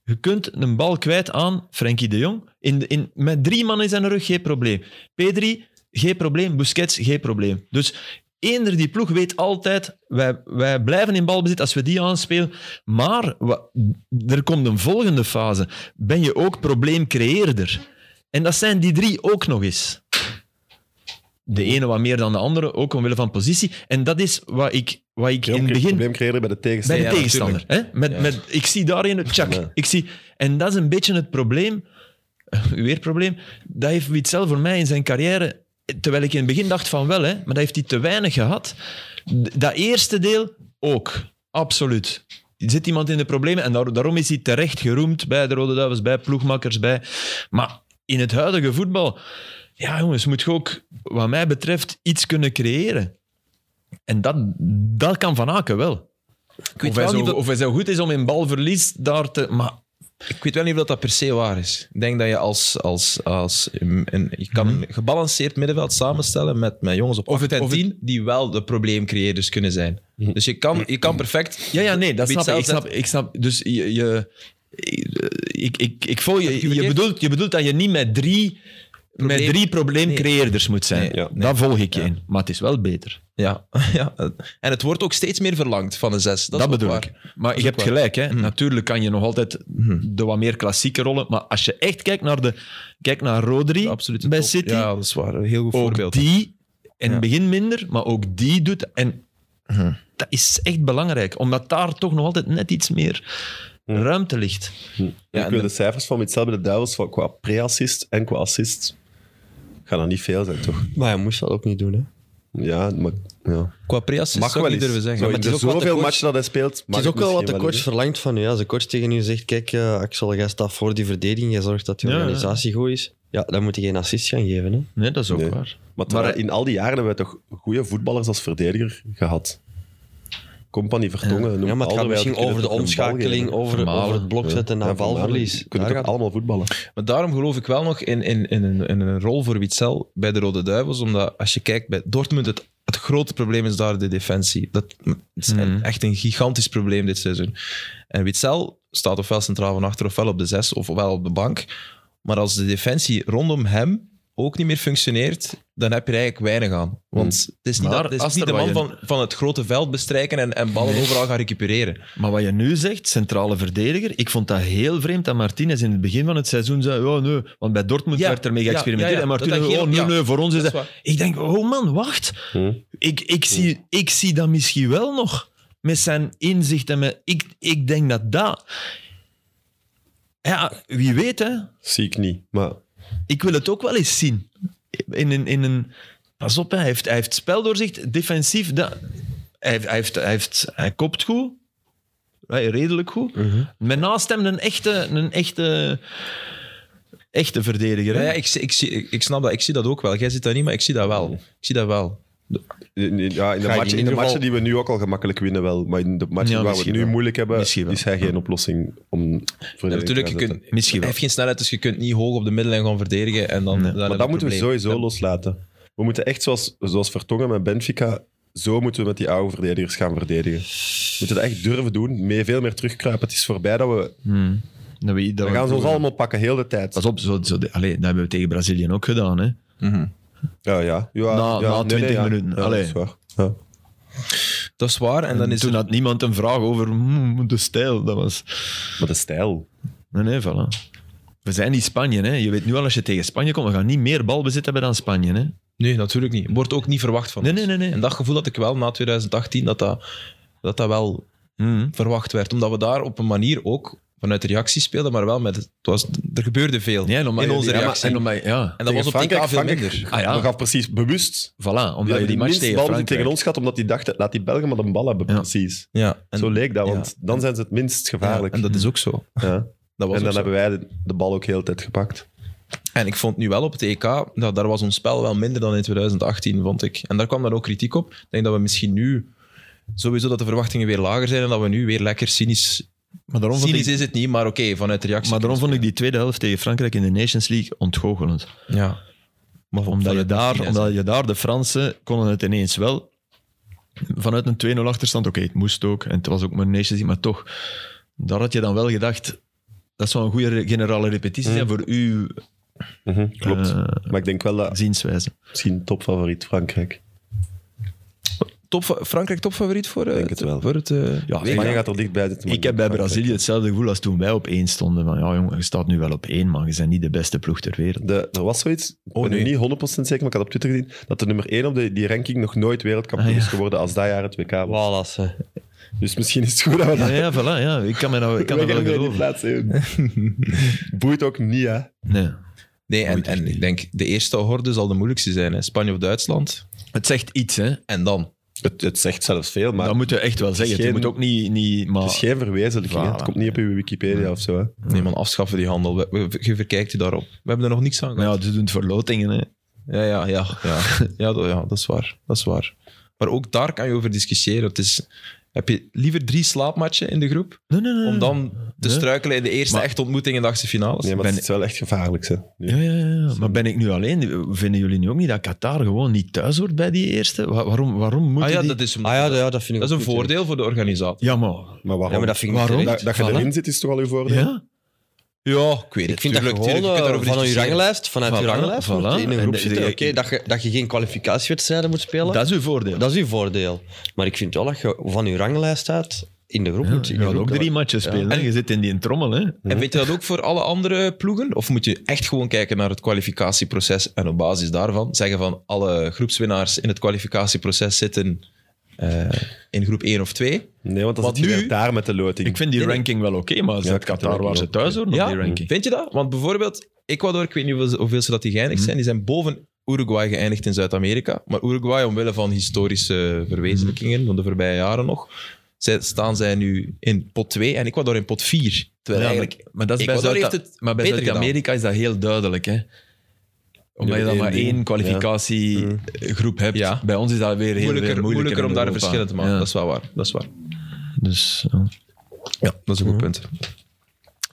Speaker 4: je kunt een bal kwijt aan Frenkie de Jong. In, de- in, met drie man in zijn rug, geen probleem. Pedri, geen probleem. Busquets, geen probleem. Dus eender die ploeg weet altijd, wij, wij blijven in balbezit als we die aanspelen. Maar wa- er komt een volgende fase. Ben je ook probleemcreëerder? En dat zijn die drie ook nog eens. De ene wat meer dan de andere, ook omwille van positie. En dat is wat ik, wat ik in het begin
Speaker 2: probleem creëren bij de
Speaker 4: bij de
Speaker 2: tegenstander.
Speaker 1: Ja,
Speaker 4: tegenstander. Hè? Met,
Speaker 1: Ja.
Speaker 4: met, ik zie daarin het tjak.
Speaker 2: Ja.
Speaker 4: Ik zie, en dat is een beetje het probleem. Weer probleem. Dat heeft Witzel voor mij in zijn carrière. Terwijl ik in het begin dacht van wel, hè, maar dat heeft hij te weinig gehad. D- Dat eerste deel ook. Absoluut. Er Zit iemand in de problemen en daar- daarom is hij terecht geroemd bij de Rode Duivels, bij ploegmakkers, bij. Maar in het huidige voetbal, ja jongens, moet je ook, wat mij betreft, iets kunnen creëren. En dat, dat kan Van Aken wel.
Speaker 1: weet
Speaker 4: of, hij
Speaker 1: wel
Speaker 4: zo,
Speaker 1: niet wat-
Speaker 4: of hij zo goed is om in balverlies daar te... Maar
Speaker 1: Ik weet wel niet of dat, dat per se waar is. Ik denk dat je als... als, als een, een- je kan een
Speaker 4: Mhm.
Speaker 1: gebalanceerd middenveld samenstellen met, met jongens op 8 en 10 die wel de probleemcreëerders kunnen zijn. Dus je kan, je kan perfect...
Speaker 4: Mhm. Ja, ja, nee, dat
Speaker 1: Weet
Speaker 4: snap ik. Ik
Speaker 1: zelf
Speaker 4: snap, ik snap. Dus je. je ik, ik, ik voel
Speaker 1: Heb ik je
Speaker 4: je. Je
Speaker 1: verkeerd?
Speaker 4: bedoelt, je bedoelt dat je niet met drie, met
Speaker 1: Probleem-
Speaker 4: drie probleemcreëerders moet zijn.
Speaker 1: Nee,
Speaker 2: ja,
Speaker 4: Daar volg ik je in. Maar het is wel beter.
Speaker 1: Ja, ja. En het wordt ook steeds meer verlangd van een 6. Dat,
Speaker 4: Dat,
Speaker 1: is ook
Speaker 4: bedoel
Speaker 1: waar.
Speaker 4: ik. Maar
Speaker 1: is
Speaker 4: je
Speaker 1: ook
Speaker 4: hebt
Speaker 1: waar. Mhm.
Speaker 4: gelijk. Hè. Natuurlijk kan je nog altijd de wat meer klassieke rollen. Maar als je echt kijkt naar, de, kijkt naar Rodri
Speaker 1: Absoluut.
Speaker 4: bij
Speaker 1: top.
Speaker 4: City.
Speaker 1: Ja, dat is waar. Een heel goed
Speaker 4: ook
Speaker 1: voorbeeld.
Speaker 4: die, in
Speaker 1: Ja. Hm.
Speaker 4: het begin minder, maar ook die doet... En dat is echt belangrijk. Omdat daar toch nog altijd net iets meer
Speaker 1: Hm.
Speaker 4: ruimte ligt.
Speaker 1: Ja,
Speaker 2: ik
Speaker 1: en
Speaker 2: wil
Speaker 1: de-
Speaker 2: de cijfers van Mitchell bij de Duivels van- qua pre-assist en qua assist. Gaan er niet veel zijn, toch?
Speaker 3: Maar hij moest dat ook niet doen, hè?
Speaker 2: Ja, maar, ja.
Speaker 1: Qua pre-assist
Speaker 2: mag
Speaker 1: zou
Speaker 2: wel
Speaker 1: ik niet
Speaker 2: eens.
Speaker 1: durven zeggen.
Speaker 2: Zo, in
Speaker 1: Maar
Speaker 2: de
Speaker 1: het is ook wat de
Speaker 2: zoveel
Speaker 1: coach-
Speaker 2: matchen dat hij speelt.
Speaker 3: Het
Speaker 2: mag
Speaker 3: is ook wel wat de
Speaker 2: misschien
Speaker 3: coach
Speaker 2: eens.
Speaker 3: verlangt van je. Als de coach tegen je zegt, kijk eh, Axel, jij staat voor die verdediging, jij zorgt dat je
Speaker 4: Ja, ja.
Speaker 3: organisatie goed is. Ja, dan moet je geen assist gaan geven, hè?
Speaker 4: Nee, dat is ook
Speaker 2: Nee.
Speaker 4: waar.
Speaker 2: Maar, terwijl in al die jaren hebben we toch goede voetballers als verdediger gehad. Company Vertongen. noem
Speaker 3: Ja, maar het gaat
Speaker 2: Alderweireld,
Speaker 3: misschien
Speaker 2: kunnen
Speaker 3: over de
Speaker 2: toch een bal
Speaker 3: omschakeling,
Speaker 2: geven.
Speaker 3: over,
Speaker 4: Vermalen,
Speaker 3: over het blok zetten
Speaker 2: Ja,
Speaker 3: naar
Speaker 2: Van Malen,
Speaker 3: balverlies.
Speaker 2: die Kunnen
Speaker 3: Daar
Speaker 2: toch
Speaker 3: gaat-
Speaker 2: allemaal voetballen.
Speaker 1: Maar daarom geloof ik wel nog in, in, in, een, in een rol voor Witzel bij de Rode Duivels. Omdat als je kijkt bij Dortmund, het, het grote probleem is daar de defensie. Dat het is een-
Speaker 4: Mhm.
Speaker 1: echt een gigantisch probleem dit seizoen. En Witzel staat ofwel centraal van achter, ofwel op de zes, ofwel op de bank. Maar als de defensie rondom hem ook niet meer functioneert, dan heb je er eigenlijk weinig aan. Want het is niet, dat,
Speaker 4: Maar
Speaker 1: het is
Speaker 4: als
Speaker 1: niet de
Speaker 4: er
Speaker 1: man
Speaker 4: wat
Speaker 1: van, van het grote veld bestrijken en, en ballen overal gaan recupereren.
Speaker 4: Maar wat je nu zegt, centrale verdediger, ik vond dat heel vreemd dat Martinez in het begin van het seizoen zei, oh nee, want bij Dortmund
Speaker 1: Ja,
Speaker 4: werd ermee
Speaker 1: ja,
Speaker 4: geëxperimenteerd
Speaker 1: ja, ja.
Speaker 4: en Martinez,
Speaker 1: Dat hij
Speaker 4: oh
Speaker 1: geen-
Speaker 4: nee,
Speaker 1: ja,
Speaker 4: nee, voor ons is
Speaker 1: dat is
Speaker 4: dat...
Speaker 1: waar. Hm.
Speaker 4: Ik denk, oh man, wacht. Ik, ik, zie, ik zie dat misschien wel nog. Met zijn inzicht en met... Ik, ik denk dat dat... Ja, wie weet hè.
Speaker 2: Zie ik niet. Maar
Speaker 4: Ik wil het ook wel eens zien. In een... In een pas op, hè. Hij, heeft, hij heeft speldoorzicht, defensief. Dat, hij, hij, heeft, hij, heeft, hij kopt goed. Hij- Redelijk goed.
Speaker 1: Mhm.
Speaker 4: Met naast hem een echte... Een echte Echte verdediger.
Speaker 1: Ja,
Speaker 4: hè.
Speaker 1: ja, ik, zie- ik, zie- ik, ik snap dat, ik zie dat ook wel. Jij ziet dat niet, maar ik zie dat wel. Ik zie dat wel.
Speaker 2: in, in- ja, in de,
Speaker 3: Ga je
Speaker 2: matchen,
Speaker 3: in
Speaker 2: in de
Speaker 3: ieder
Speaker 2: matchen
Speaker 3: geval-
Speaker 2: die we nu ook al gemakkelijk winnen wel. Maar in de matchen waar
Speaker 4: Ja,
Speaker 2: we het
Speaker 4: misschien
Speaker 2: nu
Speaker 4: wel.
Speaker 2: moeilijk hebben,
Speaker 4: Misschien wel.
Speaker 2: is hij geen oplossing om voor
Speaker 1: Ja, natuurlijk, je kunt,
Speaker 4: Misschien
Speaker 1: hij
Speaker 4: wel.
Speaker 1: heeft geen snelheid, dus je kunt niet hoog op de middellijn gaan verdedigen. En dan, dan
Speaker 2: Maar
Speaker 1: heb je
Speaker 2: dat
Speaker 1: een
Speaker 2: moeten we
Speaker 1: probleem.
Speaker 2: sowieso loslaten. We moeten echt, zoals, zoals Vertongen met Benfica, zo moeten we met die oude verdedigers gaan verdedigen. We moeten dat echt durven doen, meer, veel meer terugkruipen. Het is voorbij dat we...
Speaker 4: Hmm. Dat we, dat
Speaker 2: We gaan
Speaker 4: we
Speaker 2: ze ons
Speaker 4: vroeger-
Speaker 2: allemaal pakken, heel de tijd.
Speaker 4: Pas op, zo, zo, de- allee, dat hebben we tegen Brazilië ook gedaan. Hè.
Speaker 1: Mhm.
Speaker 2: Ja, ja. ja, ja,
Speaker 4: Na- na 20
Speaker 2: ja.
Speaker 4: minuten.
Speaker 2: Ja,
Speaker 4: Allee.
Speaker 2: dat is waar. Ja.
Speaker 1: Dat is waar, en dan is
Speaker 4: Toen
Speaker 1: er-
Speaker 4: had niemand een vraag over mm, de stijl. Dat was...
Speaker 2: Maar de stijl.
Speaker 4: Nee, nee, voilà. We zijn niet Spanje. Hè. Je weet nu al, als je tegen Spanje komt, we gaan niet meer balbezit hebben dan Spanje. Hè.
Speaker 1: Nee, natuurlijk niet. Wordt ook niet verwacht van
Speaker 4: Nee,
Speaker 1: ons.
Speaker 4: nee, nee, nee.
Speaker 1: En dat gevoel had ik wel na 2018, dat dat, dat dat wel
Speaker 4: Hmm.
Speaker 1: verwacht werd. Omdat we daar op een manier ook vanuit de reactie speelden, maar wel met... Het was, er gebeurde veel
Speaker 4: Ja, en omdat
Speaker 1: in
Speaker 4: je-
Speaker 1: onze
Speaker 4: ja, maar-
Speaker 1: reactie.
Speaker 4: en omdat je- ja,
Speaker 1: en dat was op TK veel minder.
Speaker 4: Ah, ja.
Speaker 2: We gaan precies bewust...
Speaker 4: voilà. Omdat
Speaker 2: Die
Speaker 4: je
Speaker 2: hebben
Speaker 4: die match
Speaker 2: minste
Speaker 4: tegen
Speaker 2: bal
Speaker 4: Frankrijk...
Speaker 2: die tegen ons gaat, omdat die dachten, laat die Belgen maar de bal hebben,
Speaker 4: Ja.
Speaker 2: precies.
Speaker 1: Ja, en,
Speaker 2: zo leek dat,
Speaker 1: ja.
Speaker 2: want dan zijn ze het minst
Speaker 1: ja,
Speaker 2: gevaarlijk.
Speaker 1: en dat is ook zo.
Speaker 2: Ja.
Speaker 1: Dat was ook
Speaker 2: En
Speaker 1: zo.
Speaker 2: dan hebben wij de, de bal ook heel de tijd gepakt.
Speaker 1: En ik vond nu wel op het EK, nou, daar was ons spel wel minder dan in 2018, vond ik. En daar kwam dan ook kritiek op. Ik denk dat we misschien nu sowieso dat de verwachtingen weer lager zijn en dat we nu weer lekker cynisch...
Speaker 4: Maar daarom, vond
Speaker 1: Cynisch
Speaker 4: ik,
Speaker 1: is het niet, maar oké, vanuit de reactie.
Speaker 4: maar daarom vond ik die tweede helft tegen Frankrijk in de Nations League ontgoochelend.
Speaker 1: Ja. Maar
Speaker 4: Omdat je,
Speaker 1: vanuit de
Speaker 4: daar,
Speaker 1: cynisch-
Speaker 4: omdat je daar, de Fransen, konden het ineens wel. Vanuit een 2-0 achterstand, oké, het moest ook. En het was ook maar Nations League, maar toch. Daar had je dan wel gedacht, dat zou een goede re- generale repetitie
Speaker 1: Mhm.
Speaker 4: zijn voor uw
Speaker 2: Mhm, Klopt. maar ik denk wel dat
Speaker 4: zienswijze.
Speaker 2: misschien topfavoriet Frankrijk.
Speaker 1: Ah, Top, Frankrijk topfavoriet voor eh,
Speaker 2: denk het wel.
Speaker 1: Voor het, eh,
Speaker 4: Ja,
Speaker 1: WK?
Speaker 2: Spanje gaat er dichtbij zitten. maar
Speaker 4: Ik
Speaker 2: denk
Speaker 4: heb bij
Speaker 2: Frankrijk.
Speaker 4: Brazilië hetzelfde gevoel als toen wij op één stonden. Van, ja, jongen, je staat nu wel op één, maar je bent niet de beste ploeg ter wereld.
Speaker 2: De, er was zoiets, ik ben
Speaker 1: nee.
Speaker 2: nu niet 100% zeker, maar ik had op Twitter gezien dat de nummer 1 op de, die ranking nog nooit wereldkampioen is geworden als dat jaar het WK was.
Speaker 3: Voilà, hè.
Speaker 2: Dus misschien is het goed dat we
Speaker 4: Ja,
Speaker 2: dat
Speaker 4: ja, voilà, ja. Ik kan me nou, ik kan
Speaker 2: we
Speaker 4: dat wel
Speaker 2: gaan in die
Speaker 4: geloven.
Speaker 2: plaats hebben. Boeit ook niet, hè.
Speaker 4: Nee.
Speaker 1: Nee, en, en ik denk de eerste horde zal de moeilijkste zijn. Hè. Spanje of Duitsland.
Speaker 4: Het zegt iets, hè.
Speaker 1: En dan.
Speaker 2: Het, het zegt zelfs veel, maar
Speaker 4: dat moet je echt wel zeggen.
Speaker 2: geen-
Speaker 4: Je moet ook niet... niet maar...
Speaker 2: het is geen verwezenlijking. hè. Het
Speaker 4: Voilà.
Speaker 2: komt niet op uw Wikipedia of zo. Hè.
Speaker 1: Nee, man, afschaffen die handel. We- we- Je verkijkt je daarop. We hebben er nog niks aan
Speaker 4: Maar
Speaker 1: gehad.
Speaker 4: ja, ze doen het voor lotingen, hè.
Speaker 1: Ja, ja, ja. Ja, ja, dat, ja dat, is waar, dat is waar. Maar ook daar kan je over discussiëren. Het is, Heb je liever drie slaapmatchen in de groep,
Speaker 4: Nee, nee, nee.
Speaker 1: om dan te
Speaker 4: Nee.
Speaker 1: struikelen in de eerste
Speaker 4: Maar-
Speaker 1: echte ontmoeting in de achtste finales?
Speaker 2: Nee, maar
Speaker 4: ben-
Speaker 2: het is wel echt gevaarlijk. Hè. Nu.
Speaker 4: Ja, ja, ja. Maar ben ik nu alleen? Vinden jullie nu ook niet dat Qatar gewoon niet thuis hoort bij die eerste? Wa- waarom, waarom moet
Speaker 1: ah ja,
Speaker 4: die...
Speaker 1: dat is,
Speaker 3: Ah ja, ja, dat vind ik
Speaker 1: dat is een
Speaker 3: ook goed, hè.
Speaker 1: voordeel voor de organisatie.
Speaker 4: Ja, maar...
Speaker 2: Maar waarom?
Speaker 3: Ja, maar dat vind ik
Speaker 2: dat,
Speaker 4: Waarom?
Speaker 3: terecht.
Speaker 2: dat je
Speaker 3: Voilà.
Speaker 2: erin zit, is toch al uw voordeel?
Speaker 4: Ja?
Speaker 1: Ja, ik weet het.
Speaker 3: Ik vind
Speaker 1: Tuurlijk,
Speaker 3: dat gewoon
Speaker 1: tuurlijk, je kunt
Speaker 3: eh,
Speaker 1: daarover
Speaker 3: van je
Speaker 1: discussiëren.
Speaker 3: ranglijst, vanuit je
Speaker 4: Voilà,
Speaker 3: ranglijst,
Speaker 4: voilà.
Speaker 3: moet je in een
Speaker 4: En
Speaker 3: groep
Speaker 4: de-
Speaker 3: zitten.
Speaker 4: de-
Speaker 3: Oké, dat, je, dat je geen kwalificatiewedstrijden moet spelen,
Speaker 4: Dat
Speaker 3: dat,
Speaker 4: is uw voordeel.
Speaker 3: is uw voordeel. Maar ik vind wel dat je van je ranglijst uit in de groep
Speaker 4: Ja,
Speaker 3: moet
Speaker 4: je
Speaker 3: in de
Speaker 4: wil
Speaker 3: groep.
Speaker 4: ook drie matches spelen. hè. Je zit in die trommel, hè.
Speaker 1: En weet je dat ook voor alle andere ploegen? Of moet je echt gewoon kijken naar het kwalificatieproces en op basis daarvan zeggen van alle groepswinnaars in het kwalificatieproces zitten eh, in groep 1 of 2?
Speaker 2: Nee, want dan
Speaker 1: Want
Speaker 2: zit je
Speaker 1: nu-
Speaker 2: weer daar met de loting.
Speaker 4: Ik vind die ranking wel oké, maar
Speaker 2: Ja,
Speaker 4: zet Qatar waar ze thuis horen op
Speaker 1: Ja,
Speaker 4: die ranking.
Speaker 1: vind je dat? Want bijvoorbeeld Ecuador, ik weet niet hoeveel, hoeveel ze dat die geëindigd zijn, die zijn boven Uruguay geëindigd in Zuid-Amerika. Maar Uruguay, omwille van historische verwezenlijkingen van de voorbije jaren nog, zij, staan zij nu in pot 2 en Ecuador in pot 4. Terwijl
Speaker 4: Ja,
Speaker 1: eigenlijk...
Speaker 4: maar, maar dat is bij
Speaker 1: Ecuador
Speaker 4: Zuid-
Speaker 1: heeft het
Speaker 4: maar bij
Speaker 1: beter
Speaker 4: Zuid-Amerika is dat heel duidelijk, hè? Omdat je
Speaker 2: Nummer
Speaker 4: dan maar
Speaker 2: één ding.
Speaker 4: één kwalificatiegroep hebt.
Speaker 1: Ja.
Speaker 4: Bij ons is dat weer heel
Speaker 1: Moeilijker,
Speaker 4: veel moeilijker,
Speaker 1: moeilijker om
Speaker 4: in
Speaker 1: daar
Speaker 4: Europa.
Speaker 1: verschillen te maken.
Speaker 4: Ja.
Speaker 1: Dat is wel waar. Dat is waar.
Speaker 4: Dus, ja.
Speaker 1: Ja, dat is een goed punt.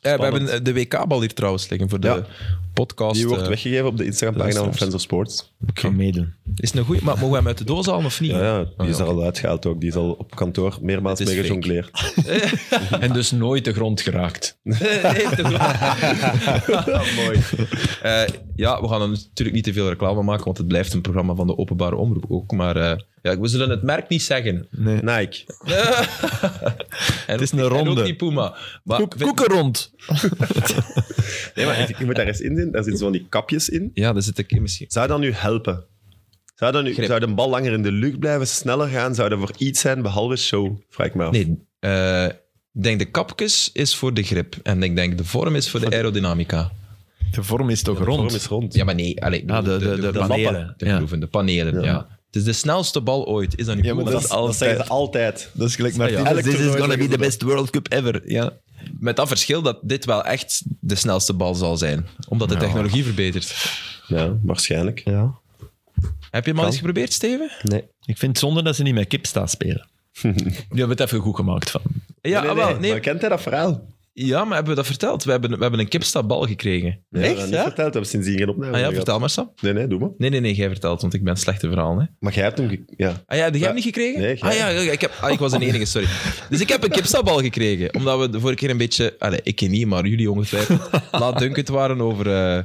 Speaker 1: Eh, we hebben eh, de WK-bal hier trouwens liggen voor de
Speaker 2: Ja.
Speaker 1: podcast.
Speaker 2: Die wordt
Speaker 1: eh.
Speaker 2: weggegeven op de Instagram-pagina van
Speaker 1: luisteraars.
Speaker 2: Friends of Sports.
Speaker 4: ik ga meedoen.
Speaker 1: Is het een goeie, maar mogen we hem uit de doos halen of niet?
Speaker 2: Ja, ja, die is er al uitgehaald ook. Die is al op kantoor meermaals
Speaker 1: Het is
Speaker 2: mee
Speaker 1: fake.
Speaker 2: gejongleerd.
Speaker 4: En dus nooit de grond geraakt.
Speaker 1: Nee, toch
Speaker 2: Oh, Mooi.
Speaker 1: Eh, ja, we gaan er natuurlijk niet te veel reclame maken, want het blijft een programma van de openbare omroep ook. Maar eh, ja, we zullen het merk niet zeggen.
Speaker 2: Nike.
Speaker 1: En het
Speaker 4: is een
Speaker 1: En
Speaker 4: ronde.
Speaker 1: ook niet Puma. Maar
Speaker 4: Koek, koeken rond.
Speaker 2: Nee, maar je moet daar eens in zitten. Daar zitten zo'n die kapjes in.
Speaker 1: Ja, daar zit ik in misschien.
Speaker 2: Zou dat nu helpen? Zou, dat nu,
Speaker 1: Grip.
Speaker 2: zou de bal langer in de lucht blijven, sneller gaan? Zou dat voor iets zijn behalve show? Vraag ik me af.
Speaker 1: Nee, eh, ik denk de kapjes is voor de grip. En ik denk de vorm is voor de aerodynamica.
Speaker 4: De vorm is toch
Speaker 2: de vorm
Speaker 4: rond?
Speaker 2: is rond.
Speaker 1: Ja, maar nee. Allee, ik
Speaker 4: Ja, Ah, de,
Speaker 1: bedoel,
Speaker 4: de, de,
Speaker 1: de
Speaker 4: panelen.
Speaker 1: de
Speaker 4: Ja.
Speaker 1: groeven, de panelen, ja. Het is de snelste bal ooit. Is dat nu
Speaker 4: Ja,
Speaker 1: goed?
Speaker 4: maar
Speaker 2: dat,
Speaker 4: dat is
Speaker 2: dat
Speaker 4: altijd-
Speaker 2: zeggen ze altijd.
Speaker 4: Dat is gelijk
Speaker 1: Martinez,
Speaker 4: Martinez.
Speaker 2: this is gonna be the
Speaker 4: best World Cup ever. Ja.
Speaker 1: Met dat verschil dat dit wel echt de snelste bal zal zijn. Omdat de technologie verbetert.
Speaker 2: Ja, waarschijnlijk.
Speaker 3: Ja,
Speaker 1: Heb je hem al eens geprobeerd, Steven?
Speaker 3: nee.
Speaker 4: Ik vind het zonde dat ze niet met kip staan spelen. Die hebben het even goed gemaakt van.
Speaker 1: Ja,
Speaker 2: nee,
Speaker 1: ah,
Speaker 2: nee,
Speaker 1: wel,
Speaker 2: nee.
Speaker 1: nee.
Speaker 2: Maar kent hij dat verhaal?
Speaker 1: Ja, maar hebben we dat verteld? We hebben, we hebben een kipstapbal gekregen.
Speaker 2: Nee,
Speaker 3: Echt,
Speaker 2: dat niet
Speaker 3: ja?
Speaker 2: verteld. We hebben sindsdien geen opname
Speaker 1: Ah ja,
Speaker 2: gehad.
Speaker 1: vertel maar, Sam.
Speaker 2: Nee, nee, doe maar.
Speaker 1: Nee, nee, nee, jij vertelt, want ik ben slechte verhaal. Hè.
Speaker 2: Maar jij hebt hem... ge- Ja.
Speaker 1: Ah ja, heb jij hem
Speaker 2: Ja.
Speaker 1: niet gekregen?
Speaker 2: Nee, jij.
Speaker 1: ah ja, ja, ik, heb, ah, ik was de enige, sorry. Dus ik heb een kipstapbal gekregen, omdat we de vorige keer een beetje... Allee, ik ken niet, maar jullie ongetwijfeld laatdunkend waren over... eh,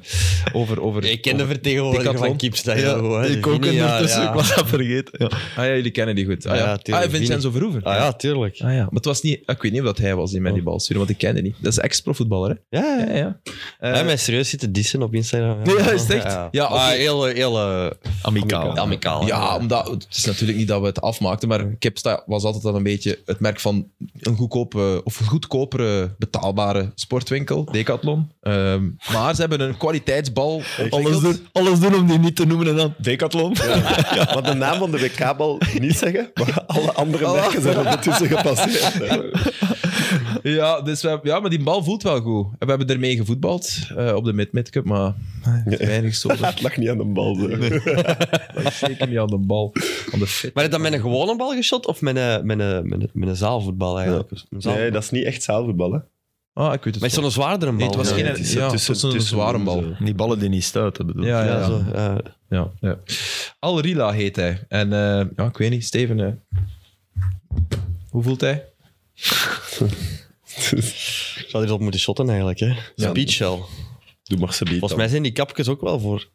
Speaker 1: over, over
Speaker 3: Ik ken de
Speaker 1: over-
Speaker 3: vertegenwoordiger van
Speaker 1: Decathlon.
Speaker 3: Kips. Dat heel goed, hè.
Speaker 4: ik ook
Speaker 3: Vini, ja,
Speaker 4: ondertussen,
Speaker 3: ja.
Speaker 4: ik was dat vergeten. Ja.
Speaker 1: Ah ja, jullie kennen die goed. Ah
Speaker 3: Ja,
Speaker 1: ja,
Speaker 3: tuurlijk,
Speaker 1: ah, Vincenzo Verhoeven.
Speaker 3: Ah ja, tuurlijk.
Speaker 4: Eh.
Speaker 1: Ah ja, maar het was niet... ah, Ik weet niet of dat hij was die mij die bal stuurde, want ik kende die. Dat is ex-profvoetballer, hè?
Speaker 3: Ja, ja.
Speaker 1: Ja, ja. Eh,
Speaker 3: Hij heeft mij serieus zitten dissen op Instagram.
Speaker 1: Ja, is het echt? Ja,
Speaker 3: Maar
Speaker 1: oké.
Speaker 3: heel, eh, heel eh,
Speaker 4: Amicaal.
Speaker 3: amicaal.
Speaker 1: Ja, omdat, het is natuurlijk niet dat we het afmaakten, maar Kipsta was altijd al een beetje het merk van een goedkope of goedkopere betaalbare sportwinkel, Decathlon. Ehm, maar ze hebben een kwaliteitsbal
Speaker 4: Alles doen, alles doen om die niet te noemen en dan Decathlon.
Speaker 2: Want de naam van de WK-bal niet zeggen, maar alle andere
Speaker 1: Oh.
Speaker 2: merken zijn ondertussen gepasseerd.
Speaker 1: Ja, dus we, hebben- ja, maar die bal voelt wel goed. En We hebben ermee gevoetbald eh, op de Mid-Mid Cup, maar eh, weinig zo.
Speaker 2: Het lag niet aan de bal. zo.
Speaker 1: Zeker niet aan de bal, aan de fit.
Speaker 3: Maar heb je dat met een gewone bal geschot of met een, met een, met een, met een zaalvoetbal eigenlijk? Een zaalvoetbal.
Speaker 2: Nee, dat is niet echt zaalvoetbal. Hè.
Speaker 1: Ah, ik weet het
Speaker 3: Met
Speaker 1: wel.
Speaker 3: zo'n zwaardere bal.
Speaker 1: Nee, het was
Speaker 3: hè?
Speaker 1: geen...
Speaker 2: het is
Speaker 1: ja,
Speaker 2: tussen-
Speaker 1: het was een
Speaker 2: tussen-
Speaker 1: zware bal.
Speaker 2: zo.
Speaker 4: Die ballen die niet stuiten, bedoel ik.
Speaker 1: Ja, ja,
Speaker 3: Ja,
Speaker 1: ja.
Speaker 3: zo, eh,
Speaker 1: Ja, ja. Al Rila heet hij. En eh, ja, ik weet niet, Steven, eh, hoe voelt hij?
Speaker 3: ik zou erop moeten shotten eigenlijk. Hè.
Speaker 1: Ja.
Speaker 3: Een beachshell.
Speaker 2: Doe maar ze
Speaker 3: Volgens mij zijn die kapjes ook wel voor.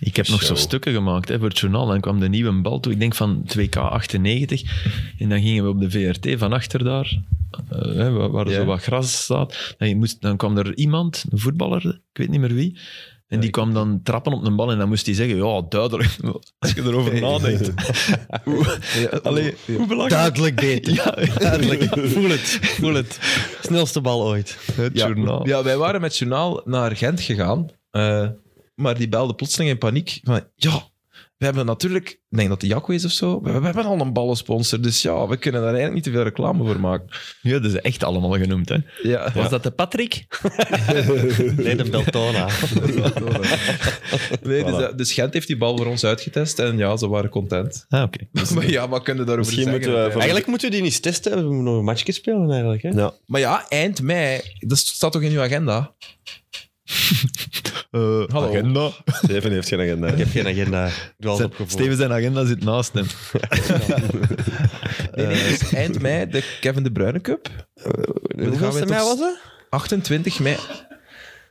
Speaker 4: Ik heb nog
Speaker 2: Zo.
Speaker 4: zo stukken gemaakt hè, voor het journaal. Dan kwam de nieuwe bal toe, ik denk van 2K98. En dan gingen we op de VRT van achter daar, eh, hè, waar, waar
Speaker 1: Ja.
Speaker 4: zo wat gras staat. Dan, je moest, dan kwam er iemand, een voetballer, ik weet niet meer wie. En die kwam dan trappen op een bal en dan moest hij zeggen, ja, duidelijk. Als je erover nadenkt. Hoe,
Speaker 1: eh,
Speaker 4: allee, hoe belangrijk.
Speaker 3: Duidelijk beter.
Speaker 4: Ja,
Speaker 3: Duidelijk. Voel het. Voel het. Snelste bal ooit.
Speaker 4: het
Speaker 1: Ja.
Speaker 4: journaal.
Speaker 1: Ja, wij waren met journaal naar Gent gegaan, eh, maar die belde plotseling in paniek van, ja, we hebben natuurlijk, ik denk dat de Jacco is of zo, we, we hebben al een ballensponsor, dus ja, we kunnen daar eigenlijk niet te veel reclame voor maken.
Speaker 4: Ja, dat is echt allemaal genoemd. Hè.
Speaker 1: Ja,
Speaker 5: Was dat de Patrick?
Speaker 3: Nee, de Beltona.
Speaker 1: nee, dus,
Speaker 2: Voilà.
Speaker 1: eh, dus Gent heeft die bal voor ons uitgetest en ja, ze waren content.
Speaker 4: Ah, oké.
Speaker 1: maar ja, wat kunnen we daarover zeggen?
Speaker 2: Misschien
Speaker 1: Eh,
Speaker 2: moeten we voor-
Speaker 3: Eigenlijk moeten we die niet eens testen. We moeten nog een matchje spelen eigenlijk. Hè?
Speaker 2: Ja.
Speaker 1: Maar ja, eind mei, dat staat toch in uw agenda?
Speaker 4: Eh,
Speaker 1: Hallo.
Speaker 4: Agenda.
Speaker 2: Steven heeft geen agenda.
Speaker 3: Ik heb geen agenda. Ik doe alles opgevoerd.
Speaker 4: Steven zijn agenda zit naast hem.
Speaker 1: Nee, nee, dus eind mei de Kevin De Bruyne Cup. gaan we
Speaker 3: Hoeveelste
Speaker 1: toch-
Speaker 3: mei was het?
Speaker 1: 28 mei.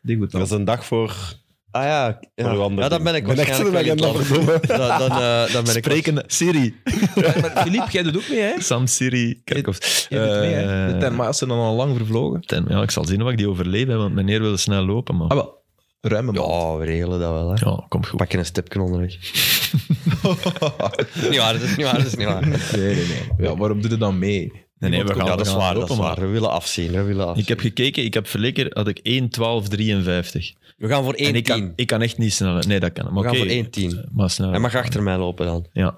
Speaker 1: Die goed
Speaker 2: Dat is een dag voor,
Speaker 3: Ah ja.
Speaker 2: voor
Speaker 3: Ja,
Speaker 2: uw andere
Speaker 3: ja dan
Speaker 2: dingen.
Speaker 3: ben ik
Speaker 2: echt zo'n
Speaker 3: waarschijnlijk wel in het
Speaker 2: agenda
Speaker 3: land.
Speaker 2: verdomme.
Speaker 3: Dan, dan, eh, dan ben ik...
Speaker 4: Spreken Siri.
Speaker 1: maar Filip, jij doet ook mee, hè?
Speaker 4: Sam Siri Kerkhoffs.
Speaker 1: Je doet mee, hè?
Speaker 4: Eh,
Speaker 1: De Tenma's zijn dan al lang vervlogen.
Speaker 4: ten- ja, ik zal zien of ik die overleef, hè, want meneer wil snel lopen. Maar...
Speaker 1: Ah, wel. Ruime bal.
Speaker 3: Ja, we regelen dat wel. Hè.
Speaker 4: Ja, komt goed.
Speaker 3: Pak je een stepje onderweg. niet waar, dat is niet waar, dat is niet waar.
Speaker 1: Nee, nee, nee. Ja, waarom doe je dan mee?
Speaker 4: Nee, nee, we gaan
Speaker 3: ja, dat is waar, dat
Speaker 4: lopen,
Speaker 3: is
Speaker 4: maar-
Speaker 3: waar. We willen afzien, we willen afzien.
Speaker 4: Ik heb gekeken, ik heb verleken, had ik 1, 12, 53.
Speaker 3: We gaan voor 1-10.
Speaker 4: En ik kan, ik kan echt niet sneller. Nee, dat kan.
Speaker 3: We
Speaker 4: Maar
Speaker 3: gaan
Speaker 4: oké,
Speaker 3: voor 1-10.
Speaker 4: Maar sneller.
Speaker 3: Hij mag achter mij lopen dan.
Speaker 4: Ja.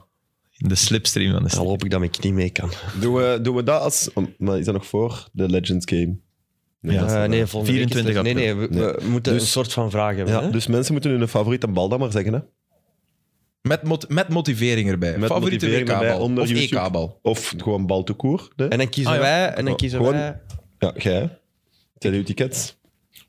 Speaker 4: In de slipstream van de
Speaker 3: Dan
Speaker 4: snel.
Speaker 3: hoop ik dat mijn knie mee kan.
Speaker 2: Doen we, doen we dat als... Maar is dat nog voor de Legends Game? Nee, dat is
Speaker 3: Eh,
Speaker 2: dan-
Speaker 3: nee, volgende week is het- Nee,
Speaker 4: 24
Speaker 3: nee, we, we moeten
Speaker 2: Dus-
Speaker 3: een soort van vraag hebben.
Speaker 2: Ja,
Speaker 3: hè?
Speaker 2: dus mensen moeten hun favoriete bal dan maar zeggen. Hè?
Speaker 1: Met, mot- met motivering erbij.
Speaker 2: Met
Speaker 1: Favoriete
Speaker 2: motivering erbij
Speaker 1: WK-bal.
Speaker 2: onder
Speaker 1: Of
Speaker 2: YouTube.
Speaker 1: EK-bal.
Speaker 2: Of gewoon bal te koer.
Speaker 3: En dan kiezen
Speaker 1: Ah, ja.
Speaker 3: wij, en dan kiezen
Speaker 2: Gewoon-
Speaker 3: wij
Speaker 2: Ja, jij. hè? Het zijn uw tickets.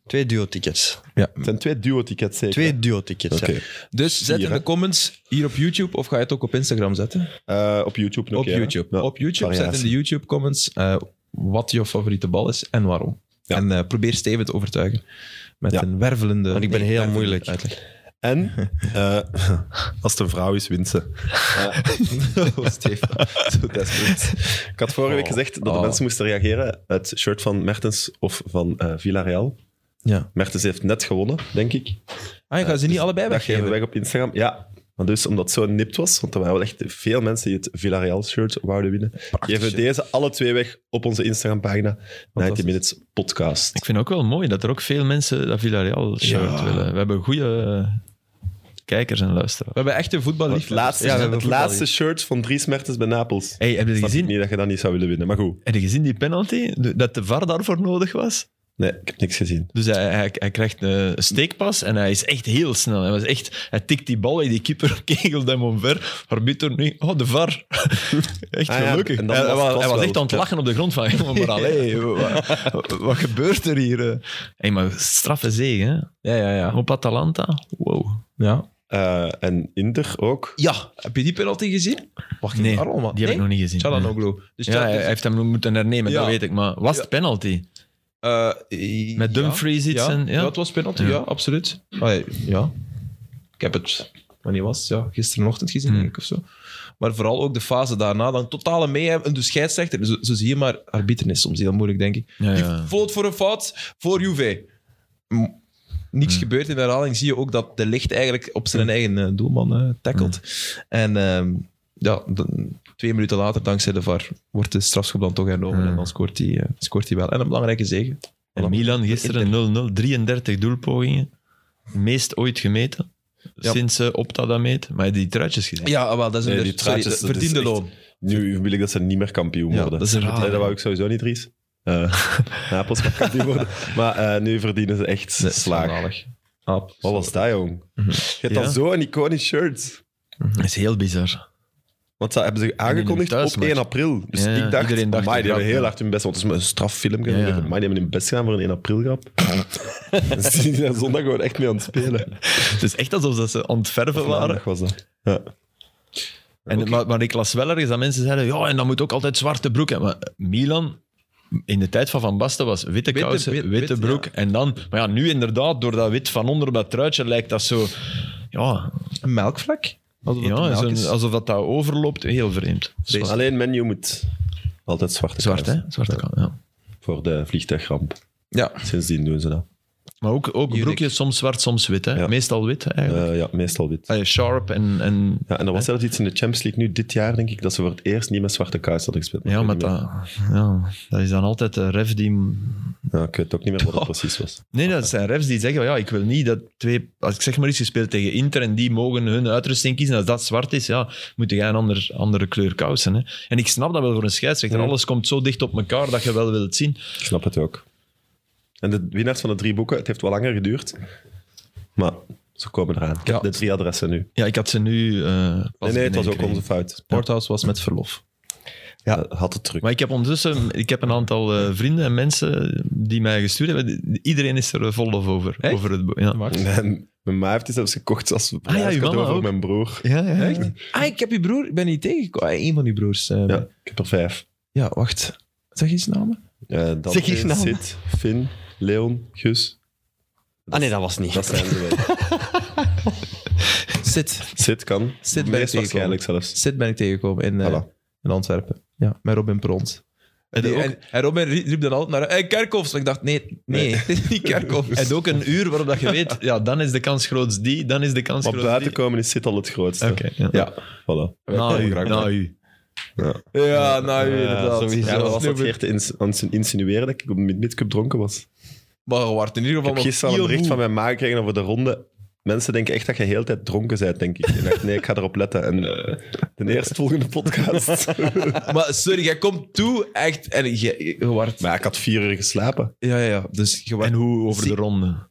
Speaker 3: twee duo-tickets.
Speaker 2: Het zijn twee duo-tickets zeker.
Speaker 3: Twee duo-tickets,
Speaker 2: Oké.
Speaker 3: ja.
Speaker 1: Dus zet
Speaker 2: Hier,
Speaker 1: in de
Speaker 2: hè.
Speaker 1: comments hier op YouTube of ga je het ook op Instagram zetten?
Speaker 2: Eh, op YouTube nog
Speaker 1: op,
Speaker 2: ja.
Speaker 1: YouTube.
Speaker 2: Ja,
Speaker 1: op YouTube. Zet in
Speaker 2: variatie.
Speaker 1: de YouTube comments eh, wat je favoriete bal is en waarom.
Speaker 2: Ja.
Speaker 1: En eh, probeer Steven te overtuigen met
Speaker 2: Ja.
Speaker 1: een wervelende.
Speaker 3: Want ik ben
Speaker 1: nee,
Speaker 3: heel
Speaker 1: wervelende
Speaker 3: moeilijk.
Speaker 1: uitleg.
Speaker 2: En eh, als het een vrouw is, wint ze.
Speaker 1: Oh, Steven.
Speaker 2: Zo desperate. Ik had vorige week gezegd dat de
Speaker 1: Oh.
Speaker 2: mensen moesten reageren. Het shirt van Mertens of van eh, Villarreal.
Speaker 1: Ja.
Speaker 2: Mertens heeft net gewonnen, denk ik.
Speaker 1: Ah, je gaat ze niet allebei
Speaker 2: Dat geven we
Speaker 1: weggeven.
Speaker 2: weg op Instagram. Ja. Maar dus omdat het zo nipt was, want er waren wel echt veel mensen die het Villarreal shirt wouden winnen, geven we
Speaker 1: shirt.
Speaker 2: deze alle twee weg op onze Instagram-pagina. 90
Speaker 1: Fantastisch.
Speaker 2: Minutes Podcast.
Speaker 4: Ik vind het ook wel mooi dat er ook veel mensen dat Villarreal shirt
Speaker 1: Ja.
Speaker 4: willen. We hebben goede eh, kijkers en luisteraars.
Speaker 1: We hebben echt een
Speaker 2: Het
Speaker 1: voetballiefde.
Speaker 2: laatste,
Speaker 3: Ja, we hebben
Speaker 2: het
Speaker 3: voetbal
Speaker 2: laatste shirt van Dries Mertens bij Napels.
Speaker 4: Hey, heb je
Speaker 2: Ik
Speaker 4: gezien,
Speaker 2: niet dat je dat niet zou willen winnen, maar goed.
Speaker 4: heb je gezien die penalty? De- Dat de VAR daarvoor nodig was?
Speaker 2: Nee, ik heb niks gezien.
Speaker 4: Dus hij, hij, hij krijgt een steekpas en hij is echt heel snel. Hij, was echt, hij tikt die bal en die keeper kegelt hem omver. Arbiter nu, oh de var. Echt
Speaker 2: Ah ja,
Speaker 4: gelukkig.
Speaker 2: en
Speaker 4: Hij,
Speaker 2: dan was
Speaker 4: hij
Speaker 2: het
Speaker 4: was, hij
Speaker 2: pas
Speaker 4: was
Speaker 2: wel.
Speaker 4: echt aan het lachen op de grond van, "Jongen, maar allee, wat, wat- wat gebeurt er hier? eh?" Hey, maar straffe zege, hè?
Speaker 1: Ja, ja, ja.
Speaker 4: Op Atalanta? Wow.
Speaker 1: ja.
Speaker 2: Eh, en Inter ook.
Speaker 1: Ja, heb je die penalty gezien? Wacht,
Speaker 4: Nee,
Speaker 1: Arlo, man.
Speaker 4: Die heb ik nog niet gezien. Nee.
Speaker 1: Çalhanoğlu. Dus
Speaker 4: Ja, hij hij heeft hem moeten hernemen,
Speaker 1: Ja.
Speaker 4: dat weet ik. Maar was het penalty? Met Dumfries iets
Speaker 1: Eh, Ja,
Speaker 4: en-
Speaker 1: ja.
Speaker 4: ja.
Speaker 1: het was penalty, ja,
Speaker 4: Ja.
Speaker 1: absoluut. Allee, ja. Ik heb het, wanneer was het? Ja, gisterenochtend gezien,
Speaker 4: Hmm.
Speaker 1: denk ik, of zo. Maar vooral ook de fase daarna, dan totale meehebben. De scheidsrechter, zo, zo zie je maar, arbiter is soms heel moeilijk, denk ik.
Speaker 4: Ja, ja.
Speaker 1: Die floot voor een fout, voor Juve. M-
Speaker 2: Mm.
Speaker 1: Niks gebeurt in de herhaling. Zie je ook dat de licht eigenlijk op zijn eigen eh, doelman eh, tackelt.
Speaker 2: Mm.
Speaker 1: En ehm, ja, dan- twee minuten later, dankzij de VAR, wordt de strafschop dan toch hernomen.
Speaker 4: Hmm.
Speaker 1: En
Speaker 2: Mm.
Speaker 1: dan scoort hij eh, scoort hij wel. En een belangrijke zege.
Speaker 4: En Milan gisteren 0-0, 33 doelpogingen. Meest ooit gemeten. Sinds eh, Opta dat meet. Maar heb je die truitjes gezien?
Speaker 1: Ja, ah, wel, dat is een
Speaker 2: Nee, die truitjes, dat is
Speaker 1: verdiende
Speaker 2: echt-
Speaker 1: loon.
Speaker 2: Nu wil ik dat ze niet meer kampioen
Speaker 1: Ja,
Speaker 2: worden.
Speaker 1: dat is een
Speaker 2: Nee,
Speaker 1: verdiende-
Speaker 2: dat wou ik sowieso niet, Dries. Eh, Napels mag kampioen worden. Maar eh, nu verdienen ze echt slaag. Ah,
Speaker 1: Schandalig. Ab.
Speaker 2: Wat was dat, jong? Je hebt
Speaker 4: Mhm. Ja.
Speaker 2: al zo'n iconisch shirt.
Speaker 4: Dat is heel bizar.
Speaker 2: Want dat hebben ze aangekondigd
Speaker 4: In een
Speaker 2: op
Speaker 4: thuismatch.
Speaker 2: 1 april. Dus
Speaker 4: Ja, ja,
Speaker 2: ik dacht,
Speaker 4: iedereen
Speaker 2: amai,
Speaker 4: dacht
Speaker 2: die
Speaker 4: inderdaad,
Speaker 2: hebben heel
Speaker 4: ja.
Speaker 2: hard hun best. Want het is maar een straffilm.
Speaker 4: Ja, ja.
Speaker 2: Ja. die hebben hun best gedaan voor een 1 april grap. Dan zijn die daar zondag gewoon echt mee aan het spelen.
Speaker 4: Het is echt alsof dat ze aan het verven waren.
Speaker 2: Maandag was dat. Ja.
Speaker 4: En, maar, maar ik las wel ergens dat mensen zeiden, ja, en dan moet ook altijd zwarte broek hebben. Maar Milan, in de tijd van Van Basten, was witte, kousen,
Speaker 1: wit-
Speaker 4: witte
Speaker 1: wit,
Speaker 4: broek. En dan, maar ja, nu inderdaad, door dat wit van onder op dat truitje, lijkt dat zo... Ja,
Speaker 1: Een melkvlek? Alsof dat
Speaker 4: ja
Speaker 1: melk
Speaker 4: zo'n-
Speaker 1: is.
Speaker 4: alsof dat, dat overloopt. Heel vreemd.
Speaker 2: Dus alleen menu moet altijd zwarte
Speaker 4: Zwart, hè?
Speaker 2: kaars.
Speaker 4: Zwarte kant, ja.
Speaker 2: Voor de vliegtuigramp.
Speaker 1: Ja.
Speaker 2: Sindsdien doen ze dat.
Speaker 4: Maar ook, ook
Speaker 1: Unique.
Speaker 4: broekjes, soms zwart, soms wit. Hè?
Speaker 2: Ja.
Speaker 4: Meestal wit, eigenlijk.
Speaker 2: Eh, ja, meestal wit.
Speaker 4: Ah, ja, sharp en... en
Speaker 2: Ja, en er was zelfs iets in de Champions League nu dit jaar, denk ik, dat ze voor het eerst niet met zwarte kaars hadden gespeeld.
Speaker 4: ja, maar
Speaker 2: ik weet
Speaker 4: dat, ja, dat is dan altijd de ref die...
Speaker 2: Ja, ik weet ook niet meer wat het precies was.
Speaker 4: Nee, dat zijn refs die zeggen, ja, ik wil niet dat twee... Als ik zeg maar iets, je speelt tegen Inter en die mogen hun uitrusting kiezen. Als dat zwart is, ja, moet jij een ander, andere kleur kousen. Hè. En ik snap dat wel voor een scheidsrechter.
Speaker 2: Ja.
Speaker 4: Alles komt zo dicht op elkaar dat je wel wilt zien.
Speaker 2: Ik snap het ook. En de winnaars van de drie boeken, het heeft wel langer geduurd. Maar ze komen eraan. Ik
Speaker 4: Ja.
Speaker 2: heb de drie adressen nu.
Speaker 4: Ja, ik had ze nu eh, pas
Speaker 2: Nee, nee, het was ook
Speaker 4: binnengekregen.
Speaker 2: onze fout.
Speaker 1: Porthouse was met verlof.
Speaker 2: Ja. Had het terug.
Speaker 4: Maar ik heb ondertussen ik heb een aantal eh, vrienden en mensen die mij gestuurd hebben. Die- Iedereen is er eh, vol lof over.
Speaker 1: Echt?
Speaker 4: over het, bo- ja.
Speaker 1: Max.
Speaker 2: Mijn, mijn ma heeft die zelfs gekocht als
Speaker 4: ja,
Speaker 2: cadeau
Speaker 4: uw mama
Speaker 2: voor
Speaker 4: ook.
Speaker 2: mijn broer.
Speaker 4: Ja, ja.
Speaker 1: Echt? Ah, ik heb je broer, ik ben niet tegengekomen. Eén van die broers. eh,
Speaker 2: Ja, ik heb er vijf.
Speaker 1: ja, wacht. Zeg eens namen.
Speaker 2: Eh dan
Speaker 3: Zeg je naam?
Speaker 2: Sid, Finn, Leon, Gus.
Speaker 3: Ah nee, dat was niet.
Speaker 2: Dat zijn ze wel.
Speaker 1: Sid.
Speaker 2: Sid kan.
Speaker 1: Sid ben ik
Speaker 2: Meest
Speaker 1: tegengekomen.
Speaker 2: waarschijnlijk zelfs.
Speaker 1: Sid ben ik tegengekomen in, eh,
Speaker 2: Voilà.
Speaker 1: in Antwerpen. Ja, met Robin Pront.
Speaker 4: En
Speaker 1: Die-
Speaker 4: ook,
Speaker 1: en, en Robin rie- riep dan altijd naar... Hey, Kerkhoffs! Maar ik dacht, nee, nee, het is niet Kerkhoffs.
Speaker 4: en ook een uur waarop dat je weet, ja, dan is de kans groot die, dan is de kans
Speaker 2: Maar
Speaker 4: groot
Speaker 2: buiten
Speaker 4: die.
Speaker 2: komen is Sid al het grootste.
Speaker 4: Oké, ja. Nou,
Speaker 2: Ja, voilà.
Speaker 4: Na
Speaker 2: komen
Speaker 4: u,
Speaker 2: Nou, graag
Speaker 4: na
Speaker 2: bij.
Speaker 4: u.
Speaker 1: Ja, nou,
Speaker 3: Ja,
Speaker 1: inderdaad.
Speaker 3: sowieso.
Speaker 2: Ja,
Speaker 1: dat
Speaker 2: dat was dat
Speaker 1: nu-
Speaker 2: Geert te ins- aan het insinueren dat ik op mid- midcup dronken was.
Speaker 1: Maar je wordt in ieder
Speaker 2: Ik
Speaker 1: geval nog
Speaker 2: heb gisteren al een
Speaker 1: heel
Speaker 2: bericht van
Speaker 1: goed.
Speaker 2: mijn ma gekregen over de ronde. Mensen denken echt dat je heel de tijd dronken bent, denk ik. En ik dacht, nee, ik ga erop letten. En eh, de eerstvolgende podcast.
Speaker 1: Maar sorry, jij komt toe echt en je, je, je wordt-
Speaker 2: maar ik had vier uur geslapen.
Speaker 1: Ja, ja, ja. Dus je
Speaker 4: En
Speaker 1: wordt...
Speaker 4: hoe over de
Speaker 1: Zie-
Speaker 4: ronde?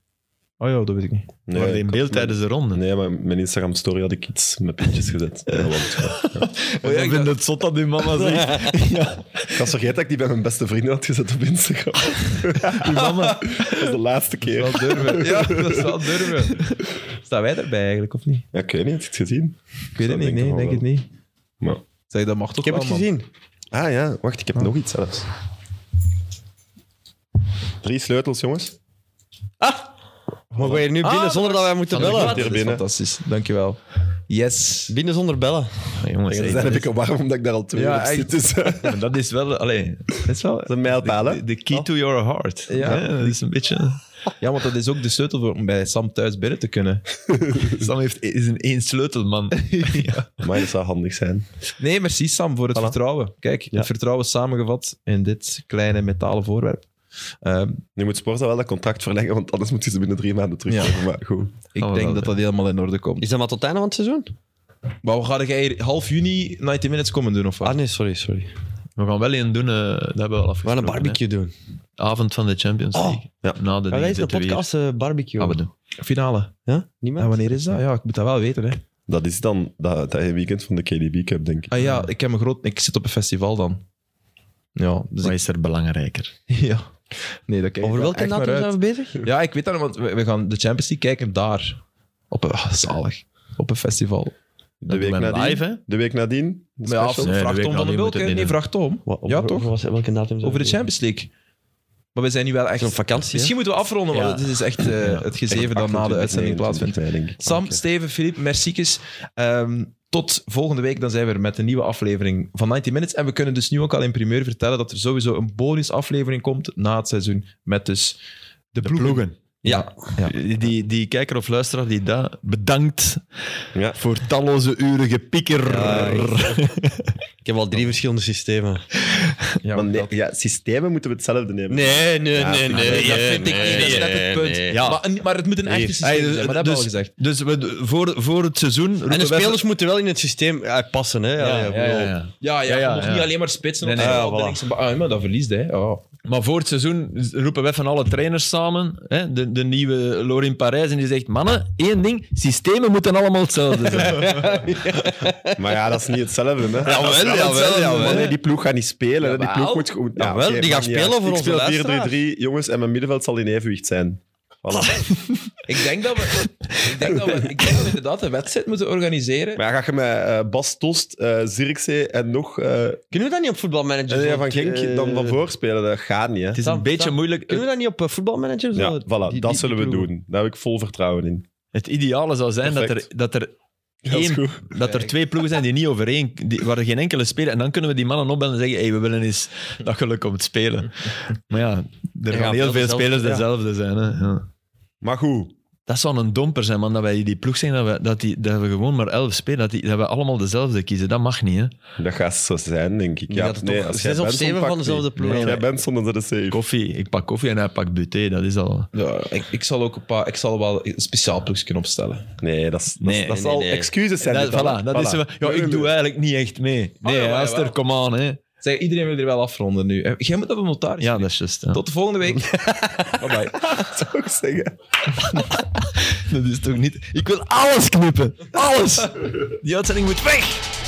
Speaker 1: Oh ja, dat weet ik niet.
Speaker 4: Nee, Waren die in
Speaker 2: ik
Speaker 4: beeld
Speaker 2: had mijn-
Speaker 4: tijdens de ronde?
Speaker 2: Nee, maar mijn Instagram-story had ik iets met puntjes gezet. En dat was het gewoon.
Speaker 1: Oh, ja,
Speaker 4: ik
Speaker 1: ik
Speaker 4: vind
Speaker 1: dacht-
Speaker 4: het zot dat die mama zegt.
Speaker 2: Ik was vergeten dat ik die bij mijn beste vrienden had gezet op Instagram.
Speaker 4: Die mama.
Speaker 2: Dat was de laatste keer.
Speaker 4: Wel durven.
Speaker 1: Ja, dat is wel durven. Staan wij erbij eigenlijk, of niet?
Speaker 2: Ja, ik weet niet, heb je het gezien?
Speaker 1: Ik weet het niet,
Speaker 2: denk
Speaker 1: nee,
Speaker 2: ik
Speaker 1: ik
Speaker 2: wel
Speaker 1: denk het niet.
Speaker 2: Maar...
Speaker 1: Zeg, dat mag toch
Speaker 3: Ik heb het
Speaker 1: wel, man.
Speaker 3: gezien.
Speaker 2: Ah ja, wacht, ik heb nog iets zelfs. Drie sleutels, jongens.
Speaker 3: Mogen wij hier nu binnen zonder Ah, dat wij moeten
Speaker 1: Dat
Speaker 3: bellen?
Speaker 1: is
Speaker 2: binnen.
Speaker 1: fantastisch, dankjewel. Yes.
Speaker 3: Binnen zonder bellen.
Speaker 4: Ah, jongens,
Speaker 2: Ja,
Speaker 4: hey,
Speaker 2: dan zijn heb ik al warm omdat ik daar al twee
Speaker 1: Ja,
Speaker 2: uur op zit.
Speaker 1: echt.
Speaker 2: Dus, eh,
Speaker 4: maar dat is wel... Allee,
Speaker 1: Dat is wel...
Speaker 2: de mijlpaal, hè?
Speaker 4: de, de key to your heart. Ja. dat is een beetje...
Speaker 1: Ja, want dat is ook de sleutel voor om bij Sam thuis binnen te kunnen.
Speaker 4: Sam heeft, is een één sleutelman. ja.
Speaker 2: Maar dat zou handig zijn.
Speaker 1: Nee, merci Sam voor het vertrouwen. Kijk, het vertrouwen samengevat in dit kleine metalen voorwerp. Ehm,
Speaker 2: Nu moet Sporza wel dat contract verlengen, want anders moet je ze binnen drie maanden teruggeven. Maar goed.
Speaker 1: ik
Speaker 4: Gaan we
Speaker 1: denk
Speaker 4: wel,
Speaker 1: dat dat helemaal in orde komt.
Speaker 3: Is dat maar tot het einde van het seizoen?
Speaker 1: Maar we gaan jij hier half juni 90 Minutes komen doen, of wat?
Speaker 3: Ah nee, sorry, sorry.
Speaker 4: We gaan wel één doen, eh, dat hebben we al
Speaker 3: We gaan
Speaker 4: afgesproken.
Speaker 3: een barbecue doen.
Speaker 4: hè. Avond van de Champions League. ja. Na de
Speaker 3: Gaan wij eens een
Speaker 4: dingen te
Speaker 3: podcast eh, barbecue?
Speaker 4: weer. Ah, we doen.
Speaker 1: Finale.
Speaker 3: Ja?
Speaker 1: En
Speaker 3: Niemand?
Speaker 1: wanneer is dat? Ja, ik moet dat wel weten, hè.
Speaker 2: Dat is dan dat, dat hele weekend van de KDB Cup, denk ik.
Speaker 1: Ah ja, ik, heb een groot, ik zit op een festival dan. Ja, dus
Speaker 4: Wat
Speaker 1: ik-
Speaker 4: is er belangrijker?
Speaker 1: ja. Nee, dat kijk ik
Speaker 3: Over
Speaker 1: wel
Speaker 3: welke
Speaker 1: echt
Speaker 3: datum
Speaker 1: naar uit.
Speaker 3: zijn we bezig?
Speaker 1: Ja, ik weet dat, want we, we gaan de Champions League kijken daar. Op een, ah, zalig. Op een festival.
Speaker 2: De week
Speaker 4: doen we
Speaker 2: nadien.
Speaker 4: live, hè?
Speaker 2: De week nadien. de
Speaker 1: Maar ja,
Speaker 2: special.
Speaker 4: Nee, de
Speaker 1: vraag
Speaker 4: week
Speaker 1: Tom van de
Speaker 4: nadien
Speaker 1: Bulk,
Speaker 4: moet het
Speaker 1: hè?
Speaker 4: niet
Speaker 1: nee,
Speaker 4: doen.
Speaker 1: vraag Tom.
Speaker 3: Wa-
Speaker 1: Ja,
Speaker 3: over-
Speaker 1: toch?
Speaker 3: over was- welke datum zijn we
Speaker 1: Over de
Speaker 3: bezig?
Speaker 1: Champions League. Maar we zijn nu wel echt...
Speaker 3: Zo'n vakantie,
Speaker 1: Misschien moeten we afronden, want het is echt eh, het gezeven dat na de
Speaker 2: 28,
Speaker 1: uitzending
Speaker 2: 29
Speaker 1: plaatsvindt.
Speaker 2: mei, denk ik.
Speaker 1: Sam, Steven, Filip, merciekes. Ehm, tot volgende week, dan zijn we er met een nieuwe aflevering van 90 Minutes. En we kunnen dus nu ook al in primeur vertellen dat er sowieso een bonusaflevering komt na het seizoen met dus de, ploegen. Ja. ja.
Speaker 4: Die, die kijker of luisteraar die dat bedankt
Speaker 2: Ja.
Speaker 4: voor talloze uren gepieker.
Speaker 3: Ja, Ik heb al drie verschillende systemen.
Speaker 1: ja,
Speaker 2: Maar nee,
Speaker 1: dat-
Speaker 2: ja, systemen moeten we hetzelfde nemen.
Speaker 3: Nee, nee, nee, nee.
Speaker 1: dat vind ik niet, dat is net het punt.
Speaker 4: Ja.
Speaker 1: Maar, een- maar het moet een
Speaker 3: Nee.
Speaker 1: echte systeem
Speaker 4: Hey, dus-
Speaker 1: zijn, maar dat hebben we al
Speaker 4: dus-
Speaker 1: gezegd.
Speaker 4: Dus we, voor, voor het seizoen.
Speaker 3: En
Speaker 4: roepen
Speaker 3: de
Speaker 4: wij-
Speaker 3: spelers moeten wel in het systeem eh, passen, hè? Ja,
Speaker 4: Ja,
Speaker 3: ja,
Speaker 4: ja, ja,
Speaker 3: bedoel-
Speaker 4: ja.
Speaker 1: Ja, ja,
Speaker 4: Ja, ja,
Speaker 1: je mag
Speaker 4: ja.
Speaker 1: niet alleen maar spitsen
Speaker 4: Nee,
Speaker 1: op
Speaker 3: nee,
Speaker 1: de
Speaker 3: ja,
Speaker 1: op de
Speaker 3: voilà.
Speaker 1: linkse ba- Ah, maar dat verliest, hè. Oh.
Speaker 4: Maar voor het seizoen roepen wij van alle trainers samen, hè, de, de nieuwe Lorin Parijs, en die zegt: Mannen, één ding, systemen moeten allemaal hetzelfde zijn.
Speaker 2: Maar ja, dat is niet hetzelfde. Hè?
Speaker 3: Jawel,
Speaker 2: Dat is
Speaker 3: jawel,
Speaker 2: hetzelfde,
Speaker 3: jawel.
Speaker 2: maar nee, die ploeg gaat niet spelen. hè. die
Speaker 3: Oh, Jawel.
Speaker 2: ploeg moet Ah, goed.
Speaker 3: Jawel, die gaat spelen voor
Speaker 2: ons.
Speaker 3: onze
Speaker 2: Ik speel
Speaker 3: luisteraar.
Speaker 2: 4-3-3, jongens, en mijn middenveld zal in evenwicht zijn. Voilà.
Speaker 1: Ik denk dat we, ik denk dat we, ik denk dat we inderdaad een wedstrijd moeten organiseren.
Speaker 2: Maar ja, ga je met eh, Bas Tost, eh Zirkzee en nog eh,
Speaker 3: Kunnen we dat niet op voetbalmanager?
Speaker 2: en ja,
Speaker 3: zo-
Speaker 2: van Genk
Speaker 3: eh,
Speaker 2: dan van voor spelen? Dat gaat niet, hè?
Speaker 4: Het is
Speaker 3: Dan-
Speaker 4: een beetje
Speaker 3: dan-
Speaker 4: moeilijk.
Speaker 3: Kunnen we dat niet op eh, voetbalmanager? zo-
Speaker 2: Ja, voilà, dat
Speaker 3: die- die-
Speaker 2: zullen we
Speaker 3: die ploegen?
Speaker 2: doen. Daar heb ik vol vertrouwen in.
Speaker 4: Het ideale zou zijn dat er,
Speaker 2: Perfect.
Speaker 4: dat, er
Speaker 2: Dat is
Speaker 4: één-
Speaker 2: goed.
Speaker 4: dat er twee ploegen zijn die niet overeen, die, waar er geen enkele spelen. En dan kunnen we die mannen opbellen en zeggen: hey, we willen eens dat geluk komt spelen. Maar ja, er gaan
Speaker 3: gaan
Speaker 4: heel
Speaker 3: veel
Speaker 4: veel
Speaker 3: dezelfde-
Speaker 4: spelers
Speaker 3: ja.
Speaker 4: dezelfde zijn. Hè. Ja.
Speaker 2: Maar goed,
Speaker 4: Dat zou een domper zijn, man, dat wij die ploeg zijn, dat we, dat die, dat we gewoon maar elf spelen, dat, die, dat we allemaal dezelfde kiezen. Dat mag niet, hè.
Speaker 2: Dat gaat zo zijn, denk ik. Ja,
Speaker 3: gaat het
Speaker 2: nee,
Speaker 3: toch
Speaker 2: als
Speaker 3: zes
Speaker 2: jij
Speaker 3: of
Speaker 2: Benson
Speaker 3: zeven van
Speaker 2: pakt,
Speaker 3: dezelfde
Speaker 2: nee.
Speaker 3: ploeg.
Speaker 2: Als jij Benson, dan zit het safe.
Speaker 4: Koffie, ik pak koffie en hij pakt buté, dat is al...
Speaker 1: Ja, ik, ik zal ook een paar, ik zal wel een speciaal ploegje opstellen.
Speaker 2: Nee, dat, is- dat,
Speaker 4: Nee,
Speaker 2: is- dat
Speaker 4: nee,
Speaker 2: zal
Speaker 4: nee.
Speaker 2: excuses zijn.
Speaker 4: Dat,
Speaker 2: dit al,
Speaker 4: voilà,
Speaker 2: hè.
Speaker 4: dat is...
Speaker 2: Voilà.
Speaker 4: Ja, ik doe eigenlijk niet echt mee.
Speaker 1: Oh,
Speaker 4: Nee,
Speaker 1: jawel,
Speaker 4: Aster,
Speaker 1: jawel.
Speaker 4: kom aan, hè.
Speaker 1: Zeg, iedereen wil er wel afronden nu. Eh, Jij moet op een notaris.
Speaker 4: Ja, dat is juist. ja.
Speaker 1: Tot de volgende week. bye bye.
Speaker 2: Dat zou ik zeggen.
Speaker 4: Dat is toch niet... Ik wil alles knippen. Alles. Die uitzending moet weg.